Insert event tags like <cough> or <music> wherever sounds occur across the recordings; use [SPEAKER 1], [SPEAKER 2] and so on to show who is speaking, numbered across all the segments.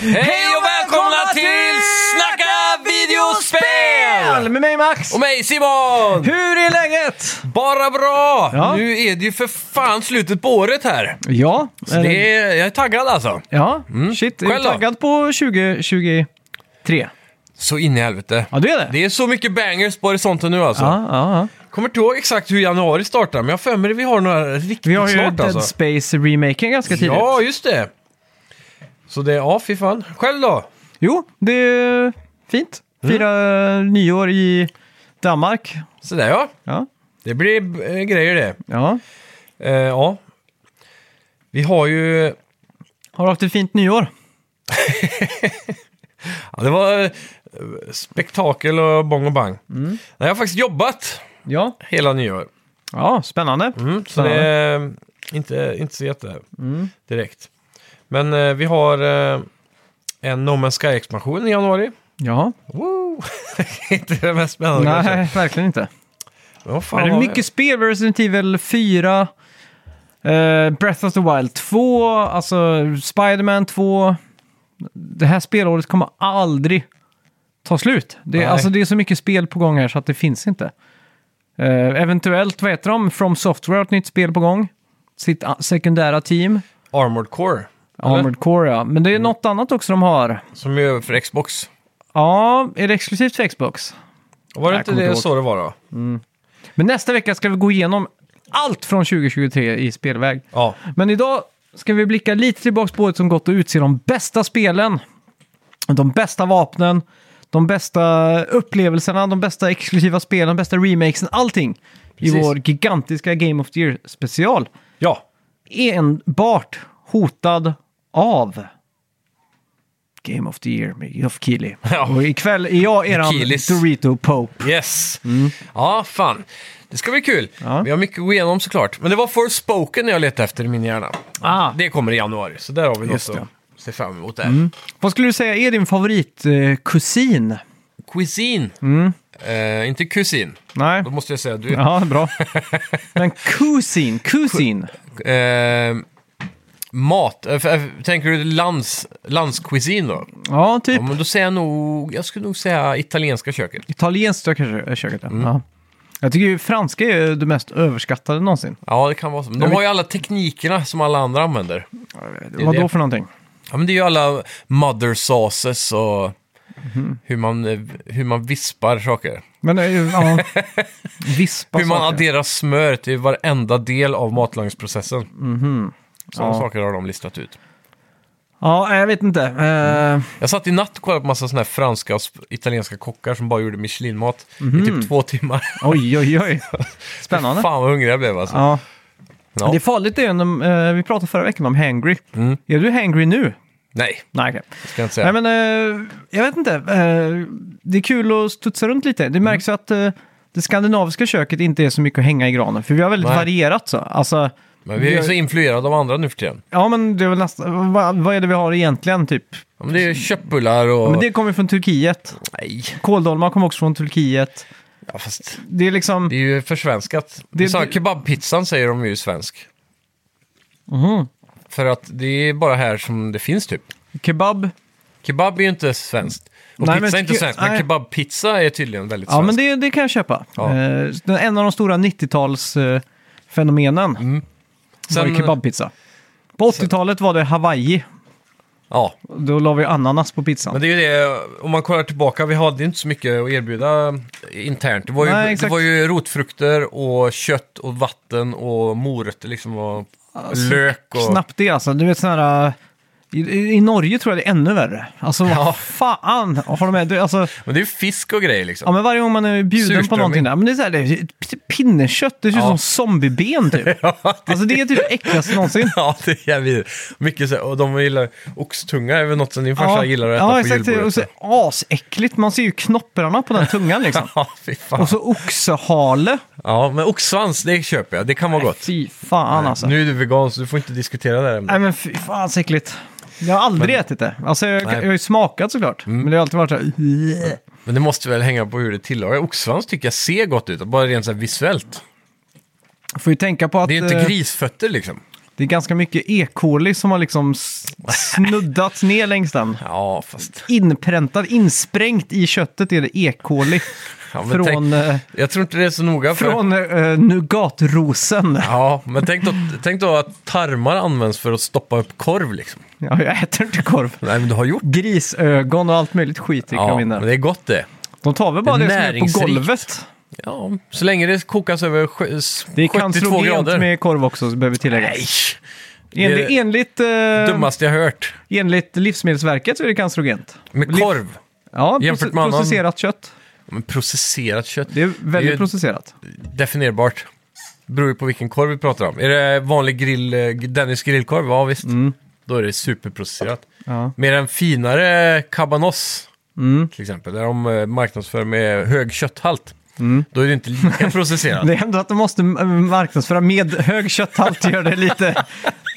[SPEAKER 1] Hej och välkomna till Snacka videospel!
[SPEAKER 2] Med mig Max!
[SPEAKER 1] Och mig Simon!
[SPEAKER 2] Hur är läget?
[SPEAKER 1] Bara bra!
[SPEAKER 2] Ja.
[SPEAKER 1] Nu är det ju för fan slutet på året här.
[SPEAKER 2] Ja, eh,
[SPEAKER 1] Så det är, jag är taggad alltså.
[SPEAKER 2] ja. shit. Är du
[SPEAKER 1] Själv då?
[SPEAKER 2] taggad på 2023?
[SPEAKER 1] Så in i helvete.
[SPEAKER 2] Ja, du är det?
[SPEAKER 1] Det är så mycket bangers på horisonten nu alltså.
[SPEAKER 2] Ja, ja, ja.
[SPEAKER 1] Kommer inte ihåg exakt hur januari startar, men jag har för mig att vi har några riktigt
[SPEAKER 2] Vi har ju
[SPEAKER 1] snart
[SPEAKER 2] Dead
[SPEAKER 1] alltså.
[SPEAKER 2] Space-remaken ganska tidigt.
[SPEAKER 1] Ja, just det. Så det, ja fy fan. Själv då?
[SPEAKER 2] Jo, det är fint.
[SPEAKER 1] Mm.
[SPEAKER 2] Fira nyår i Danmark.
[SPEAKER 1] Sådär ja.
[SPEAKER 2] Ja,
[SPEAKER 1] Det blir eh, grejer det.
[SPEAKER 2] ja.
[SPEAKER 1] Eh, ja. Vi har ju...
[SPEAKER 2] Har du haft ett fint nyår?
[SPEAKER 1] Ja, det var eh, spektakel och bång och bang.
[SPEAKER 2] Mm.
[SPEAKER 1] Nej, jag har faktiskt jobbat
[SPEAKER 2] Ja.
[SPEAKER 1] hela nyår.
[SPEAKER 2] Ja, spännande.
[SPEAKER 1] Mm, så det är eh, inte, inte så jätte
[SPEAKER 2] Mm.
[SPEAKER 1] direkt. Men eh, vi har eh, en No Man's Sky-expansion i januari.
[SPEAKER 2] Ja.
[SPEAKER 1] Woo! <laughs> inte det mest spännande kanske.
[SPEAKER 2] Nej, verkligen inte.
[SPEAKER 1] Men vad fan
[SPEAKER 2] Men det är
[SPEAKER 1] var
[SPEAKER 2] mycket spel, Resident Evil 4, eh, Breath of the Wild 2, alltså Spider-Man 2. Det här spelåret kommer aldrig ta slut. Det,
[SPEAKER 1] Nej.
[SPEAKER 2] är- alltså, det är så mycket spel på gång här så att det finns inte. Eh, eventuellt, vad heter de? From Software har ett nytt spel på gång. Sitt a- sekundära team.
[SPEAKER 1] Armored Core. eller?
[SPEAKER 2] Armored Core, ja. Men det Mm. är något annat också de har.
[SPEAKER 1] Som är för Xbox.
[SPEAKER 2] Ja, är det exklusivt för Xbox?
[SPEAKER 1] Och var det
[SPEAKER 2] Jag
[SPEAKER 1] inte
[SPEAKER 2] kommer
[SPEAKER 1] det
[SPEAKER 2] inte ihåg.
[SPEAKER 1] så det var då?
[SPEAKER 2] Men nästa vecka ska vi gå igenom allt från 2023 i spelväg.
[SPEAKER 1] Ja.
[SPEAKER 2] Men idag ska vi blicka lite tillbaka på året som gått och utse de bästa spelen, de bästa vapnen, de bästa upplevelserna, de bästa exklusiva spelen, de bästa remakesen, allting i
[SPEAKER 1] Precis.
[SPEAKER 2] vår gigantiska Game of the Year-special.
[SPEAKER 1] Ja.
[SPEAKER 2] Enbart hotad av Game of the Year med Geoff Keighley.
[SPEAKER 1] <laughs> Ja.
[SPEAKER 2] Och ikväll är jag eran
[SPEAKER 1] Keighley's.
[SPEAKER 2] Dorito Pope.
[SPEAKER 1] Yes! Ja, fan. Det ska bli kul.
[SPEAKER 2] Mm. Ja.
[SPEAKER 1] Vi har mycket att gå igenom såklart. Men det var Forspoken jag letade efter i min hjärna.
[SPEAKER 2] Ah.
[SPEAKER 1] Det kommer i januari, så där har vi något
[SPEAKER 2] Just det.
[SPEAKER 1] att se fram emot där.
[SPEAKER 2] Vad skulle du säga är din favoritkusin?
[SPEAKER 1] Cuisine. Eh, inte kusin.
[SPEAKER 2] Nej.
[SPEAKER 1] Då måste jag säga du.
[SPEAKER 2] Ja, bra. <laughs> Men kusin, kusin.
[SPEAKER 1] Eh, mat. Eh, f- eh, tänker du lands, landscuisine då?
[SPEAKER 2] Ja, typ.
[SPEAKER 1] Ja, men då säger jag nog... Jag skulle nog säga italienska köket.
[SPEAKER 2] Italienskt jag kanske är köket. ja.
[SPEAKER 1] Mm.
[SPEAKER 2] Ja. Jag tycker ju franska är det mest överskattade någonsin.
[SPEAKER 1] Ja, det kan vara så. Men De har ju alla teknikerna som alla andra använder.
[SPEAKER 2] Vad
[SPEAKER 1] det.
[SPEAKER 2] då för någonting?
[SPEAKER 1] Ja, men det är ju alla mother sauces och hur, man, eh, hur man vispar saker.
[SPEAKER 2] Men eh,
[SPEAKER 1] <laughs>
[SPEAKER 2] ja, vispa
[SPEAKER 1] hur man
[SPEAKER 2] saker.
[SPEAKER 1] adderar smör till varenda del av matlagningsprocessen. Sådana
[SPEAKER 2] Mhm. Ja.
[SPEAKER 1] saker har de listat ut.
[SPEAKER 2] Ja, jag vet inte. Eh,
[SPEAKER 1] Jag satt i natt och kollade på massa sådana här franska och sp- italienska kockar som bara gjorde Michelinmat
[SPEAKER 2] Mhm.
[SPEAKER 1] i typ två timmar.
[SPEAKER 2] oj, oj, oj.
[SPEAKER 1] <laughs>
[SPEAKER 2] Spännande.
[SPEAKER 1] Fan vad hungrig jag blev alltså.
[SPEAKER 2] Ja.
[SPEAKER 1] Ja. Mm.
[SPEAKER 2] Det är farligt det är när, eh, vi pratade förra veckan om hangry. Är du hangry nu?
[SPEAKER 1] Nej,
[SPEAKER 2] Nej, okej.
[SPEAKER 1] det ska jag inte säga.
[SPEAKER 2] Nej, men eh, jag vet inte. Eh, det är kul att studsa runt lite. Det märks
[SPEAKER 1] Mm.
[SPEAKER 2] ju att eh, det skandinaviska köket inte är så mycket att hänga i granen. För vi har väldigt
[SPEAKER 1] Nej.
[SPEAKER 2] varierat så. Alltså,
[SPEAKER 1] men vi är ju så influerade av andra nu för tiden.
[SPEAKER 2] Ja, men det är väl nästan... Vad, vad är det vi har egentligen, typ?
[SPEAKER 1] Ja, men det är ju köttbullar och...
[SPEAKER 2] Men det kommer ju från Turkiet.
[SPEAKER 1] Nej,
[SPEAKER 2] Kåldolmar kommer också från Turkiet.
[SPEAKER 1] ja, fast
[SPEAKER 2] Det är liksom...
[SPEAKER 1] det är ju försvenskat.
[SPEAKER 2] Det-
[SPEAKER 1] Så här,
[SPEAKER 2] det-
[SPEAKER 1] Kebabpizzan säger de är ju svensk.
[SPEAKER 2] Mhm.
[SPEAKER 1] För att det är bara här som det finns typ.
[SPEAKER 2] Kebab.
[SPEAKER 1] Kebab är ju inte svenskt. Och
[SPEAKER 2] Nej, men
[SPEAKER 1] pizza är inte
[SPEAKER 2] ke-
[SPEAKER 1] svenskt, men
[SPEAKER 2] nej.
[SPEAKER 1] kebabpizza är tydligen väldigt
[SPEAKER 2] Ja, men
[SPEAKER 1] svenskt.
[SPEAKER 2] det, det kan jag köpa.
[SPEAKER 1] Ja.
[SPEAKER 2] Eh, den- en av de stora 90-talsfenomenen var
[SPEAKER 1] Mm. Sen- eh,
[SPEAKER 2] ju kebabpizza. På 80-talet var det Hawaii.
[SPEAKER 1] Ja,
[SPEAKER 2] Då la vi ananas på pizzan.
[SPEAKER 1] men det är ju det, om man kollar tillbaka, vi hade inte så mycket att erbjuda internt. Det var ju,
[SPEAKER 2] Nej,
[SPEAKER 1] det
[SPEAKER 2] exakt.
[SPEAKER 1] var ju rotfrukter och kött och vatten och morötter liksom och
[SPEAKER 2] Alltså,
[SPEAKER 1] lök och...
[SPEAKER 2] Snabbt det alltså. Du vet sådana här... I, I Norge tror jag det är ännu värre. Alltså
[SPEAKER 1] Ja.
[SPEAKER 2] vad fan har de med? Det- Alltså,
[SPEAKER 1] Men det är ju fisk och grejer
[SPEAKER 2] Ja,
[SPEAKER 1] liksom.
[SPEAKER 2] men varje gång man är bjuden på
[SPEAKER 1] Surströmming.
[SPEAKER 2] någonting där. Men det är så här, det är p- pinnekött, det ser ut
[SPEAKER 1] Ja.
[SPEAKER 2] som
[SPEAKER 1] <laughs>
[SPEAKER 2] zombieben typ. Alltså det är typ det äckligaste någonsin.
[SPEAKER 1] <laughs> Ja, det är jävligt. Mycket så, och de gillar oxtunga, är väl något som din farsa gillar att äta
[SPEAKER 2] ja,
[SPEAKER 1] på
[SPEAKER 2] exakt.
[SPEAKER 1] julbordet.
[SPEAKER 2] Och så asäckligt, man ser ju knopparna på den tungan liksom.
[SPEAKER 1] <laughs> Ja, fy fan.
[SPEAKER 2] Och så oxehale.
[SPEAKER 1] Ja, men oxsvans, det köper jag. Det kan vara gott.
[SPEAKER 2] Fy fan alltså.
[SPEAKER 1] Nu är du vegan, så du får inte diskutera det här ämnet.
[SPEAKER 2] Nej men fy fan så äckligt. Jag har aldrig ätit det. Alltså jag,
[SPEAKER 1] Nej. Mm.
[SPEAKER 2] jag har ju smakat såklart. Men det har alltid varit så här... "Ugh."
[SPEAKER 1] Men det måste väl hänga på hur det tillagas. Oxsvans tycker jag ser gott ut, bara rent så här visuellt.
[SPEAKER 2] Får ju tänka på att...
[SPEAKER 1] Det är ju
[SPEAKER 2] eh,
[SPEAKER 1] inte grisfötter liksom.
[SPEAKER 2] Det är ganska mycket e-coli som har liksom s- snuddats ner längs den.
[SPEAKER 1] Ja, fast...
[SPEAKER 2] Inpräntad, insprängt i köttet är det e-coli.
[SPEAKER 1] Ja, men
[SPEAKER 2] från
[SPEAKER 1] tänk,
[SPEAKER 2] eh,
[SPEAKER 1] jag tror inte det är så noga. För,
[SPEAKER 2] från eh, nougatrosen.
[SPEAKER 1] Ja, men tänk då, tänk då att tarmar används för att stoppa upp korv liksom.
[SPEAKER 2] Ja, jag äter inte korv.
[SPEAKER 1] Nej, men du har gjort
[SPEAKER 2] Grisögon och allt möjligt skit tycker jag
[SPEAKER 1] Ja,
[SPEAKER 2] in
[SPEAKER 1] men
[SPEAKER 2] där.
[SPEAKER 1] det är gott det.
[SPEAKER 2] De tar väl bara
[SPEAKER 1] det
[SPEAKER 2] det,
[SPEAKER 1] är
[SPEAKER 2] som är på
[SPEAKER 1] näringsrikt.
[SPEAKER 2] golvet.
[SPEAKER 1] Ja, så länge det kokas över sj- s-
[SPEAKER 2] Det är
[SPEAKER 1] 72
[SPEAKER 2] cancerogent
[SPEAKER 1] grader.
[SPEAKER 2] med korv också, så behöver tilläggas.
[SPEAKER 1] Nej! Det är
[SPEAKER 2] Enligt,
[SPEAKER 1] det
[SPEAKER 2] enligt, eh,
[SPEAKER 1] dummaste jag hört.
[SPEAKER 2] enligt Livsmedelsverket så är det cancerogent.
[SPEAKER 1] Med
[SPEAKER 2] Liv-
[SPEAKER 1] korv.
[SPEAKER 2] Ja,
[SPEAKER 1] Jämfört
[SPEAKER 2] proce-
[SPEAKER 1] med annan-
[SPEAKER 2] processerat kött.
[SPEAKER 1] Men processerat kött.
[SPEAKER 2] Det är väldigt
[SPEAKER 1] ju-
[SPEAKER 2] processerat.
[SPEAKER 1] Definierbart. Beror ju på vilken korv vi pratar om. Är det vanlig grill, eh, Dennis grillkorv? Ja, visst.
[SPEAKER 2] Mm.
[SPEAKER 1] Då är det superprocesserat.
[SPEAKER 2] Ja.
[SPEAKER 1] Mer en finare cabanos,
[SPEAKER 2] Mm.
[SPEAKER 1] till exempel, där de eh, marknadsför med hög kötthalt. Då är det inte
[SPEAKER 2] <laughs>
[SPEAKER 1] lika processerat.
[SPEAKER 2] Mm. Det är ändå att de måste eh, marknadsföra med hög kötthalt gör
[SPEAKER 1] <laughs>
[SPEAKER 2] det lite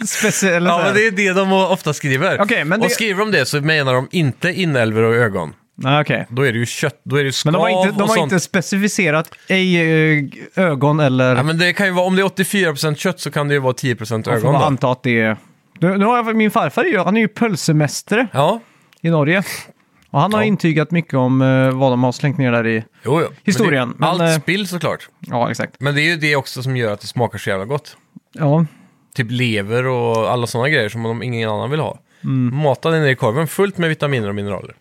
[SPEAKER 2] speciellt.
[SPEAKER 1] Ja, men det är det de ofta skriver.
[SPEAKER 2] Okej, men
[SPEAKER 1] Och
[SPEAKER 2] det-
[SPEAKER 1] skriver de det så menar de inte inälvor och ögon.
[SPEAKER 2] Nej, okej.
[SPEAKER 1] Då är det ju kött, då är det ju skav
[SPEAKER 2] Men de har inte, de
[SPEAKER 1] och
[SPEAKER 2] har
[SPEAKER 1] sånt.
[SPEAKER 2] inte specificerat ej eh, ögon eller...
[SPEAKER 1] Ja, men det kan ju vara, om det är 84% kött så kan det ju vara 10%
[SPEAKER 2] man får
[SPEAKER 1] ögon.
[SPEAKER 2] bara
[SPEAKER 1] Då.
[SPEAKER 2] anta att det är... Nu, nu har jag, min farfar är ju, han är ju pölsemästare
[SPEAKER 1] Ja,
[SPEAKER 2] i Norge. Och han har
[SPEAKER 1] Ja.
[SPEAKER 2] intygat mycket om eh, vad de har slängt ner där i...
[SPEAKER 1] jo, jo. Men
[SPEAKER 2] Historien,
[SPEAKER 1] Det,
[SPEAKER 2] men, eh,
[SPEAKER 1] allt spill såklart.
[SPEAKER 2] Ja, exakt.
[SPEAKER 1] Men det är ju det också som gör att det smakar så jävla gott.
[SPEAKER 2] Ja,
[SPEAKER 1] Typ lever och alla sådana grejer som de, ingen annan vill ha.
[SPEAKER 2] Mm.
[SPEAKER 1] Mata det ner i korven fullt med vitaminer och mineraler.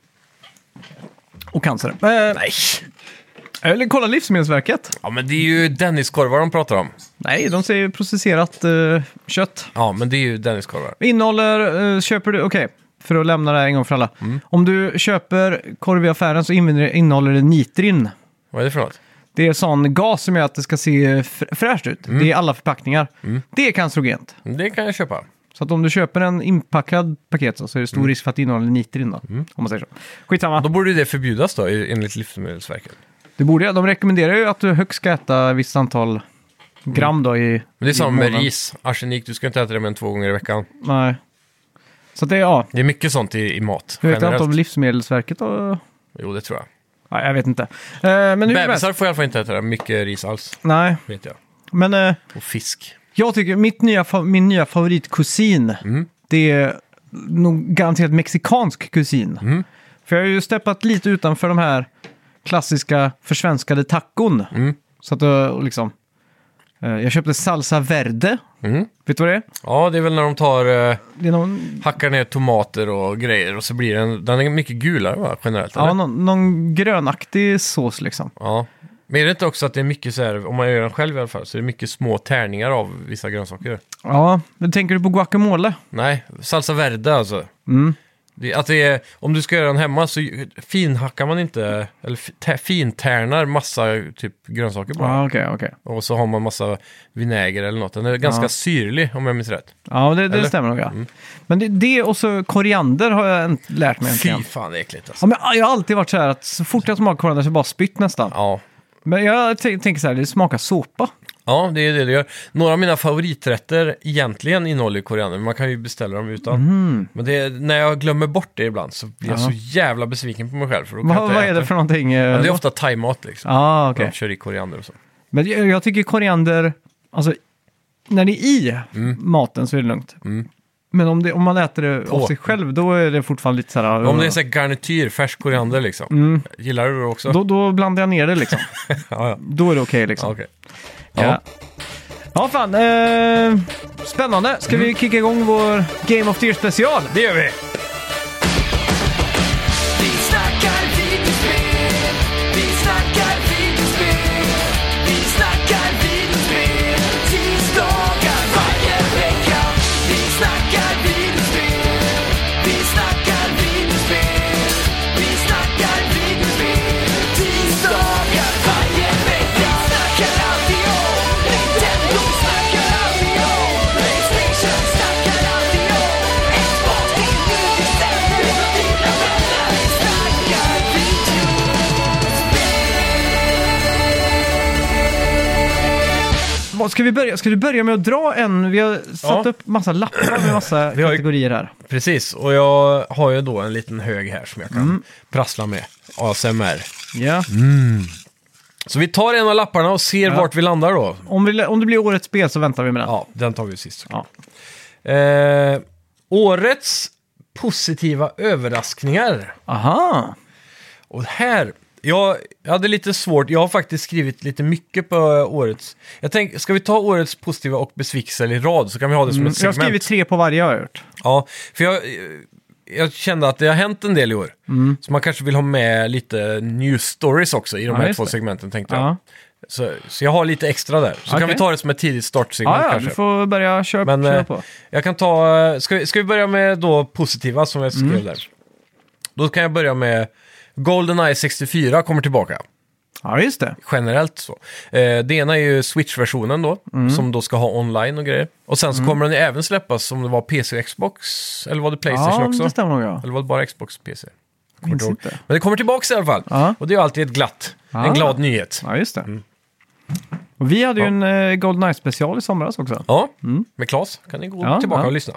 [SPEAKER 2] och cancer. Eh,
[SPEAKER 1] Nej!
[SPEAKER 2] eller kolla Livsmedelsverket.
[SPEAKER 1] Ja, men det är ju Denniskorvar de pratar om.
[SPEAKER 2] Nej, de säger ju processerat eh, kött.
[SPEAKER 1] Ja, men det är ju Denniskorvar.
[SPEAKER 2] Innehåller, eh, köper du, okej, för att lämna det här en gång för alla.
[SPEAKER 1] Mm.
[SPEAKER 2] Om du köper korv i affären så inne- innehåller det nitrin.
[SPEAKER 1] Vad är det för något?
[SPEAKER 2] Det är sån gas som gör att det ska se eh, fr- fräscht ut.
[SPEAKER 1] Mm.
[SPEAKER 2] Det är alla förpackningar. Det är cancerogent.
[SPEAKER 1] Det kan jag köpa.
[SPEAKER 2] Så att om du köper en inpackad paket så, så är det stor
[SPEAKER 1] Mm.
[SPEAKER 2] risk för att det innehåller nitrin då. Om man säger så. Skitsamma.
[SPEAKER 1] Då borde ju det förbjudas då, i- enligt Livsmedelsverket.
[SPEAKER 2] Det borde jag. De rekommenderar ju att du högst ska äta ett visst antal gram då i
[SPEAKER 1] Mm. Men det är
[SPEAKER 2] i
[SPEAKER 1] samma med
[SPEAKER 2] månaden.
[SPEAKER 1] ris. Arsenik, du ska inte äta det mer än två gånger i veckan.
[SPEAKER 2] Nej. Så att det är, ja.
[SPEAKER 1] Det är mycket sånt i, i mat.
[SPEAKER 2] Jag vet
[SPEAKER 1] generellt.
[SPEAKER 2] inte om Livsmedelsverket och...
[SPEAKER 1] Jo, det tror jag.
[SPEAKER 2] Nej, jag vet inte. Eh, men hur som helst.
[SPEAKER 1] Bebisar får i alla fall inte äta det. mycket ris alls,
[SPEAKER 2] Nej,
[SPEAKER 1] vet jag.
[SPEAKER 2] men eh,
[SPEAKER 1] Och fisk.
[SPEAKER 2] jag tycker mitt nya, fa- min nya favoritkusin,
[SPEAKER 1] Mm.
[SPEAKER 2] det är nog garanterat mexikansk kusin.
[SPEAKER 1] Mm.
[SPEAKER 2] För jag har ju steppat lite utanför de här klassiska försvenskade tacon.
[SPEAKER 1] Mm.
[SPEAKER 2] Så att eh, liksom... eh, Jag köpte salsa verde.
[SPEAKER 1] Mm.
[SPEAKER 2] Vet du vad det är?
[SPEAKER 1] Ja, det är väl när de tar, eh,
[SPEAKER 2] Det är någon
[SPEAKER 1] hackar ner tomater och grejer och så blir den, den är mycket gulare va, generellt?
[SPEAKER 2] Ja,
[SPEAKER 1] eller?
[SPEAKER 2] någon, någon grönaktig sås liksom.
[SPEAKER 1] ja. Men är det inte också att det är mycket så här, om man gör den själv i alla fall, så är det mycket små tärningar av vissa grönsaker?
[SPEAKER 2] Ja, men tänker du på guacamole?
[SPEAKER 1] Nej, salsa verde alltså.
[SPEAKER 2] Mm.
[SPEAKER 1] Det, att det är, om du ska göra den hemma så ju- finhackar man inte, eller fi- tä- fintärnar massa typ grönsaker bara.
[SPEAKER 2] Ja, okej, okej.
[SPEAKER 1] Och så har man massa vinäger eller något. Den är ganska
[SPEAKER 2] Ja.
[SPEAKER 1] syrlig om jag minns rätt.
[SPEAKER 2] Ja, det, det
[SPEAKER 1] Eller? Mm.
[SPEAKER 2] stämmer nog ja. Men det, det och så koriander har jag en- lärt mig
[SPEAKER 1] Fy
[SPEAKER 2] äntligen.
[SPEAKER 1] fan äckligt alltså.
[SPEAKER 2] Ja, men jag har alltid varit så här att så fort jag smakar koriander så bara spytt nästan.
[SPEAKER 1] Ja.
[SPEAKER 2] Men jag t- tänker så här, det smakar såpa.
[SPEAKER 1] ja, det är det det gör. Några av mina favoriträtter egentligen innehåller ju koriander, men man kan ju beställa dem utan.
[SPEAKER 2] Mm.
[SPEAKER 1] Men det, är- när jag glömmer bort det ibland så blir jag
[SPEAKER 2] Mhm. Ja.
[SPEAKER 1] så jävla besviken på mig själv. För då kan jag
[SPEAKER 2] Vad,
[SPEAKER 1] inte
[SPEAKER 2] vad är
[SPEAKER 1] äta
[SPEAKER 2] det för någonting? eh,
[SPEAKER 1] Men det är
[SPEAKER 2] då?
[SPEAKER 1] ofta thaimat liksom.
[SPEAKER 2] ah, okej.
[SPEAKER 1] De kör i koriander och så.
[SPEAKER 2] Men jag, jag tycker koriander, alltså när det är i maten så är det lugnt.
[SPEAKER 1] Mm.
[SPEAKER 2] Men om, det, om man äter det av
[SPEAKER 1] På.
[SPEAKER 2] sig själv, då är det fortfarande lite så här...
[SPEAKER 1] Om det är så här garnityr, färsk koriander liksom. Gillar du det också?
[SPEAKER 2] Mm. då, då blandar jag ner det liksom.
[SPEAKER 1] <laughs> Ja, ja.
[SPEAKER 2] Då är det okej liksom.
[SPEAKER 1] ja okej.
[SPEAKER 2] Ja.
[SPEAKER 1] Ja.
[SPEAKER 2] ja, fan. Eh, spännande. Ska
[SPEAKER 1] Mm.
[SPEAKER 2] vi kicka igång vår Game of the Year-special?
[SPEAKER 1] Det gör vi!
[SPEAKER 3] Vi snackar videospel, vi snackar videospel, vi snackar videospel, tisdagar varje vecka. Vi snackar videospel, vi snackar videospel, vi snackar videospel, tisdagar varje vecka. Snackar alltid om Nintendo, snackar alltid om Playstation, snackar alltid om Xbox, det är nu vi sänder och dina vänner. Vi snackar video.
[SPEAKER 2] Vad Ska, vi börja? ska du börja med att dra en? Vi har satt
[SPEAKER 1] Ja.
[SPEAKER 2] upp massa lappar med massa
[SPEAKER 1] Vi har ju-
[SPEAKER 2] kategorier här.
[SPEAKER 1] Precis, och jag har ju då en
[SPEAKER 2] Mm.
[SPEAKER 1] Mm. liten hög här som jag kan prassla med. ASMR.
[SPEAKER 2] Ja.
[SPEAKER 1] Så vi tar en av lapparna och ser
[SPEAKER 2] Ja.
[SPEAKER 1] vart vi landar då.
[SPEAKER 2] Om, vi, om det blir årets spel så väntar vi med den.
[SPEAKER 1] Ja, den tar vi sist.
[SPEAKER 2] Ja.
[SPEAKER 1] Eh, årets positiva överraskningar.
[SPEAKER 2] Aha!
[SPEAKER 1] Mm. Och här, jag, jag hade lite svårt, jag har faktiskt skrivit lite mycket på årets. Jag tänk, ska vi ta årets positiva och besvikelse i rad så kan vi ha det som ett
[SPEAKER 2] Mm, Jag har
[SPEAKER 1] segment.
[SPEAKER 2] skrivit tre på varje jag har gjort.
[SPEAKER 1] Ja, för jag, jag kände att det har hänt en del i år. Så man kanske vill ha med lite news stories också i de
[SPEAKER 2] Mm. Ja,
[SPEAKER 1] här
[SPEAKER 2] just
[SPEAKER 1] två
[SPEAKER 2] det.
[SPEAKER 1] segmenten tänkte jag.
[SPEAKER 2] Ja,
[SPEAKER 1] Så, så jag har lite extra där. Så kan
[SPEAKER 2] Okej.
[SPEAKER 1] vi ta det som ett tidigt startsignal
[SPEAKER 2] ja, ja
[SPEAKER 1] kanske.
[SPEAKER 2] du får börja köra,
[SPEAKER 1] Men,
[SPEAKER 2] köra
[SPEAKER 1] eh,
[SPEAKER 2] på.
[SPEAKER 1] Jag kan ta, eh, ska vi, ska vi börja med då positiva som jag skrev
[SPEAKER 2] Mm.
[SPEAKER 1] där. Då kan jag börja med Goldeneye 64 kommer tillbaka.
[SPEAKER 2] Ja, just det.
[SPEAKER 1] Generellt så. Eh, det ena är ju Switch-versionen då,
[SPEAKER 2] Mm.
[SPEAKER 1] som då ska ha online och grejer. Och sen så kommer den ju även släppas om det var PC och Xbox, eller var det Playstation
[SPEAKER 2] Ja,
[SPEAKER 1] också?
[SPEAKER 2] det stämmer nog. Ja.
[SPEAKER 1] Eller var det bara Xbox och PC? Kommer
[SPEAKER 2] Minns
[SPEAKER 1] inte ihåg.
[SPEAKER 2] inte.
[SPEAKER 1] Men det kommer tillbaka i alla fall.
[SPEAKER 2] Ja.
[SPEAKER 1] Och det är ju alltid ett glatt,
[SPEAKER 2] Ah.
[SPEAKER 1] en glad nyhet.
[SPEAKER 2] ja, just det. Och vi hade ju
[SPEAKER 1] Mm. Ja.
[SPEAKER 2] en eh, Goldeneye special i somras också.
[SPEAKER 1] Ja, med Claes kan ni gå
[SPEAKER 2] Mm. Ja,
[SPEAKER 1] tillbaka
[SPEAKER 2] ja.
[SPEAKER 1] och lyssna.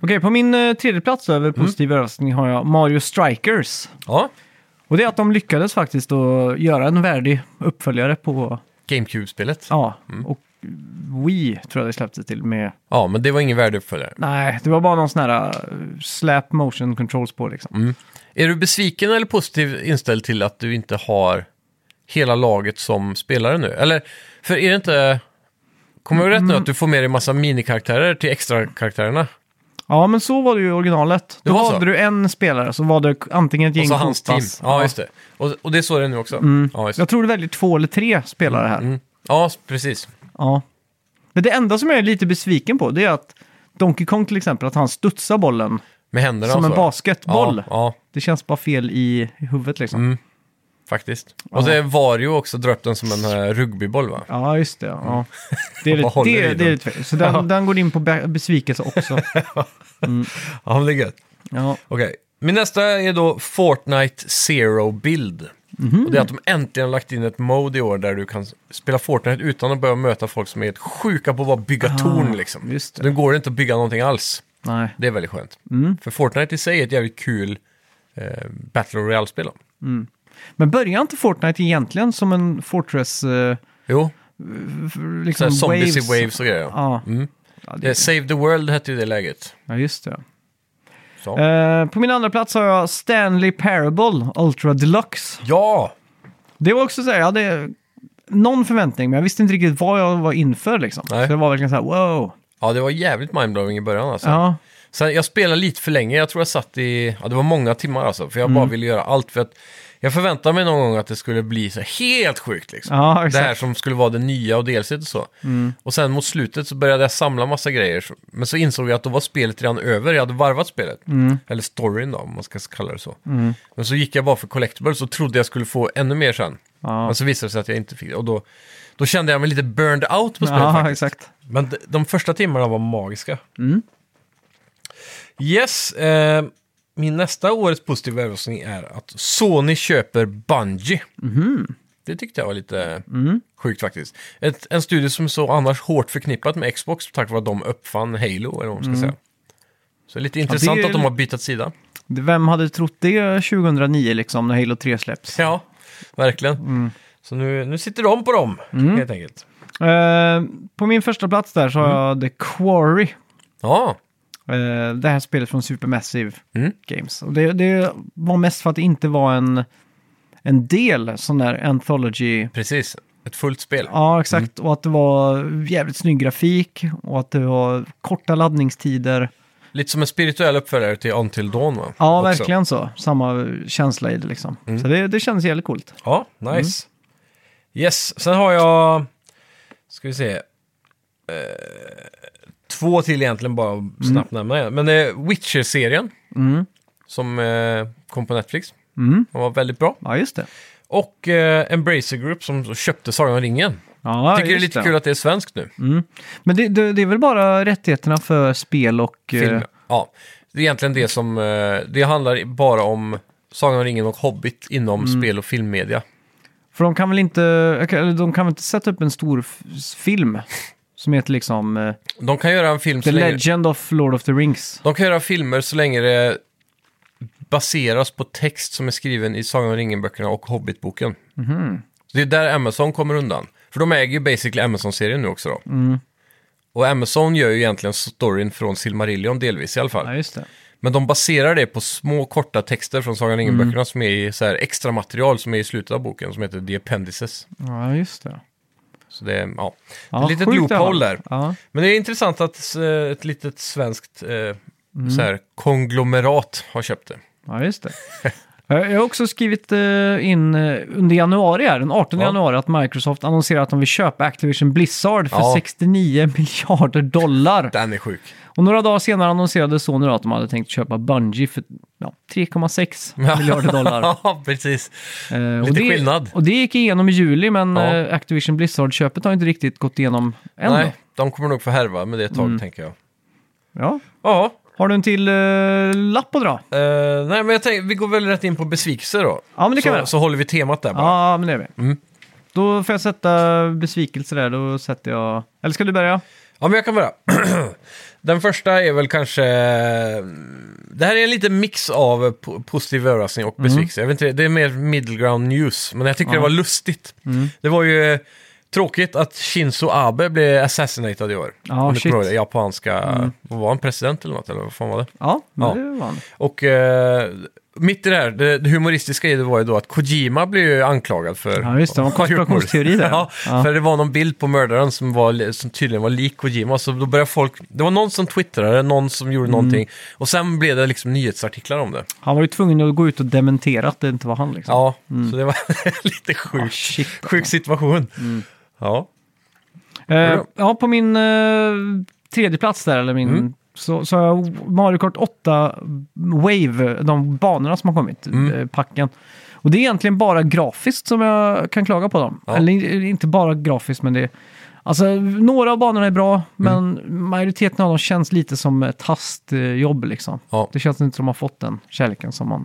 [SPEAKER 2] Okej, på min eh, tredje plats över
[SPEAKER 1] Mm.
[SPEAKER 2] positiv överraskning har jag Mario Strikers.
[SPEAKER 1] Ja,
[SPEAKER 2] Och det är att de lyckades faktiskt att göra en värdig uppföljare på,
[SPEAKER 1] GameCube-spelet. Ja.
[SPEAKER 2] ja, och Wii tror jag det släpptes till med.
[SPEAKER 1] men det var ingen värdeuppföljare.
[SPEAKER 2] Nej, det var bara någon sån här eh, slap motion controls på liksom.
[SPEAKER 1] Mm. Är du besviken eller positiv inställd till att du inte har hela laget som spelare nu? Eller, för är det inte... Kommer jag ihåg rätt nu att du får med dig massa minikaraktärer till Alltså extra-karaktärerna?
[SPEAKER 2] Ja, men så var det ju i originalet.
[SPEAKER 1] Det
[SPEAKER 2] Då
[SPEAKER 1] var så?
[SPEAKER 2] hade du en spelare så var det antingen
[SPEAKER 1] Och
[SPEAKER 2] ett gäng
[SPEAKER 1] så hans team.
[SPEAKER 2] fotpass.
[SPEAKER 1] Ja, Mm. just det. Och, och det är så det är nu också. Ja, just det.
[SPEAKER 2] Jag tror du väljer två eller tre spelare här.
[SPEAKER 1] Mm. ja, precis.
[SPEAKER 2] Ja. Men det enda som jag är lite besviken på det är att Donkey Kong till exempel, att han studsar bollen
[SPEAKER 1] Med händerna
[SPEAKER 2] som
[SPEAKER 1] och
[SPEAKER 2] en
[SPEAKER 1] så.
[SPEAKER 2] basketboll.
[SPEAKER 1] Ja, ja.
[SPEAKER 2] Det känns bara fel i huvudet liksom.
[SPEAKER 1] Mm. Faktiskt. Och det är Vario också drar upp den som en eh, rugbyboll va?
[SPEAKER 2] Ja, just det. Ja. Det är
[SPEAKER 1] <laughs> Vad
[SPEAKER 2] lite,
[SPEAKER 1] håller
[SPEAKER 2] det,
[SPEAKER 1] i
[SPEAKER 2] det är
[SPEAKER 1] den?
[SPEAKER 2] lite fel. Så den, den går in på be- besvikelse
[SPEAKER 1] <laughs>
[SPEAKER 2] också.
[SPEAKER 1] Ja, men det är gött.
[SPEAKER 2] Ja.
[SPEAKER 1] Okej. Min nästa är då Fortnite Zero Build.
[SPEAKER 2] Mhm.
[SPEAKER 1] Och det är att de äntligen har lagt in ett mode i år där du kan spela Fortnite utan att behöva möta folk som är helt sjuka på att bara bygga torn liksom.
[SPEAKER 2] Ah, just det. Mm.
[SPEAKER 1] Nu går det inte att bygga någonting alls.
[SPEAKER 2] Nej.
[SPEAKER 1] Det är väldigt skönt. För Fortnite i sig är ett jävligt kul eh, Battle Royale-spel. då.
[SPEAKER 2] Men börjar inte Fortnite egentligen som en Fortress... eh,
[SPEAKER 1] Jo,
[SPEAKER 2] f- liksom
[SPEAKER 1] så här zombies
[SPEAKER 2] waves?
[SPEAKER 1] i waves och grejer.
[SPEAKER 2] Ja.
[SPEAKER 1] Mm.
[SPEAKER 2] Ja,
[SPEAKER 1] Det är
[SPEAKER 2] det,
[SPEAKER 1] Save the World hette ju det läget.
[SPEAKER 2] ja, just det.
[SPEAKER 1] Så.
[SPEAKER 2] Eh, på min andra plats har jag Stanley Parable Ultra Deluxe.
[SPEAKER 1] Ja!
[SPEAKER 2] Det var också så här, jag hade någon förväntning, men jag visste inte riktigt vad jag var inför liksom.
[SPEAKER 1] Nej.
[SPEAKER 2] Så det var verkligen så här, wow.
[SPEAKER 1] Ja, det var jävligt mindblowing i början alltså.
[SPEAKER 2] Ja,
[SPEAKER 1] Sen, jag spelade lite för länge, jag tror jag satt i, ja det var många timmar alltså, för jag
[SPEAKER 2] Mm.
[SPEAKER 1] bara ville göra allt för att jag förväntade mig någon gång att det skulle bli så här helt sjukt liksom.
[SPEAKER 2] ja
[SPEAKER 1] det här
[SPEAKER 2] exakt. Mm.
[SPEAKER 1] som skulle vara det nya och DLC och så. Och sen mot slutet så började jag samla massa grejer, så- men så insåg jag att då var spelet redan över, jag hade varvat spelet.
[SPEAKER 2] Mm.
[SPEAKER 1] Eller storyn då, om man ska kalla det så. Men så gick jag bara för collectibles och trodde jag skulle få ännu mer sen.
[SPEAKER 2] Ja.
[SPEAKER 1] Men så visade det sig att jag inte fick det, och då, då kände jag mig lite burned out på spelet
[SPEAKER 2] Ja,
[SPEAKER 1] faktiskt.
[SPEAKER 2] exakt.
[SPEAKER 1] Men de, de första timmarna var magiska.
[SPEAKER 2] Mm.
[SPEAKER 1] Yes, eh, min nästa årets positiva överraskning är att Sony köper Bungie.
[SPEAKER 2] Mhm.
[SPEAKER 1] Det tyckte jag var lite
[SPEAKER 2] Mm.
[SPEAKER 1] sjukt faktiskt. Ett, en studio som är så annars hårt förknippat med Xbox tack vare att de uppfann Halo, eller vad man ska säga. Så lite intressant
[SPEAKER 2] Mm. är-
[SPEAKER 1] att de har bytt sida.
[SPEAKER 2] Vem hade trott det 2009 liksom, när Halo 3 släpps?
[SPEAKER 1] Ja, verkligen.
[SPEAKER 2] Mm.
[SPEAKER 1] Så nu, nu sitter de på dem, helt enkelt.
[SPEAKER 2] Eh, på min första plats där så har
[SPEAKER 1] Mm.
[SPEAKER 2] jag The Quarry.
[SPEAKER 1] Ja,
[SPEAKER 2] Eh, det här spelet från Supermassive
[SPEAKER 1] Mm.
[SPEAKER 2] Games. Och det, det var mest för att det inte var en, en del sån där anthology.
[SPEAKER 1] precis. Ett fullt spel.
[SPEAKER 2] Ja, exakt.
[SPEAKER 1] Mm.
[SPEAKER 2] Och att det var jävligt snygg grafik och att det var korta laddningstider.
[SPEAKER 1] Lite som en spirituell uppföljare till Until Dawn, va?
[SPEAKER 2] Ja,
[SPEAKER 1] Också. Mm.
[SPEAKER 2] verkligen så. Samma känsla i det liksom. Så det, det kändes jävligt coolt.
[SPEAKER 1] Ja, nice. Yes, sen har jag... Ska vi se. Eh, två till egentligen bara
[SPEAKER 2] Mm.
[SPEAKER 1] att snabbt nämna igen. Men det är Witcher-serien. Som eh, kom på Netflix.
[SPEAKER 2] Mm.
[SPEAKER 1] Den var väldigt bra.
[SPEAKER 2] Ja, just det.
[SPEAKER 1] Och eh, Embracer Group som köpte Sagan om ringen.
[SPEAKER 2] Ja,
[SPEAKER 1] Tycker det är
[SPEAKER 2] just
[SPEAKER 1] lite kul att det är svenskt nu.
[SPEAKER 2] Men det, det, det är väl bara rättigheterna för spel och... eh,
[SPEAKER 1] Film. Ja, det är egentligen det som... Eh, det handlar bara om Sagan om ringen och Hobbit inom
[SPEAKER 2] Mm.
[SPEAKER 1] spel och filmmedia.
[SPEAKER 2] För de kan väl inte, eller de kan väl inte sätta upp en stor f- film som heter liksom eh,
[SPEAKER 1] De kan göra en film
[SPEAKER 2] The
[SPEAKER 1] så länge...
[SPEAKER 2] Legend of Lord of the Rings?
[SPEAKER 1] De kan göra filmer så länge det
[SPEAKER 2] Mhm.
[SPEAKER 1] baseras på text som är skriven i Sagan om ringen-böckerna och Hobbit-boken. Det är där Amazon kommer undan. För de äger ju basically Amazon-serien nu också då.
[SPEAKER 2] Mm.
[SPEAKER 1] Och Amazon gör ju egentligen storyn från Silmarillion delvis i alla fall.
[SPEAKER 2] Ja, just det.
[SPEAKER 1] Men de baserar det på små korta texter från Sagan om
[SPEAKER 2] Mm.
[SPEAKER 1] ringen-böckerna som är i så här extra material som är i slutet av boken som heter The Appendices.
[SPEAKER 2] Ja, just det.
[SPEAKER 1] Så det är, ja,
[SPEAKER 2] Ja,
[SPEAKER 1] ett litet
[SPEAKER 2] sjukt i alla fall.
[SPEAKER 1] loophole där.
[SPEAKER 2] Ja.
[SPEAKER 1] Men det är intressant att eh, ett litet svenskt eh,
[SPEAKER 2] Mm.
[SPEAKER 1] så här, konglomerat har köpt det. <laughs>
[SPEAKER 2] Ja, just det. Eh, Jag har också skrivit eh, in eh, under januari här, den 18
[SPEAKER 1] Ja.
[SPEAKER 2] januari, att Microsoft annonserar att de vill köpa Activision Blizzard för
[SPEAKER 1] Ja.
[SPEAKER 2] 69 <laughs> miljarder dollar.
[SPEAKER 1] Den är sjuk.
[SPEAKER 2] Och några dagar senare annonserade Sony då att de hade tänkt köpa Bungie för ja,
[SPEAKER 1] <laughs>
[SPEAKER 2] 3,6 miljarder dollar.
[SPEAKER 1] <laughs> Ja, precis.
[SPEAKER 2] Eh, och
[SPEAKER 1] Lite
[SPEAKER 2] det,
[SPEAKER 1] skillnad.
[SPEAKER 2] Och det gick igenom i juli, men
[SPEAKER 1] Ja.
[SPEAKER 2] eh, Activision Blizzard-köpet har inte riktigt gått igenom än. då.
[SPEAKER 1] Nej, de kommer nog få härva med det ett tag,
[SPEAKER 2] Mm.
[SPEAKER 1] tänker jag.
[SPEAKER 2] Ja.
[SPEAKER 1] Ja,
[SPEAKER 2] Har du en till eh, lapp att dra?
[SPEAKER 1] eh, nej men jag tänker, vi går väl rätt in på besvikelser då.
[SPEAKER 2] Ja, men det kan vi göra.
[SPEAKER 1] så, så håller vi temat där bara.
[SPEAKER 2] Ja, men det är vi.
[SPEAKER 1] Mm.
[SPEAKER 2] Då får jag sätta besvikelse där, då sätter jag... Eller ska du börja?
[SPEAKER 1] Ja, men jag kan börja. <clears throat> Den första är väl kanske... eh, Det här är en liten mix av po- positiv överraskning
[SPEAKER 2] Mm.
[SPEAKER 1] och besvikelse. Jag vet inte, det är mer middle ground news, men jag tycker det var lustigt.
[SPEAKER 2] Mm.
[SPEAKER 1] Det var ju eh, tråkigt att Shinzo Abe blev assassinated i år.
[SPEAKER 2] Ja,
[SPEAKER 1] Om du
[SPEAKER 2] shit. Mm.
[SPEAKER 1] kommer ihåg det, Japanska... Vad var han? President eller något? Eller vad fan var det?
[SPEAKER 2] Ja, men
[SPEAKER 1] Ja.
[SPEAKER 2] det var han.
[SPEAKER 1] Och eh, mitt i det här, det, det humoristiska i det var ju då att Kojima blev ju anklagad för...
[SPEAKER 2] Ja, just det.
[SPEAKER 1] <laughs>
[SPEAKER 2] Det var en konspirationsteori där.
[SPEAKER 1] ja,
[SPEAKER 2] Ja.
[SPEAKER 1] för det var någon bild på mördaren som, var, som tydligen var lik Kojima. Så då började folk... Det var någon som twittrade, någon som
[SPEAKER 2] Mm.
[SPEAKER 1] gjorde någonting. Och sen blev det liksom nyhetsartiklar om det.
[SPEAKER 2] Han var ju tvungen att gå ut och dementera att det inte var han liksom.
[SPEAKER 1] Ja, så det var <laughs> lite sjuk,
[SPEAKER 2] shit,
[SPEAKER 1] sjuk situation.
[SPEAKER 2] Mm.
[SPEAKER 1] Ja.
[SPEAKER 2] Eh, ja, på min eh, tredje plats där, eller min...
[SPEAKER 1] Mm.
[SPEAKER 2] Så, så har jag Mario Kart 8 Wave, de banorna som har kommit,
[SPEAKER 1] Mm.
[SPEAKER 2] eh, packen. Och det är egentligen bara grafiskt som jag kan klaga på dem.
[SPEAKER 1] Ja.
[SPEAKER 2] Eller i- inte bara grafiskt, men det är... Alltså, några av banorna är bra,
[SPEAKER 1] Mm.
[SPEAKER 2] men majoriteten av dem känns lite som ett hastjobb liksom.
[SPEAKER 1] Ja.
[SPEAKER 2] Det känns inte som att de har fått den kärleken som man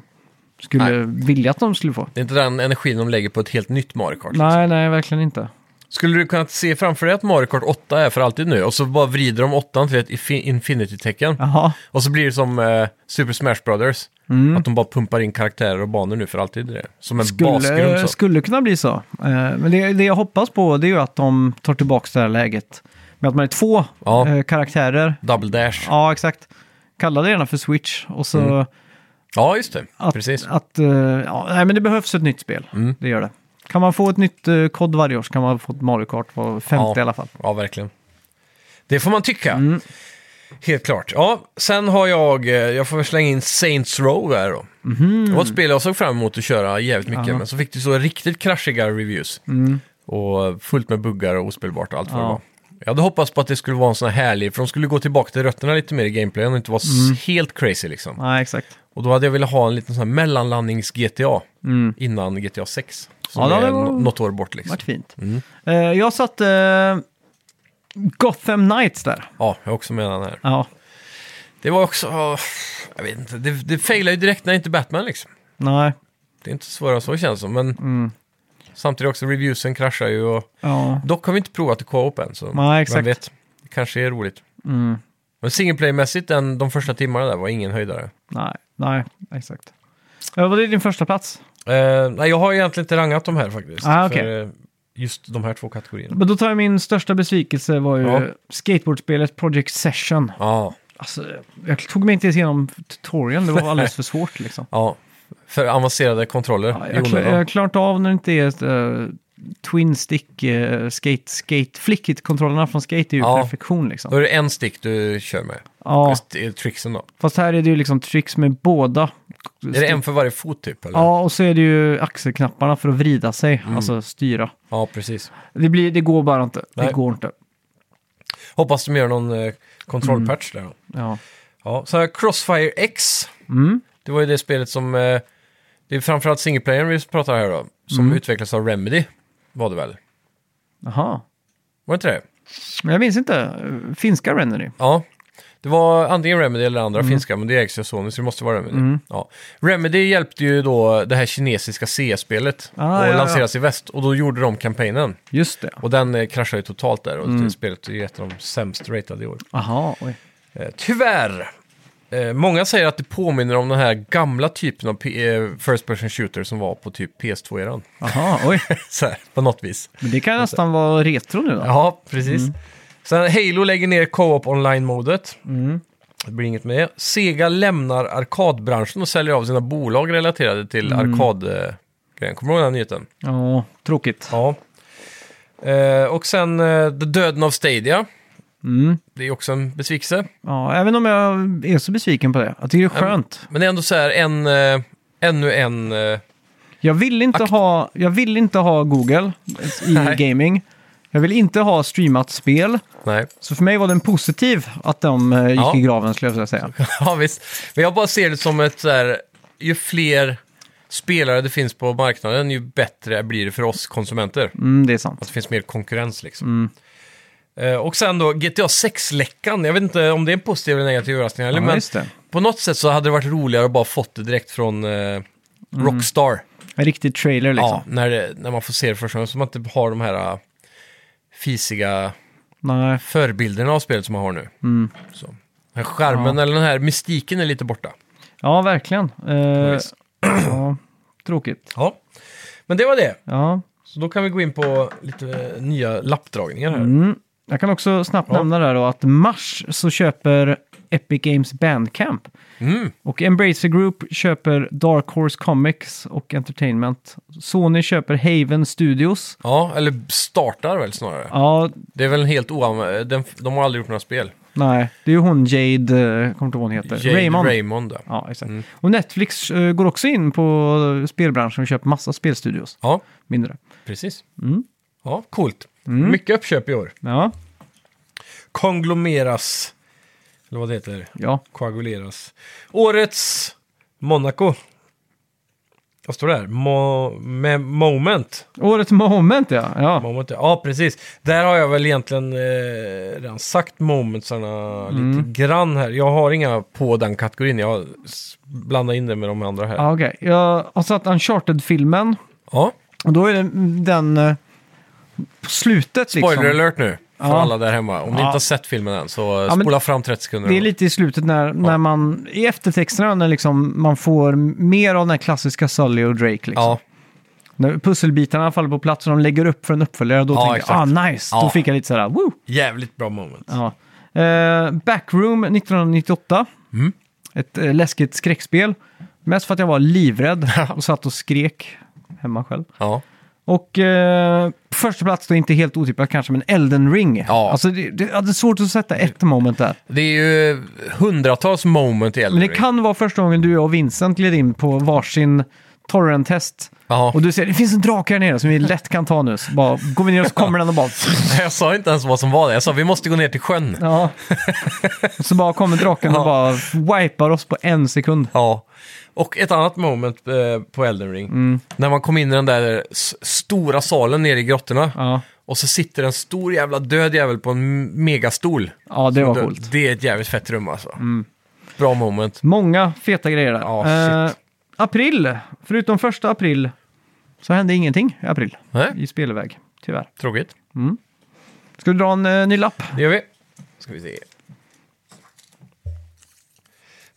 [SPEAKER 2] skulle vilja att de skulle få.
[SPEAKER 1] Det är inte den energin de lägger på ett helt nytt Mario Kart.
[SPEAKER 2] Nej, nej, verkligen inte.
[SPEAKER 1] Skulle du kunna se framför dig att Mario Kart 8 är för alltid nu? Och så bara vrider de 8 till ett infi- infinity-tecken.
[SPEAKER 2] Jaha.
[SPEAKER 1] Och så blir det som eh, Super Smash Brothers. Att de bara pumpar in karaktärer och banor nu för alltid. i det. Som en basgrund. Så.
[SPEAKER 2] Mm. Skulle, skulle kunna bli så. Eh, Men det, det jag hoppas på det är ju att de tar tillbaka det här läget. Med att man är två
[SPEAKER 1] Ja.
[SPEAKER 2] eh, karaktärer.
[SPEAKER 1] Double Dash. Ja,
[SPEAKER 2] Ja, exakt. Kalla det gärna för Switch. Och så
[SPEAKER 1] just det.
[SPEAKER 2] att,
[SPEAKER 1] Mm. Precis. Mm.
[SPEAKER 2] att, eh, ja, nej, men det behövs ett nytt spel. Det gör det. Kan man få ett nytt eh, kod varje år så kan man få ett Mario Kart var femte
[SPEAKER 1] Ja.
[SPEAKER 2] i alla fall.
[SPEAKER 1] Ja, verkligen. Det får man tycka.
[SPEAKER 2] Mm.
[SPEAKER 1] Helt klart. Ja, sen har jag, eh, jag får väl slänga in Saints Row här då.
[SPEAKER 2] Mhm.
[SPEAKER 1] Det var ett spel jag såg fram emot att köra jävligt mycket, men så fick det så riktigt kraschiga reviews. Och eh, fullt med buggar och ospelbart och allt vad
[SPEAKER 2] Mm. Ja.
[SPEAKER 1] det var. Jag hade hoppats på att det skulle vara en sån här härlig, för de skulle gå tillbaka till rötterna lite mer i gameplayen och inte vara
[SPEAKER 2] Mm.
[SPEAKER 1] s- helt crazy liksom.
[SPEAKER 2] Nej, exakt.
[SPEAKER 1] Och då hade jag velat ha en liten sån här mellanlandnings-GTA innan GTA 6. Som
[SPEAKER 2] Mm. Ja, det
[SPEAKER 1] är
[SPEAKER 2] hade varit-
[SPEAKER 1] no- något år bort liksom.
[SPEAKER 2] Vart fint. Eh, jag satt eh, Gotham Knights där.
[SPEAKER 1] Ja, jag är också med den här.
[SPEAKER 2] Ja,
[SPEAKER 1] Det var också, åh, jag vet inte, det, det failar ju direkt när inte Batman liksom.
[SPEAKER 2] nej.
[SPEAKER 1] Det är inte svårare än så känns det som, men
[SPEAKER 2] Mm.
[SPEAKER 1] samtidigt också reviewsen kraschar ju och
[SPEAKER 2] Ja.
[SPEAKER 1] dock har vi inte provat i co-op än så
[SPEAKER 2] Nej, exakt.
[SPEAKER 1] vem vet, det kanske är roligt.
[SPEAKER 2] Mm.
[SPEAKER 1] Men singleplay-mässigt, den- de första timmarna där var ingen höjdare.
[SPEAKER 2] Nej, nej, exakt. Eh, Vad är din första plats?
[SPEAKER 1] Eh, nej, jag har egentligen inte rangat de här faktiskt.
[SPEAKER 2] Ah, okej. Mm.
[SPEAKER 1] för, eh, just de här två kategorierna.
[SPEAKER 2] Men då tar jag min största besvikelse var ju
[SPEAKER 1] Ja.
[SPEAKER 2] skateboardspelet Project Session.
[SPEAKER 1] Ja,
[SPEAKER 2] Alltså, jag tog mig inte ens igenom tutorialen,
[SPEAKER 1] <laughs>
[SPEAKER 2] det var alldeles för svårt liksom.
[SPEAKER 1] ja. För avancerade kontroller
[SPEAKER 2] Ja,
[SPEAKER 1] i
[SPEAKER 2] Jag, klar,
[SPEAKER 1] onödan.
[SPEAKER 2] jag klarar inte av när det inte är eh, Twin Stick eh, Skate, Skate, Flickit-kontrollerna från Skate är ju
[SPEAKER 1] Ja.
[SPEAKER 2] perfektion
[SPEAKER 1] Då
[SPEAKER 2] liksom.
[SPEAKER 1] är det en stick du kör med.
[SPEAKER 2] Ja,
[SPEAKER 1] Just i tricksen då.
[SPEAKER 2] fast här är det ju liksom tricks med båda.
[SPEAKER 1] Är det en för varje fot typ? Eller?
[SPEAKER 2] Ja, och så är det ju axelknapparna för att vrida sig,
[SPEAKER 1] Mm.
[SPEAKER 2] alltså styra.
[SPEAKER 1] Ja, precis.
[SPEAKER 2] Det, blir, det går bara inte. Det
[SPEAKER 1] Nej.
[SPEAKER 2] går inte.
[SPEAKER 1] Hoppas de gör någon eh, kontrollpatch
[SPEAKER 2] Mm.
[SPEAKER 1] där då.
[SPEAKER 2] Ja.
[SPEAKER 1] Ja, så här Crossfire X.
[SPEAKER 2] Mm.
[SPEAKER 1] Det var ju det spelet som... Eh, det är framförallt singleplayern vi pratar här då. Som
[SPEAKER 2] Mm.
[SPEAKER 1] utvecklas av Remedy. Var det väl?
[SPEAKER 2] Jaha.
[SPEAKER 1] Var det inte det?
[SPEAKER 2] Men jag minns inte. Finska Rennery.
[SPEAKER 1] Ja. Det var antingen Remedy eller andra
[SPEAKER 2] Mm.
[SPEAKER 1] finska, men det ägs ju av Sony, så det måste vara Remedy. Ja. Remedy hjälpte ju då det här kinesiska CS-spelet
[SPEAKER 2] Ah,
[SPEAKER 1] och
[SPEAKER 2] ja, ja.
[SPEAKER 1] lanseras i väst. Och då gjorde de kampanjen.
[SPEAKER 2] Just det.
[SPEAKER 1] Och den eh, kraschar ju
[SPEAKER 2] Mm.
[SPEAKER 1] totalt där och det spelet är ju ett av de sämst ratade i år.
[SPEAKER 2] Aha, oj.
[SPEAKER 1] Eh, tyvärr. Eh, många säger att det påminner om den här gamla typen av P- eh, First Person Shooter som var på typ PS2-eran.
[SPEAKER 2] Jaha, oj.
[SPEAKER 1] <laughs> Så här, på något vis.
[SPEAKER 2] Men det kan
[SPEAKER 1] <laughs>
[SPEAKER 2] nästan vara retro nu då.
[SPEAKER 1] Ja, precis. Sen Halo lägger ner co-op online-modet. Det blir inget med det. Sega lämnar arkadbranschen och säljer av sina bolag relaterade till arkadgrejen. Kommer du ihåg den här nyheten?
[SPEAKER 2] Ja, tråkigt.
[SPEAKER 1] Ja. Eh, och sen eh, döden av Stadia.
[SPEAKER 2] Mm.
[SPEAKER 1] Det är också en besvikelse.
[SPEAKER 2] Ja, även om jag är så besviken på det. Jag tycker det är skönt.
[SPEAKER 1] Men det är ändå så här en, eh, ännu en... Eh,
[SPEAKER 2] Jag vill inte, ha, jag vill inte ha Google i
[SPEAKER 1] Nej.
[SPEAKER 2] gaming. Jag vill inte ha streamat spel.
[SPEAKER 1] nej. <laughs>
[SPEAKER 2] Så för mig var det en positiv att de eh, gick
[SPEAKER 1] Ja.
[SPEAKER 2] i graven skulle jag vilja säga.
[SPEAKER 1] ja, visst. Men jag bara ser det som ett så här, ju fler spelare det finns på marknaden, ju bättre blir det för oss konsumenter.
[SPEAKER 2] Mm, det är
[SPEAKER 1] Att
[SPEAKER 2] sant.
[SPEAKER 1] det finns mer konkurrens liksom.
[SPEAKER 2] Mm.
[SPEAKER 1] Eh, och sen då GTA 6-läckan. Jag vet inte om det är en positiv eller negativ överraskning. eller,
[SPEAKER 2] Ja,
[SPEAKER 1] men
[SPEAKER 2] just det.
[SPEAKER 1] på något sätt så hade det varit roligare att bara fått det direkt från eh, Rockstar.
[SPEAKER 2] En riktig trailer Mm. liksom.
[SPEAKER 1] Ja, när, det, när man får se det första gången. Så man inte har de här eh, fisiga
[SPEAKER 2] Nej.
[SPEAKER 1] förbilderna av spelet som man har nu.
[SPEAKER 2] Mm.
[SPEAKER 1] Så. Den här skärmen eller den här mystiken är lite borta.
[SPEAKER 2] ja verkligen. Eh,
[SPEAKER 1] visst.
[SPEAKER 2] ja, tråkigt.
[SPEAKER 1] Ja. Men det var det.
[SPEAKER 2] Ja.
[SPEAKER 1] Så då kan vi gå in på lite eh, nya lappdragningar här.
[SPEAKER 2] Mm. Jag kan också snabbt nämna där då att mars så köper Epic Games Bandcamp.
[SPEAKER 1] Mm.
[SPEAKER 2] Och Embracer Group köper Dark Horse Comics och Entertainment. Sony köper Haven Studios.
[SPEAKER 1] Ja, eller startar väl snarare.
[SPEAKER 2] Ja,
[SPEAKER 1] Det är väl en helt oan... Den, de har aldrig gjort några spel.
[SPEAKER 2] nej, det är ju hon Jade, eh, kommer inte ihåg vad hon heter.
[SPEAKER 1] Jade
[SPEAKER 2] Raymond.
[SPEAKER 1] Raymond ja.
[SPEAKER 2] Ja, exakt.
[SPEAKER 1] Mm.
[SPEAKER 2] Och Netflix eh, går också in på eh, spelbranschen och köper massa spelstudios.
[SPEAKER 1] ja,
[SPEAKER 2] Mindre.
[SPEAKER 1] precis. Mm.
[SPEAKER 2] Mm.
[SPEAKER 1] Ja, coolt. Mycket uppköp i år.
[SPEAKER 2] Ja,
[SPEAKER 1] Konglomeras, eller vad det heter,
[SPEAKER 2] ja.
[SPEAKER 1] koaguleras. Årets Monaco. Vad står det här? Mo med moment.
[SPEAKER 2] Året moment ja. ja.
[SPEAKER 1] moment. Ja, precis. Där har jag väl egentligen eh, redan sagt momentsarna lite grann här. Jag har inga på den kategorin. Jag s- blandar in det med de andra här. Ja.
[SPEAKER 2] ja okej. Jag har satt Uncharted-filmen. Och då är det den eh, på slutet liksom.
[SPEAKER 1] Spoiler alert nu för
[SPEAKER 2] Ja.
[SPEAKER 1] alla där hemma. Om ni
[SPEAKER 2] Ja.
[SPEAKER 1] inte har sett filmen än så
[SPEAKER 2] Ja, men
[SPEAKER 1] spola fram 30 sekunder.
[SPEAKER 2] Det är lite i slutet när, när man, i eftertexterna, när liksom man får mer av den här klassiska Sully och Drake. Liksom.
[SPEAKER 1] Ja,
[SPEAKER 2] När pusselbitarna faller på plats och de lägger upp för en uppföljare, då
[SPEAKER 1] Ja,
[SPEAKER 2] tänker jag, ah
[SPEAKER 1] exakt.
[SPEAKER 2] nice, då
[SPEAKER 1] Ja.
[SPEAKER 2] fick jag lite sådär, woo!
[SPEAKER 1] jävligt bra moment.
[SPEAKER 2] Ja. Eh, Backroom 1998,
[SPEAKER 1] Mm.
[SPEAKER 2] ett eh, läskigt skräckspel. Mest för att jag
[SPEAKER 1] <laughs>
[SPEAKER 2] var livrädd och satt och skrek hemma själv.
[SPEAKER 1] Ja.
[SPEAKER 2] Och eh, på första plats, då inte helt otippat kanske, men Elden Ring.
[SPEAKER 1] Ja.
[SPEAKER 2] Alltså, det, det, ja, det är svårt att sätta ett moment där.
[SPEAKER 1] Det är ju hundratals moment i Elden
[SPEAKER 2] Men det
[SPEAKER 1] Ring.
[SPEAKER 2] kan vara första gången du och Vincent gled in på varsin torrent-test.
[SPEAKER 1] Ja.
[SPEAKER 2] Och du säger det finns en drake här nere som vi lätt kan ta nu. Så bara går vi ner och så kommer den och bara...
[SPEAKER 1] <laughs> Jag sa inte ens vad som var det. Jag sa vi måste gå ner till sjön.
[SPEAKER 2] Ja. Och så bara kommer draken och
[SPEAKER 1] Ja.
[SPEAKER 2] bara wipar oss på en sekund.
[SPEAKER 1] Ja, och ett annat moment eh, på Elden Ring.
[SPEAKER 2] Mm.
[SPEAKER 1] När man kom in i den där s- stora salen nere i grottorna.
[SPEAKER 2] Ja,
[SPEAKER 1] Och så sitter en stor jävla död jävel på en m- megastol.
[SPEAKER 2] ja det var
[SPEAKER 1] Dö-
[SPEAKER 2] coolt. Mm.
[SPEAKER 1] Det är ett jävligt fett rum alltså. Bra moment.
[SPEAKER 2] Många feta grejer där.
[SPEAKER 1] Ja, shit.
[SPEAKER 2] Eh, april, förutom första april så hände ingenting i april
[SPEAKER 1] Nej,
[SPEAKER 2] i spelväg, tyvärr.
[SPEAKER 1] tråkigt.
[SPEAKER 2] Ska du dra en eh, ny lapp?
[SPEAKER 1] Det gör vi. Ska vi se.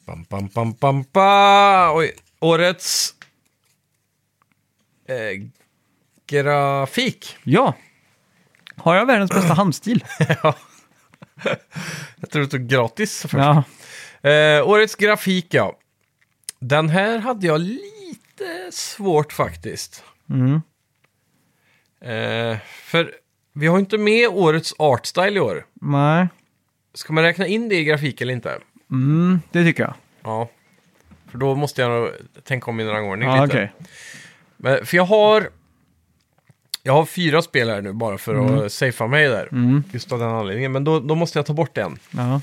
[SPEAKER 1] Bam, bam, bam, bam, ba. Oj, årets eh, grafik.
[SPEAKER 2] Ja. Har jag världens bästa handstil?
[SPEAKER 1] Jag tror det stod gratis <clears throat> först.
[SPEAKER 2] Ja.
[SPEAKER 1] Eh, årets grafik, ja. Den här hade jag lite svårt faktiskt.
[SPEAKER 2] Mm.
[SPEAKER 1] Eh, för vi har ju inte med årets artstyle i år.
[SPEAKER 2] Nej.
[SPEAKER 1] Ska man räkna in det i grafik eller inte?
[SPEAKER 2] Mm, det tycker jag.
[SPEAKER 1] Ja. För då måste jag nog tänka om min rangordning
[SPEAKER 2] Ja,
[SPEAKER 1] lite.
[SPEAKER 2] okej.
[SPEAKER 1] Men, för jag har... Jag har fyra spel här nu bara för
[SPEAKER 2] Mm.
[SPEAKER 1] att safea mig där. Just av den anledningen. Men då, då måste jag ta bort en.
[SPEAKER 2] Ja.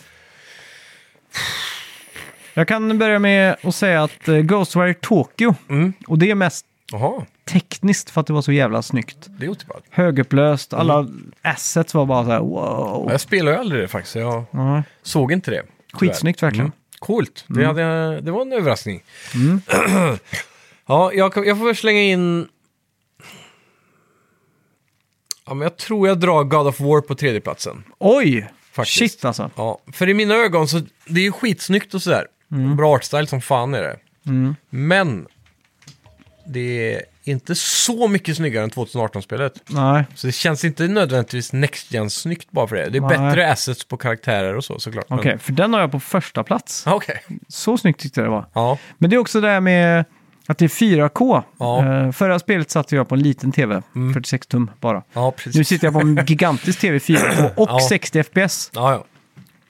[SPEAKER 2] Jag kan börja med att säga att eh, Ghostwire Tokyo,
[SPEAKER 1] Mm.
[SPEAKER 2] och det är mest
[SPEAKER 1] Jaha,
[SPEAKER 2] tekniskt för att det var så jävla snyggt.
[SPEAKER 1] det är otippat.
[SPEAKER 2] Högupplöst, alla
[SPEAKER 1] Mm.
[SPEAKER 2] assets var bara så här wow.
[SPEAKER 1] Jag spelar ju aldrig det faktiskt. så Jag
[SPEAKER 2] Ja.
[SPEAKER 1] såg inte det. tyvärr.
[SPEAKER 2] Skitsnyggt
[SPEAKER 1] Mm.
[SPEAKER 2] Mm. verkligen.
[SPEAKER 1] Coolt, det, hade jag, det var en överraskning.
[SPEAKER 2] Mm.
[SPEAKER 1] <clears throat> ja, jag, kan- jag får väl slänga in... Ja, men jag tror jag drar God of War på tredjeplatsen.
[SPEAKER 2] Oj!
[SPEAKER 1] Faktiskt.
[SPEAKER 2] Shit alltså.
[SPEAKER 1] Ja, för i mina ögon så, det är ju skitsnyggt och sådär.
[SPEAKER 2] Mm.
[SPEAKER 1] Bra artstyle som fan är det. Men det är inte så mycket snyggare än 2018-spelet.
[SPEAKER 2] Nej.
[SPEAKER 1] Så det känns inte nödvändigtvis next gen snyggt bara för det. Det är
[SPEAKER 2] Nej.
[SPEAKER 1] bättre assets på karaktärer och så såklart. men-
[SPEAKER 2] Okej, för den har jag på första plats.
[SPEAKER 1] Ja, <laughs> Okej.
[SPEAKER 2] Så snyggt tyckte jag det var.
[SPEAKER 1] Ja.
[SPEAKER 2] Men det är också det här med att det är 4K.
[SPEAKER 1] Ja. Mm.
[SPEAKER 2] Eh, förra spelet satt jag på en liten tv, 46 tum bara.
[SPEAKER 1] ja,
[SPEAKER 2] Nu
[SPEAKER 1] precis.
[SPEAKER 2] sitter jag på en gigantisk tv
[SPEAKER 1] <clears throat>
[SPEAKER 2] 4K och
[SPEAKER 1] Ja.
[SPEAKER 2] 60 FPS.
[SPEAKER 1] Ja, ja.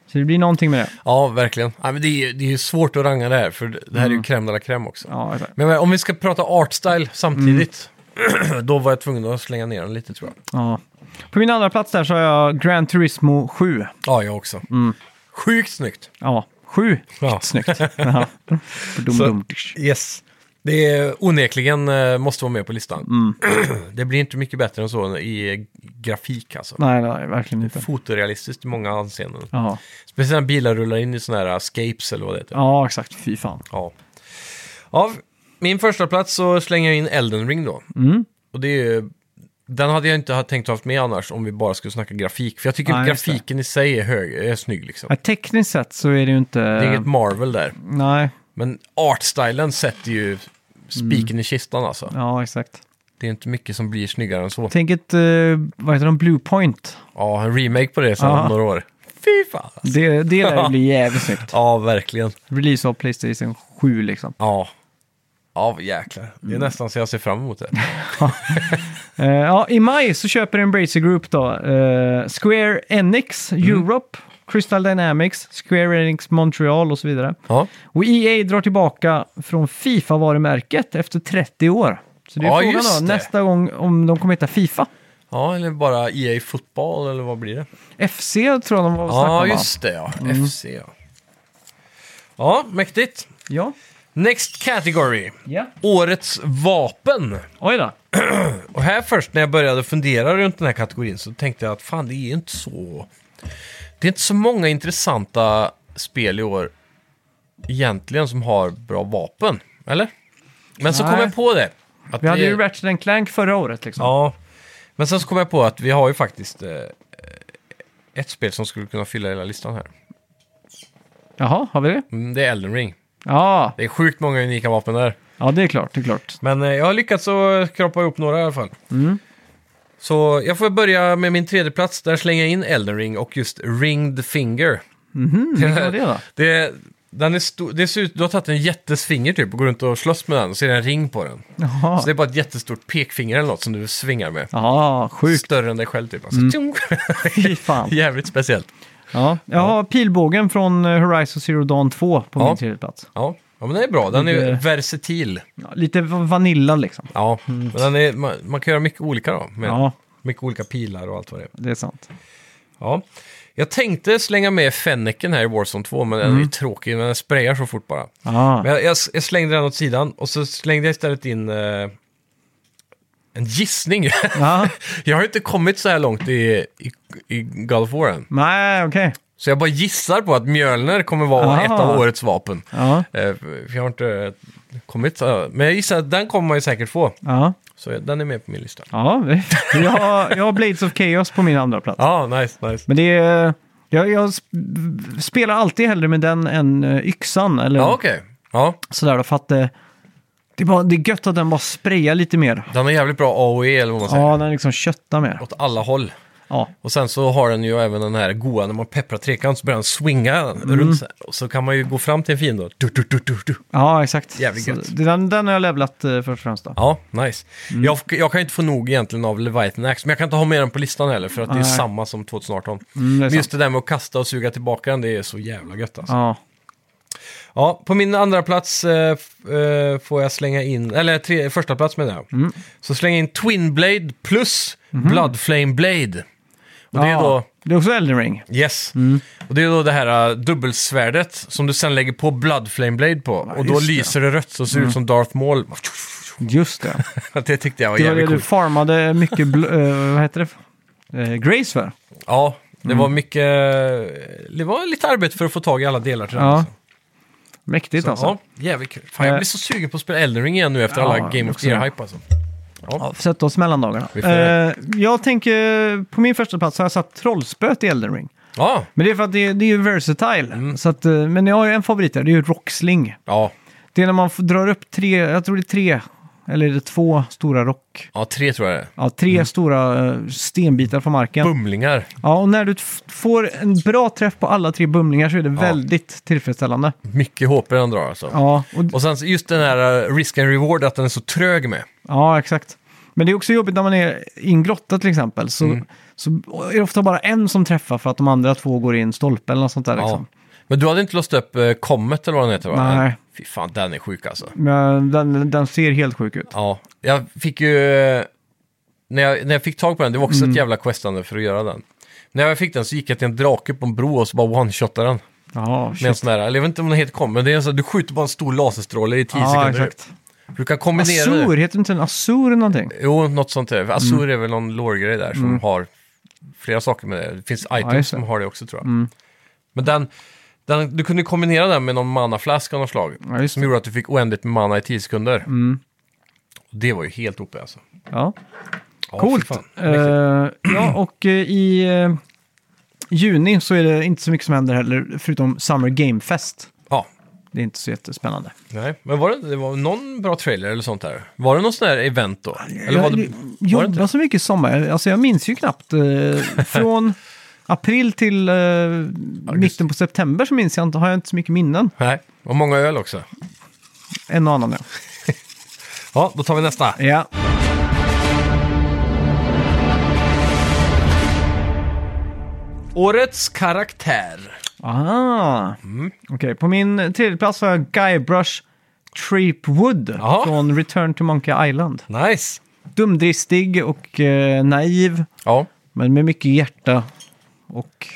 [SPEAKER 2] Så det blir någonting med det.
[SPEAKER 1] ja, verkligen. Ja, men det, är, det är svårt att ranga det här, för det här är ju crème de la crème också.
[SPEAKER 2] Mm. Ja, exakt.
[SPEAKER 1] Men, men om vi ska prata artstyle samtidigt, <clears throat>
[SPEAKER 2] Mm.
[SPEAKER 1] då var jag tvungen att slänga ner den lite tror jag.
[SPEAKER 2] ja. På min andra plats där så har jag Gran Turismo 7.
[SPEAKER 1] Ja, jag också.
[SPEAKER 2] Mm.
[SPEAKER 1] Sjukt snyggt.
[SPEAKER 2] Ja, 7.
[SPEAKER 1] Ja. <laughs>
[SPEAKER 2] Snyggt. Ja. Dum,
[SPEAKER 1] Så-
[SPEAKER 2] dum.
[SPEAKER 1] Yes. Det är onekligen eh, måste vara med på listan. <clears throat>
[SPEAKER 2] Mm.
[SPEAKER 1] det blir inte mycket bättre än så i grafik alltså.
[SPEAKER 2] Nej, nej, verkligen inte.
[SPEAKER 1] Fotorealistiskt i många anseenden.
[SPEAKER 2] Ja,
[SPEAKER 1] Speciellt när bilar rullar in i sådana här escapes eller vad det heter.
[SPEAKER 2] ja exakt. Fy fan.
[SPEAKER 1] Ja. Av min första plats så slänger jag in Elden Ring då.
[SPEAKER 2] Mm.
[SPEAKER 1] Och det är ju- den hade jag inte ha- tänkt haft med annars om vi bara skulle snacka grafik. För jag tycker
[SPEAKER 2] Nej, just det.
[SPEAKER 1] grafiken i sig är, hög, är snygg liksom.
[SPEAKER 2] Ja, tekniskt sett så är det ju inte...
[SPEAKER 1] Det är inget Marvel där.
[SPEAKER 2] Nej,
[SPEAKER 1] Men artstylen sätter ju spiken
[SPEAKER 2] Mm.
[SPEAKER 1] i kistan alltså.
[SPEAKER 2] ja exakt.
[SPEAKER 1] Det är inte mycket som blir snyggare än så.
[SPEAKER 2] Tänk ett, eh, vad heter de, Blue Point.
[SPEAKER 1] Ja, en remake på det sen
[SPEAKER 2] Ja.
[SPEAKER 1] om några år. Fy fan!
[SPEAKER 2] Det,
[SPEAKER 1] <laughs>
[SPEAKER 2] det där blir jävligt snyggt.
[SPEAKER 1] Ja, verkligen.
[SPEAKER 2] Release av Playstation 7 liksom.
[SPEAKER 1] Ja. Ja, vad jäklar. Det är
[SPEAKER 2] Mm.
[SPEAKER 1] nästan så jag ser fram emot det.
[SPEAKER 2] Eh, ja, I maj så köper Embracer Group då eh, Square Enix
[SPEAKER 1] Mm.
[SPEAKER 2] Europe, Crystal Dynamics, Square Enix Montreal och så vidare.
[SPEAKER 1] Ja,
[SPEAKER 2] Och EA drar tillbaka från Fifa-varumärket efter 30 år. Så det är
[SPEAKER 1] Ja,
[SPEAKER 2] frågan
[SPEAKER 1] just
[SPEAKER 2] då,
[SPEAKER 1] det.
[SPEAKER 2] nästa gång om de kommer heta Fifa.
[SPEAKER 1] ja eller bara EA Fotboll eller vad blir det?
[SPEAKER 2] FC tror jag de var och snackade
[SPEAKER 1] Ja,
[SPEAKER 2] om, Mm. va?
[SPEAKER 1] just det ja. FC ja. Ja, mäktigt.
[SPEAKER 2] Ja.
[SPEAKER 1] Next category.
[SPEAKER 2] ja.
[SPEAKER 1] Årets vapen.
[SPEAKER 2] Oj då.
[SPEAKER 1] Och här först när jag började fundera runt den här kategorin så tänkte jag att fan det är inte så... Det är inte så många intressanta spel i år egentligen som har bra vapen. Eller? Men så
[SPEAKER 2] Nej.
[SPEAKER 1] kom jag på det. Att
[SPEAKER 2] Vi hade
[SPEAKER 1] det-
[SPEAKER 2] ju Ratchet Clank förra året liksom.
[SPEAKER 1] Ja, men sen så kom jag på att vi har ju faktiskt eh, ett spel som skulle kunna fylla hela listan här.
[SPEAKER 2] Jaha, har vi det?
[SPEAKER 1] Mm, det är Elden Ring.
[SPEAKER 2] Ja,
[SPEAKER 1] Det är sjukt många unika vapen där.
[SPEAKER 2] ja det är klart, det är klart.
[SPEAKER 1] Men eh, jag har lyckats att skrapa ihop några i alla fall.
[SPEAKER 2] Mm.
[SPEAKER 1] Så jag får börja med min tredje plats Där slänger jag in Elden Ring och just Ringed Finger. Mm.
[SPEAKER 2] Vilken var
[SPEAKER 1] <laughs>
[SPEAKER 2] det då?
[SPEAKER 1] Det, den är stor, det ser ut, du har tagit en jättesfinger typ och går runt och slåss med den och ser en ring på den.
[SPEAKER 2] Jaha.
[SPEAKER 1] Så det är bara ett jättestort pekfinger eller något som du svingar med.
[SPEAKER 2] Ja, sjukt. Mm.
[SPEAKER 1] Större än dig själv typ. Alltså, tjong. <laughs>
[SPEAKER 2] Fy fan.
[SPEAKER 1] Jävligt speciellt.
[SPEAKER 2] Ja, jag har pilbågen från eh, Horizon Zero Dawn 2 på
[SPEAKER 1] Ja.
[SPEAKER 2] min tredje plats.
[SPEAKER 1] Ja. ja, men den är bra. Den är ju
[SPEAKER 2] Lite-
[SPEAKER 1] versatil.
[SPEAKER 2] Ja, lite va- vanilla liksom.
[SPEAKER 1] Ja, men den är, man, man kan göra mycket olika då. Med
[SPEAKER 2] Ja,
[SPEAKER 1] Mycket olika pilar och allt vad det är.
[SPEAKER 2] det är sant.
[SPEAKER 1] Ja. Jag tänkte slänga med Fenneken här i Warzone 2, men den är tråkig. Den sprayar så fort bara. <laughs>
[SPEAKER 2] Ja,
[SPEAKER 1] Men jag, jag, jag slängde den åt sidan och så slängde jag istället in eh, en gissning. <laughs>
[SPEAKER 2] ja.
[SPEAKER 1] jag har inte kommit så här långt i, i, i God of War än.
[SPEAKER 2] nej okej.
[SPEAKER 1] Så jag bara gissar på att Mjölner kommer vara
[SPEAKER 2] Ah.
[SPEAKER 1] ett av årets vapen.
[SPEAKER 2] Ja,
[SPEAKER 1] Eh, för jag har inte kommit så Men jag gissar att den kommer man ju säkert få.
[SPEAKER 2] ja,
[SPEAKER 1] Så den är med på min lista.
[SPEAKER 2] ja. Jag har, jag har Blades of Chaos på min andra plats.
[SPEAKER 1] Ja, nice, nice.
[SPEAKER 2] Men det är... Jag, jag sp- spelar alltid hellre med den än eh, yxan. Eller
[SPEAKER 1] Ja, okej. Ja,
[SPEAKER 2] sådär då, för att det, det, är bara, det är gött att den bara sprayar lite mer.
[SPEAKER 1] den är jävligt bra AOE eller vad man säger.
[SPEAKER 2] Ja, den liksom köttar mer.
[SPEAKER 1] Åt alla håll.
[SPEAKER 2] Ja,
[SPEAKER 1] Och sen så har den ju även den här goa, när man pepprar trekant så börjar den swinga
[SPEAKER 2] Mm.
[SPEAKER 1] runt så här. Och så kan man ju gå fram till en fiende och du, du, du, du, du.
[SPEAKER 2] ja exakt.
[SPEAKER 1] Jävligt
[SPEAKER 2] Så
[SPEAKER 1] gött.
[SPEAKER 2] det- Den, den har jag levlat eh, först och främst då.
[SPEAKER 1] Ja, nice.
[SPEAKER 2] Mm.
[SPEAKER 1] Jag, jag kan ju inte få nog egentligen av Leviathan Axe, men jag kan inte ha med den på listan heller för att det är
[SPEAKER 2] Nej.
[SPEAKER 1] samma som 2018.
[SPEAKER 2] Mm, det är
[SPEAKER 1] men
[SPEAKER 2] sant.
[SPEAKER 1] just det där med att kasta och suga tillbaka den, det är så jävla gött alltså.
[SPEAKER 2] Ja.
[SPEAKER 1] Ja, på min andra plats eh, f- eh, får jag slänga in, eller tre, första plats menar jag.
[SPEAKER 2] Mm.
[SPEAKER 1] Så slänga in Twin Blade plus Bloodflame Blade. Och det är
[SPEAKER 2] Mhm. Ja,
[SPEAKER 1] då...
[SPEAKER 2] Det är också Elden Ring.
[SPEAKER 1] Yes.
[SPEAKER 2] Mm.
[SPEAKER 1] Och det är då det här äh, dubbelsvärdet som du sen lägger på Bloodflame Blade på. och då
[SPEAKER 2] just det. Mm.
[SPEAKER 1] lyser det rött och ser ut som Darth Maul. <laughs>
[SPEAKER 2] Just det.
[SPEAKER 1] det tyckte jag var
[SPEAKER 2] Det var det
[SPEAKER 1] jävligt
[SPEAKER 2] du
[SPEAKER 1] coolt.
[SPEAKER 2] farmade mycket, bl- eh, vad heter det? Eh, Grace för.
[SPEAKER 1] Ja, det var
[SPEAKER 2] Mm.
[SPEAKER 1] mycket... Det var lite arbete för att få tag i alla delar till den.
[SPEAKER 2] Ja.
[SPEAKER 1] alltså.
[SPEAKER 2] Mäktigt
[SPEAKER 1] Så,
[SPEAKER 2] alltså.
[SPEAKER 1] ja, jävligt kul. Fan, jag
[SPEAKER 2] Eh.
[SPEAKER 1] blir så sugen på att spela Elden Ring igen nu efter
[SPEAKER 2] Ja,
[SPEAKER 1] alla Game of
[SPEAKER 2] också jag.
[SPEAKER 1] Year-hype alltså.
[SPEAKER 2] Ja, sätt oss mellan dagarna.
[SPEAKER 1] Vi får göra
[SPEAKER 2] Eh, jag tänker, på min första plats har jag satt trollspöt i Elden Ring.
[SPEAKER 1] Ja,
[SPEAKER 2] Men det är för att det, det är ju versatile.
[SPEAKER 1] Mm.
[SPEAKER 2] Så att, eh, men jag har ju en favorit där, det är ju Rocksling.
[SPEAKER 1] ja.
[SPEAKER 2] Det är när man f- drar upp tre, jag tror det är tre, eller är det två stora rock...
[SPEAKER 1] ja tre tror jag det är.
[SPEAKER 2] Ja, tre stora eh, stenbitar från marken.
[SPEAKER 1] Bumlingar.
[SPEAKER 2] Ja, och när du f- får en bra träff på alla tre bumlingar så är det väldigt tillfredsställande.
[SPEAKER 1] Mycket HP den drar alltså.
[SPEAKER 2] Ja, och,
[SPEAKER 1] Och sen just den här eh, risk and reward, att den är så trög med.
[SPEAKER 2] ja, exakt. Men det är också jobbigt när man är i en grotta till exempel. Så, så är det ofta bara en som träffar för att de andra två går i en stolpe eller något sånt där.
[SPEAKER 1] Ja.
[SPEAKER 2] Liksom.
[SPEAKER 1] Men du hade inte låst upp eh, Comet eller vad den heter? Va?
[SPEAKER 2] Nej.
[SPEAKER 1] Fy fan, den är sjuk alltså.
[SPEAKER 2] Men den, den ser helt sjuk ut.
[SPEAKER 1] Ja, jag fick ju... eh, När jag, när jag fick tag på den, det var också
[SPEAKER 2] Mm.
[SPEAKER 1] ett jävla questande för att göra den. När jag fick den så gick jag till en drake på en bro och så bara one-shotade den.
[SPEAKER 2] Ja,
[SPEAKER 1] Med en
[SPEAKER 2] shit.
[SPEAKER 1] sån där, eller jag vet inte om den heter kom, men det är en sån, du skjuter bara en stor laserstråle i 10
[SPEAKER 2] Ja,
[SPEAKER 1] sekunder.
[SPEAKER 2] exakt.
[SPEAKER 1] Du kan kombinera
[SPEAKER 2] Azur, Mm.
[SPEAKER 1] det.
[SPEAKER 2] heter inte en Azur eller någonting?
[SPEAKER 1] Jo, något sånt där. Azur är väl någon lore-grej där som har flera saker med det. Det finns items
[SPEAKER 2] Mm. just det.
[SPEAKER 1] som
[SPEAKER 2] Mm.
[SPEAKER 1] har det också tror jag. Men den, den, du kunde kombinera den med någon manaflaska av något slag.
[SPEAKER 2] Ja, just
[SPEAKER 1] som
[SPEAKER 2] det.
[SPEAKER 1] gjorde att du fick oändligt med mana i 10 sekunder.
[SPEAKER 2] Mm.
[SPEAKER 1] Och det var ju helt OP alltså.
[SPEAKER 2] Ja.
[SPEAKER 1] Ja, fy
[SPEAKER 2] Coolt!
[SPEAKER 1] fan.
[SPEAKER 2] Eh, ja, och eh, i eh, juni så är det inte så mycket som händer heller, förutom Summer Game Fest.
[SPEAKER 1] Ja,
[SPEAKER 2] Det är inte så jättespännande.
[SPEAKER 1] nej. Men var det, det var någon bra trailer eller sånt där? Var det någon sån här event då? Eller var det,
[SPEAKER 2] jag
[SPEAKER 1] var det
[SPEAKER 2] jobbar
[SPEAKER 1] inte?
[SPEAKER 2] så mycket i sommar, alltså jag minns ju knappt. eh,
[SPEAKER 1] <laughs>
[SPEAKER 2] från april till eh, mitten på september så minns jag inte, har jag inte så mycket minnen.
[SPEAKER 1] Nej, och många öl också.
[SPEAKER 2] En och annan ja.
[SPEAKER 1] Ja, då tar vi nästa.
[SPEAKER 2] ja.
[SPEAKER 1] Årets karaktär.
[SPEAKER 2] Aha. Ah.
[SPEAKER 1] Mm.
[SPEAKER 2] Okej, på min tredje plats har jag Guybrush Threepwood
[SPEAKER 1] Jaha.
[SPEAKER 2] från Return to Monkey Island.
[SPEAKER 1] Nice.
[SPEAKER 2] dumdristig och eh, naiv,
[SPEAKER 1] Ja,
[SPEAKER 2] men med mycket hjärta och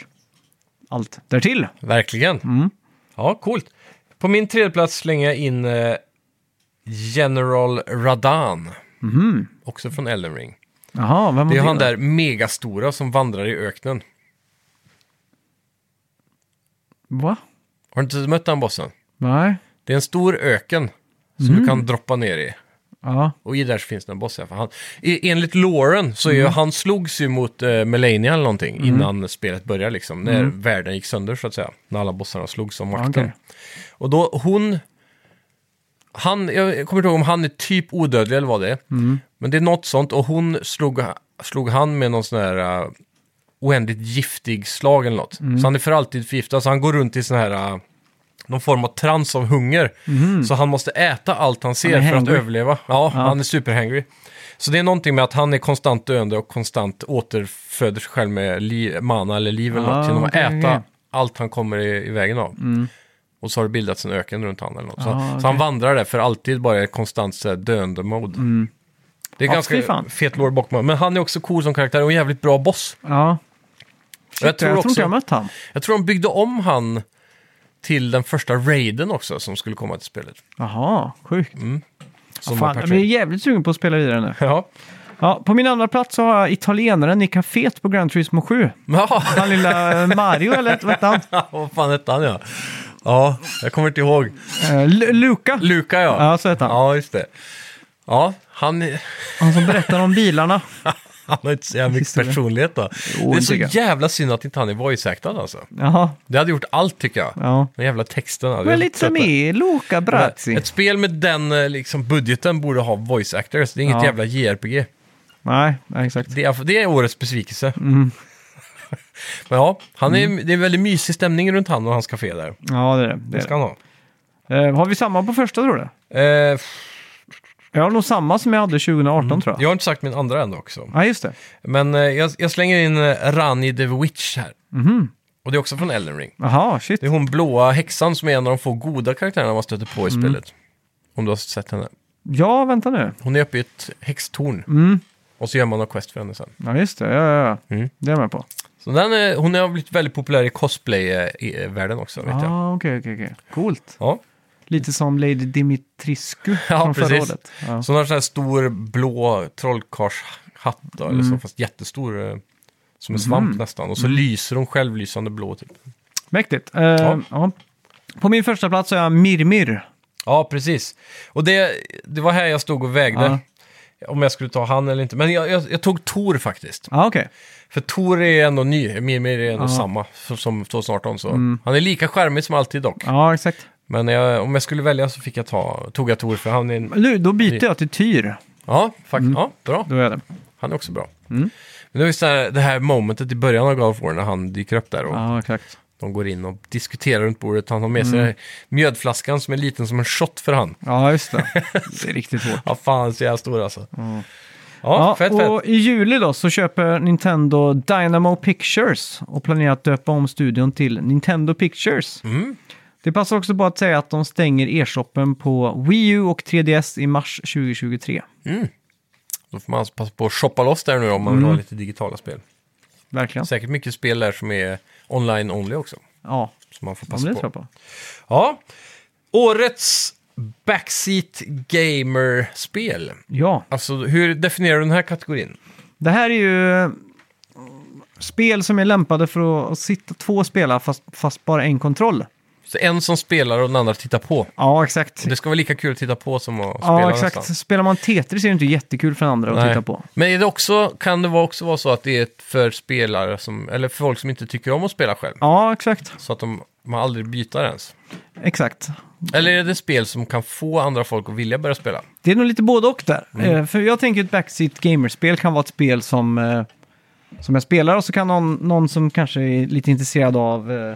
[SPEAKER 2] allt därtill.
[SPEAKER 1] verkligen.
[SPEAKER 2] Mm.
[SPEAKER 1] Ja, coolt. På min tredje plats slänger jag in eh, General Radan.
[SPEAKER 2] Mhm.
[SPEAKER 1] Också från Elden Ring.
[SPEAKER 2] Jaha, vem
[SPEAKER 1] Det är
[SPEAKER 2] var
[SPEAKER 1] han där megastora som vandrar i öknen.
[SPEAKER 2] Va?
[SPEAKER 1] Har du inte mött den bossen?
[SPEAKER 2] Nej.
[SPEAKER 1] Det är en stor öken som du kan droppa ner i.
[SPEAKER 2] Ja,
[SPEAKER 1] Och i där så finns det en boss. Här, för han, i- enligt Lauren så är ju, han slogs ju mot eh, Melania eller någonting innan spelet började liksom. När världen gick sönder så att säga. När alla bossarna slogs om makten.
[SPEAKER 2] okej.
[SPEAKER 1] Och då hon... Han, jag kommer inte ihåg om han är typ odödlig eller vad det är. Men det är något sånt och hon slog, slog han med någon sån här eh, oändligt giftig slag eller något.
[SPEAKER 2] Mm.
[SPEAKER 1] Så han är för alltid förgiftad. Så han går runt i sån här... eh, någon form av trans av hunger. Så han måste äta allt han ser
[SPEAKER 2] Mm. är
[SPEAKER 1] för att
[SPEAKER 2] hangry.
[SPEAKER 1] överleva. Ja, han är superhangry. Så det är någonting med att han är konstant döende och konstant återföder sig själv med li- mana eller liv eller
[SPEAKER 2] Ah,
[SPEAKER 1] något. Genom att
[SPEAKER 2] okej,
[SPEAKER 1] äta
[SPEAKER 2] okej.
[SPEAKER 1] allt han kommer i, i vägen av. Och så har det bildats en öken runt han eller något. Så,
[SPEAKER 2] Ah, okej.
[SPEAKER 1] så han vandrar där för alltid bara i konstant så här döende-mode. Det är
[SPEAKER 2] Mm. Ja, fy
[SPEAKER 1] ganska
[SPEAKER 2] fan.
[SPEAKER 1] fet lore bakom honom. Men han är också cool som karaktär och en jävligt bra boss.
[SPEAKER 2] ja.
[SPEAKER 1] Och
[SPEAKER 2] Jag tror, jag tror inte jag mött han.
[SPEAKER 1] jag tror de byggde om han till den första raiden också som skulle komma till spelet.
[SPEAKER 2] Jaha, sjukt.
[SPEAKER 1] Som var
[SPEAKER 2] Fan, jag
[SPEAKER 1] patchen.
[SPEAKER 2] blir jävligt sugen på att spela vidare nu.
[SPEAKER 1] Ja.
[SPEAKER 2] Ja, på min andra plats så har jag italienaren i kaféet på Gran Turismo 7.
[SPEAKER 1] Ja, <laughs>
[SPEAKER 2] Han lilla eh, Mario, eller vad hette han?
[SPEAKER 1] vad fan hette han ja? Ja, jag kommer inte ihåg.
[SPEAKER 2] Eh, Lu- Luca.
[SPEAKER 1] Luca ja.
[SPEAKER 2] Ja, så hette han.
[SPEAKER 1] Ja, just det. Ja, han, <laughs> är-
[SPEAKER 2] Han som berättar om bilarna.
[SPEAKER 1] han har inte så jävla mycket
[SPEAKER 2] Historia.
[SPEAKER 1] personlighet då. Det är
[SPEAKER 2] det
[SPEAKER 1] så
[SPEAKER 2] tycker jag.
[SPEAKER 1] jävla synd att inte han är voice-actad alltså.
[SPEAKER 2] Jaha,
[SPEAKER 1] Det hade gjort allt tycker jag.
[SPEAKER 2] ja.
[SPEAKER 1] Den jävla texten. hade
[SPEAKER 2] Men
[SPEAKER 1] jag
[SPEAKER 2] lite
[SPEAKER 1] trött på.
[SPEAKER 2] mer Luca Brazzi.
[SPEAKER 1] Ett spel med den eh, liksom, budgeten borde ha voice actors. Det är inget
[SPEAKER 2] Ja.
[SPEAKER 1] jävla JRPG.
[SPEAKER 2] Nej, nej, exakt.
[SPEAKER 1] Det är, det är årets besvikelse.
[SPEAKER 2] Mm.
[SPEAKER 1] <laughs> Men ja, han är, det är väldigt mysig stämning runt han och hans café där.
[SPEAKER 2] Ja, Mm. det är det. det,
[SPEAKER 1] Det
[SPEAKER 2] är
[SPEAKER 1] ska han ha.
[SPEAKER 2] det. Eh, har vi samma på första tror du?
[SPEAKER 1] Eh,
[SPEAKER 2] Jag har nog samma som jag hade 2018 tror jag.
[SPEAKER 1] jag har inte sagt min andra än också.
[SPEAKER 2] Ja, just det.
[SPEAKER 1] Men eh, jag, jag slänger in eh, Rani the Witch här.
[SPEAKER 2] Mhm.
[SPEAKER 1] Och det är också från Elden Ring.
[SPEAKER 2] Jaha, shit.
[SPEAKER 1] Det är hon blåa häxan som är en av de få goda karaktärerna man stöter
[SPEAKER 2] Mm.
[SPEAKER 1] på i spelet. Om du har sett henne.
[SPEAKER 2] Ja, vänta nu.
[SPEAKER 1] Hon är uppe i ett häxtorn.
[SPEAKER 2] Mm.
[SPEAKER 1] Och så gör man någon quest för henne sen.
[SPEAKER 2] Ja, just det. Ja, ja, ja.
[SPEAKER 1] Mm.
[SPEAKER 2] Det är jag med på.
[SPEAKER 1] Så den är, hon har blivit väldigt populär i eh, cosplay-världen också, vet jag.
[SPEAKER 2] Ah, okej, okej, okej. Coolt.
[SPEAKER 1] Ja.
[SPEAKER 2] Lite som Lady Dimitriscu
[SPEAKER 1] <laughs> Ja,
[SPEAKER 2] från förra
[SPEAKER 1] precis.
[SPEAKER 2] året. Ja.
[SPEAKER 1] Så hon har en sån här stor blå trollkarlshatt då, eller så, fast jättestor. eh, Som en svamp
[SPEAKER 2] Mhm.
[SPEAKER 1] nästan. Och så lyser hon självlysande blå typ.
[SPEAKER 2] Mäktigt. Eh, ja. På min första plats så är jag Mirmir.
[SPEAKER 1] Ja, precis. Och det, det var här jag stod och vägde.
[SPEAKER 2] Ja.
[SPEAKER 1] om jag skulle ta han eller inte. Men jag, jag, jag tog Tor faktiskt.
[SPEAKER 2] Ja, okej.
[SPEAKER 1] För Tor är ändå ny, Mimir är ändå samma som- som 2018. Så. Han är lika skärmig som alltid dock.
[SPEAKER 2] Mm. Ja, exakt.
[SPEAKER 1] Men jag, om jag skulle välja så fick jag ta, tog jag Tor för han är en...
[SPEAKER 2] Nu, då byter jag till Tyr.
[SPEAKER 1] Ja, faktiskt.
[SPEAKER 2] Mm.
[SPEAKER 1] Ja, bra.
[SPEAKER 2] Då är det.
[SPEAKER 1] Han är också bra.
[SPEAKER 2] Mm.
[SPEAKER 1] Men det var just det här, det här momentet i början av God of War när han dyker upp där och
[SPEAKER 2] Ja, Mm. exakt.
[SPEAKER 1] de går in och diskuterar runt bordet. Han har med sig den här mjödflaskan som är liten som en shot för han.
[SPEAKER 2] Ja, just det.
[SPEAKER 1] <laughs>
[SPEAKER 2] Det är riktigt hårt.
[SPEAKER 1] Ja, fan så jävla stor alltså. Ja,
[SPEAKER 2] Ja,
[SPEAKER 1] fett fett.
[SPEAKER 2] och i juli då så köper Nintendo Dynamo Pictures och planerar att döpa om studion till Nintendo Pictures.
[SPEAKER 1] Mm.
[SPEAKER 2] Det passar också bara att säga att de stänger e-shoppen på Wii U och 3DS i mars 2023.
[SPEAKER 1] Då får man alltså passa på att shoppa loss där nu om man vill
[SPEAKER 2] Mm.
[SPEAKER 1] ha lite digitala spel.
[SPEAKER 2] Verkligen.
[SPEAKER 1] Säkert mycket spel där som är online only också.
[SPEAKER 2] Ja,
[SPEAKER 1] Som man får
[SPEAKER 2] de
[SPEAKER 1] passa
[SPEAKER 2] blir
[SPEAKER 1] på.
[SPEAKER 2] på.
[SPEAKER 1] Ja. Årets backseat gamer-spel.
[SPEAKER 2] Ja,
[SPEAKER 1] Alltså hur definierar du den här kategorin?
[SPEAKER 2] det här är ju eh, spel som är lämpade för att sitta två spelare fast, fast bara en kontroll.
[SPEAKER 1] Så en som spelar och den andra tittar på.
[SPEAKER 2] Ja, exakt.
[SPEAKER 1] Det ska vara lika kul att titta på som att spela
[SPEAKER 2] Ja, exakt.
[SPEAKER 1] nästan.
[SPEAKER 2] Spelar man Tetris är det inte jättekul för andra att
[SPEAKER 1] Nej.
[SPEAKER 2] titta på.
[SPEAKER 1] Men är det också, kan det vara- också vara så att det är för spelare som, eller för folk som inte tycker om att spela själv?
[SPEAKER 2] Ja, exakt.
[SPEAKER 1] Så att de, man aldrig byter ens.
[SPEAKER 2] Exakt.
[SPEAKER 1] Eller är det spel som kan få andra folk att vilja börja spela?
[SPEAKER 2] Det är nog lite både och där. Eh, För jag tänker ett backseat gamerspel kan vara ett spel som, eh, som jag spelar och så kan någon, någon som kanske är lite intresserad av, eh,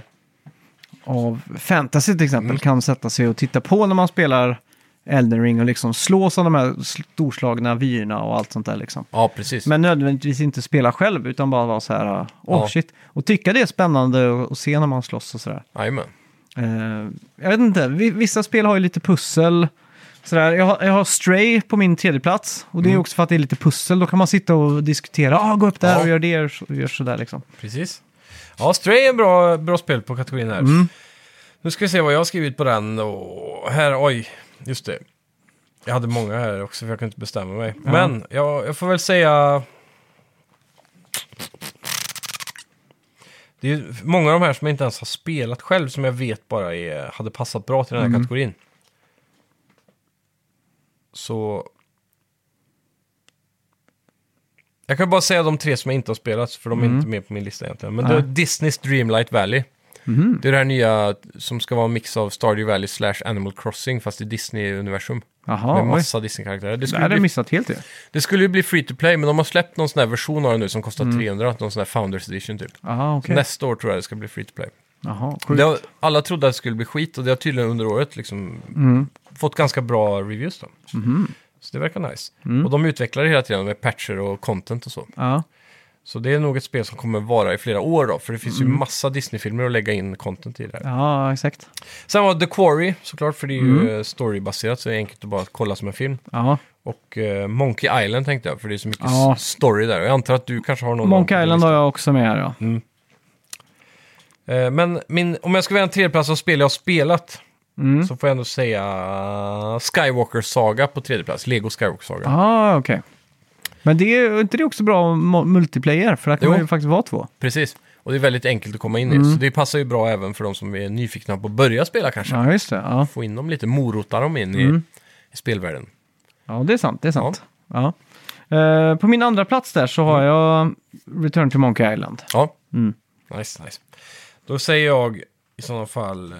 [SPEAKER 2] av fantasy till exempel kan sätta sig och titta på när man spelar Elden Ring och liksom slås av de här storslagna vyerna och allt sånt där liksom.
[SPEAKER 1] Ja, precis.
[SPEAKER 2] Men nödvändigtvis inte spela själv utan bara vara så här, eh, åh
[SPEAKER 1] Ja.
[SPEAKER 2] shit. Och tycka det är spännande och, och se när man slåss och sådär.
[SPEAKER 1] Jajamän.
[SPEAKER 2] Eh, jag vet inte, vi- vissa spel har ju lite pussel. Sådär. Jag, har, jag har Stray på min tredje plats och det
[SPEAKER 1] Mm.
[SPEAKER 2] är också för att det är lite pussel. Då kan man sitta och diskutera, ah, gå upp där
[SPEAKER 1] Ja.
[SPEAKER 2] och gör det och så- och gör sådär liksom.
[SPEAKER 1] Precis. Ja, Stray är en bra, bra spel på kategorin här.
[SPEAKER 2] Mm.
[SPEAKER 1] Nu ska vi se vad jag har skrivit på den. Och här, oj, just det. Jag hade många här också för jag kunde inte bestämma mig. Men jag, jag får väl säga... Det är ju många av de här som jag inte ens har spelat själv som jag vet bara är, hade passat bra till den här kategorin. Så... Jag kan bara säga de tre som jag inte har spelat, för de är inte med på min lista egentligen. Men det är
[SPEAKER 2] Nej.
[SPEAKER 1] Disneys Dreamlight Valley. Det är det här nya som ska vara en mix av Stardew Valley slash Animal Crossing, fast i Disney-universum.
[SPEAKER 2] Jaha,
[SPEAKER 1] med
[SPEAKER 2] oj.
[SPEAKER 1] massa Disney-karaktärer. Det
[SPEAKER 2] Det här
[SPEAKER 1] skulle,
[SPEAKER 2] hade
[SPEAKER 1] bli,
[SPEAKER 2] jag missat helt ju.
[SPEAKER 1] det skulle ju bli free to play, men de har släppt någon sån här version av det nu som kostar 300, någon sån här Founders Edition typ.
[SPEAKER 2] Jaha, Mm. okej.
[SPEAKER 1] Nästa år tror jag det ska bli free to play.
[SPEAKER 2] Jaha,
[SPEAKER 1] Det
[SPEAKER 2] sjukt.
[SPEAKER 1] har, alla trodde att det skulle bli skit och det har tydligen under året liksom
[SPEAKER 2] Mm.
[SPEAKER 1] fått ganska bra reviews då.
[SPEAKER 2] Mhm.
[SPEAKER 1] Så det verkar nice.
[SPEAKER 2] Mm.
[SPEAKER 1] Och de utvecklar det hela tiden med patcher och content och så.
[SPEAKER 2] Ja.
[SPEAKER 1] Så det är nog ett spel som kommer vara i flera år då, för det finns ju massa Disney-filmer att lägga in content i det här.
[SPEAKER 2] Mm. ja, Mm. exakt.
[SPEAKER 1] Sen var The Quarry såklart, för det är ju eh, storybaserat så det är enkelt att bara kolla som en film.
[SPEAKER 2] Ja.
[SPEAKER 1] Och eh, Monkey Island tänkte jag, för det är så mycket
[SPEAKER 2] Ja.
[SPEAKER 1] s- story där. Jag antar att du kanske har någon...
[SPEAKER 2] Monkey Island har jag också med här ja.
[SPEAKER 1] Eh, men min, om jag ska välja en tredjeplats av spel jag har spelat
[SPEAKER 2] Mm.
[SPEAKER 1] så får jag ändå säga Skywalker Saga på tredjeplats. Lego Skywalker Saga.
[SPEAKER 2] Ah, okej. Men det är inte det också bra mo- multiplayer? För där kan
[SPEAKER 1] Jo.
[SPEAKER 2] man ju faktiskt vara två.
[SPEAKER 1] Precis. Och det är väldigt enkelt att komma in i.
[SPEAKER 2] Mm.
[SPEAKER 1] Så det passar ju bra även för de som är nyfikna på att börja spela kanske.
[SPEAKER 2] Ja, Mm. just det. Ja,
[SPEAKER 1] Få in dem lite, morota dem in i, i spelvärlden.
[SPEAKER 2] ja det är sant. Det är sant. Ja. Eh, på min andra plats där så har jag Return to Monkey Island.
[SPEAKER 1] Ja,
[SPEAKER 2] Mm.
[SPEAKER 1] nice, nice. Då säger jag i sådana fall eh,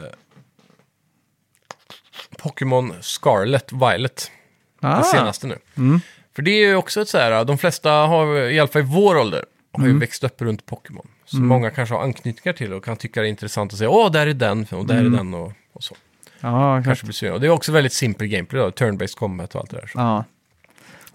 [SPEAKER 1] Pokémon Scarlet Violet.
[SPEAKER 2] Ah, Mm.
[SPEAKER 1] Den senaste nu. För det är ju också ett så här, de flesta har, i alla fall i vår ålder, har
[SPEAKER 2] Mm.
[SPEAKER 1] ju växt upp runt Pokémon. Så många kanske har anknytningar till och kan tycka det är intressant att säga åh, där är den och
[SPEAKER 2] Mm.
[SPEAKER 1] där är den och, och så.
[SPEAKER 2] Ja, kanske.
[SPEAKER 1] Kanske blir så. Och det är också väldigt simpel gameplay då, turn-based combat och allt det där. Så.
[SPEAKER 2] Ja.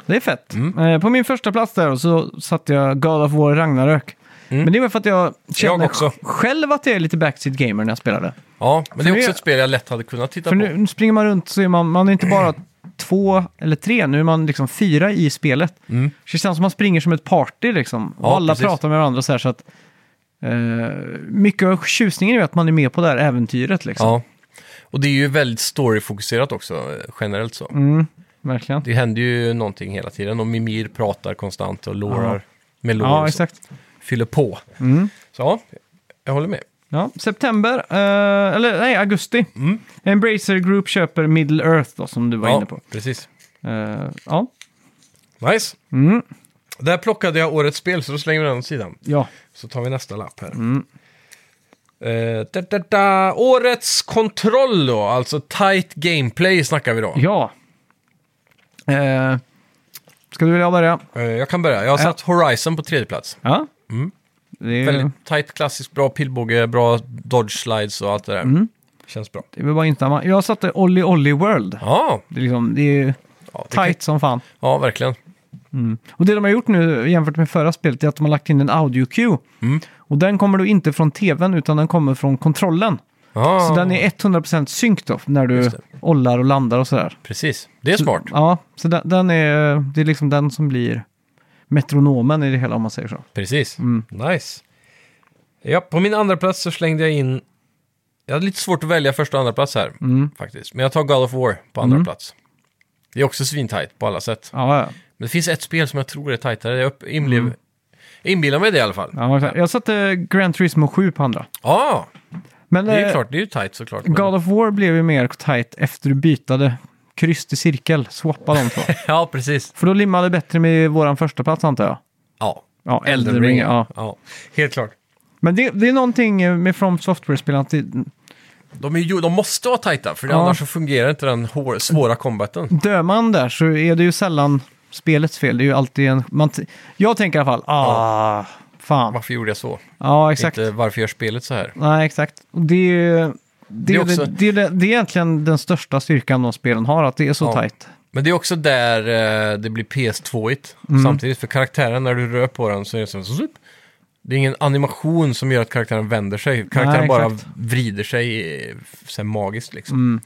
[SPEAKER 2] Det är fett. Eh, På min första plats där så satte jag God of War Ragnarök. Men det var för att Mm. jag känner
[SPEAKER 1] också.
[SPEAKER 2] själv att jag är lite backseat gamer när jag spelar det.
[SPEAKER 1] Ja, men det
[SPEAKER 2] För
[SPEAKER 1] är
[SPEAKER 2] nu-
[SPEAKER 1] också ett spel jag lätt hade kunnat titta
[SPEAKER 2] För
[SPEAKER 1] på.
[SPEAKER 2] nu springer man runt så är man, man är inte bara två eller tre, nu är man liksom fyra i spelet. Så det känns som man springer som ett party liksom. Och
[SPEAKER 1] Mm. Ja,
[SPEAKER 2] alla
[SPEAKER 1] precis.
[SPEAKER 2] pratar med varandra så här så att eh, mycket av tjusningen är ju att man är med på det här äventyret liksom.
[SPEAKER 1] Ja. Och det är ju väldigt storyfokuserat också, eh, generellt så.
[SPEAKER 2] Mm. Verkligen.
[SPEAKER 1] Det händer ju någonting hela tiden och Mimir pratar konstant och lorar
[SPEAKER 2] Ja.
[SPEAKER 1] med lore
[SPEAKER 2] Ja,
[SPEAKER 1] och så.
[SPEAKER 2] exakt. Mm.
[SPEAKER 1] fyller på. Så ja, jag håller med.
[SPEAKER 2] Ja, september, eh, eller nej, augusti. Embracer Group köper Middle Earth då, som du var
[SPEAKER 1] Mm. ja,
[SPEAKER 2] inne på.
[SPEAKER 1] Precis.
[SPEAKER 2] Eh, ja,
[SPEAKER 1] Nice. Där plockade jag årets spel, så då slänger vi den åt sidan.
[SPEAKER 2] Ja.
[SPEAKER 1] Så tar vi nästa lapp här.
[SPEAKER 2] Mm.
[SPEAKER 1] Eh, da, da, da. Årets kontroll då, alltså tight gameplay snackar vi då.
[SPEAKER 2] Ja. Eh, ska du vilja börja?
[SPEAKER 1] Eh, jag kan börja. Jag har satt Horizon på tredje plats.
[SPEAKER 2] Ja. Det, är,
[SPEAKER 1] Mm. Väldigt tight, klassiskt, bra pilbåge, bra dodge slides och allt det där.
[SPEAKER 2] Mm.
[SPEAKER 1] Känns bra.
[SPEAKER 2] det är väl bara inte... Jag satte Olli Olli World.
[SPEAKER 1] Ja,
[SPEAKER 2] Det är, liksom, det är
[SPEAKER 1] ja, det kan-
[SPEAKER 2] tight som fan.
[SPEAKER 1] ja verkligen.
[SPEAKER 2] Och det de har gjort nu jämfört med förra spelet är att de har lagt in en audio cue.
[SPEAKER 1] Mm.
[SPEAKER 2] Och den kommer då inte från tvn utan den kommer från kontrollen.
[SPEAKER 1] Ja,
[SPEAKER 2] Så den är 100% synk då när du
[SPEAKER 1] Just det.
[SPEAKER 2] ollar och landar och sådär.
[SPEAKER 1] Precis, det är smart.
[SPEAKER 2] Ja, så den, den är, det är liksom den som blir metronomen i det hela om man säger så.
[SPEAKER 1] Precis.
[SPEAKER 2] Mm.
[SPEAKER 1] Nice. Ja, på min andra plats så slängde jag in... Jag hade lite svårt att välja första och andra plats här,
[SPEAKER 2] Mm.
[SPEAKER 1] faktiskt. Men jag tar God of War på andra plats. Det är också svintajt på alla sätt.
[SPEAKER 2] Ja, ja.
[SPEAKER 1] Men det finns ett spel som jag tror är tajtare. Jag upp- inbliv... inbillar mig det i alla fall. Ja,
[SPEAKER 2] Mm. ja exakt. jag satte Gran Turismo 7 på andra. Men
[SPEAKER 1] det är ju
[SPEAKER 2] eh,
[SPEAKER 1] klart. Det är ju tajt såklart. Men-
[SPEAKER 2] God of War blev ju mer tight efter du bytade kryss till cirkel, swappa de två.
[SPEAKER 1] <laughs> <laughs> Ja, precis.
[SPEAKER 2] För då limmade det bättre med våran första plats antar jag.
[SPEAKER 1] Ja.
[SPEAKER 2] Ja, Elden Ring, ja.
[SPEAKER 1] ja. Helt klart.
[SPEAKER 2] Men det, det är någonting med From Software-spelen att det,
[SPEAKER 1] De, är ju, de måste vara tajta, för
[SPEAKER 2] Ja.
[SPEAKER 1] annars så fungerar inte den hår, svåra combaten.
[SPEAKER 2] dör man där så är det ju sällan spelets fel. Det är ju alltid en... Man t- jag tänker i alla fall, ah, fan.
[SPEAKER 1] Varför gjorde jag så?
[SPEAKER 2] Ja, exakt.
[SPEAKER 1] Inte varför gör spelet så här?
[SPEAKER 2] Nej, exakt. Och det är ju... Det
[SPEAKER 1] är
[SPEAKER 2] är,
[SPEAKER 1] också-
[SPEAKER 2] det, det, är, det är egentligen den största styrkan de spelen har, att det är så
[SPEAKER 1] Ja.
[SPEAKER 2] tajt.
[SPEAKER 1] Men det är också där eh, det blir PS2-igt
[SPEAKER 2] Mm.
[SPEAKER 1] samtidigt. För karaktären, när du rör på den så är det som... Zup. Det är ingen animation som gör att karaktären vänder sig. Karaktären
[SPEAKER 2] Nej,
[SPEAKER 1] bara
[SPEAKER 2] exakt. Mm.
[SPEAKER 1] vrider sig eh, så här magiskt liksom.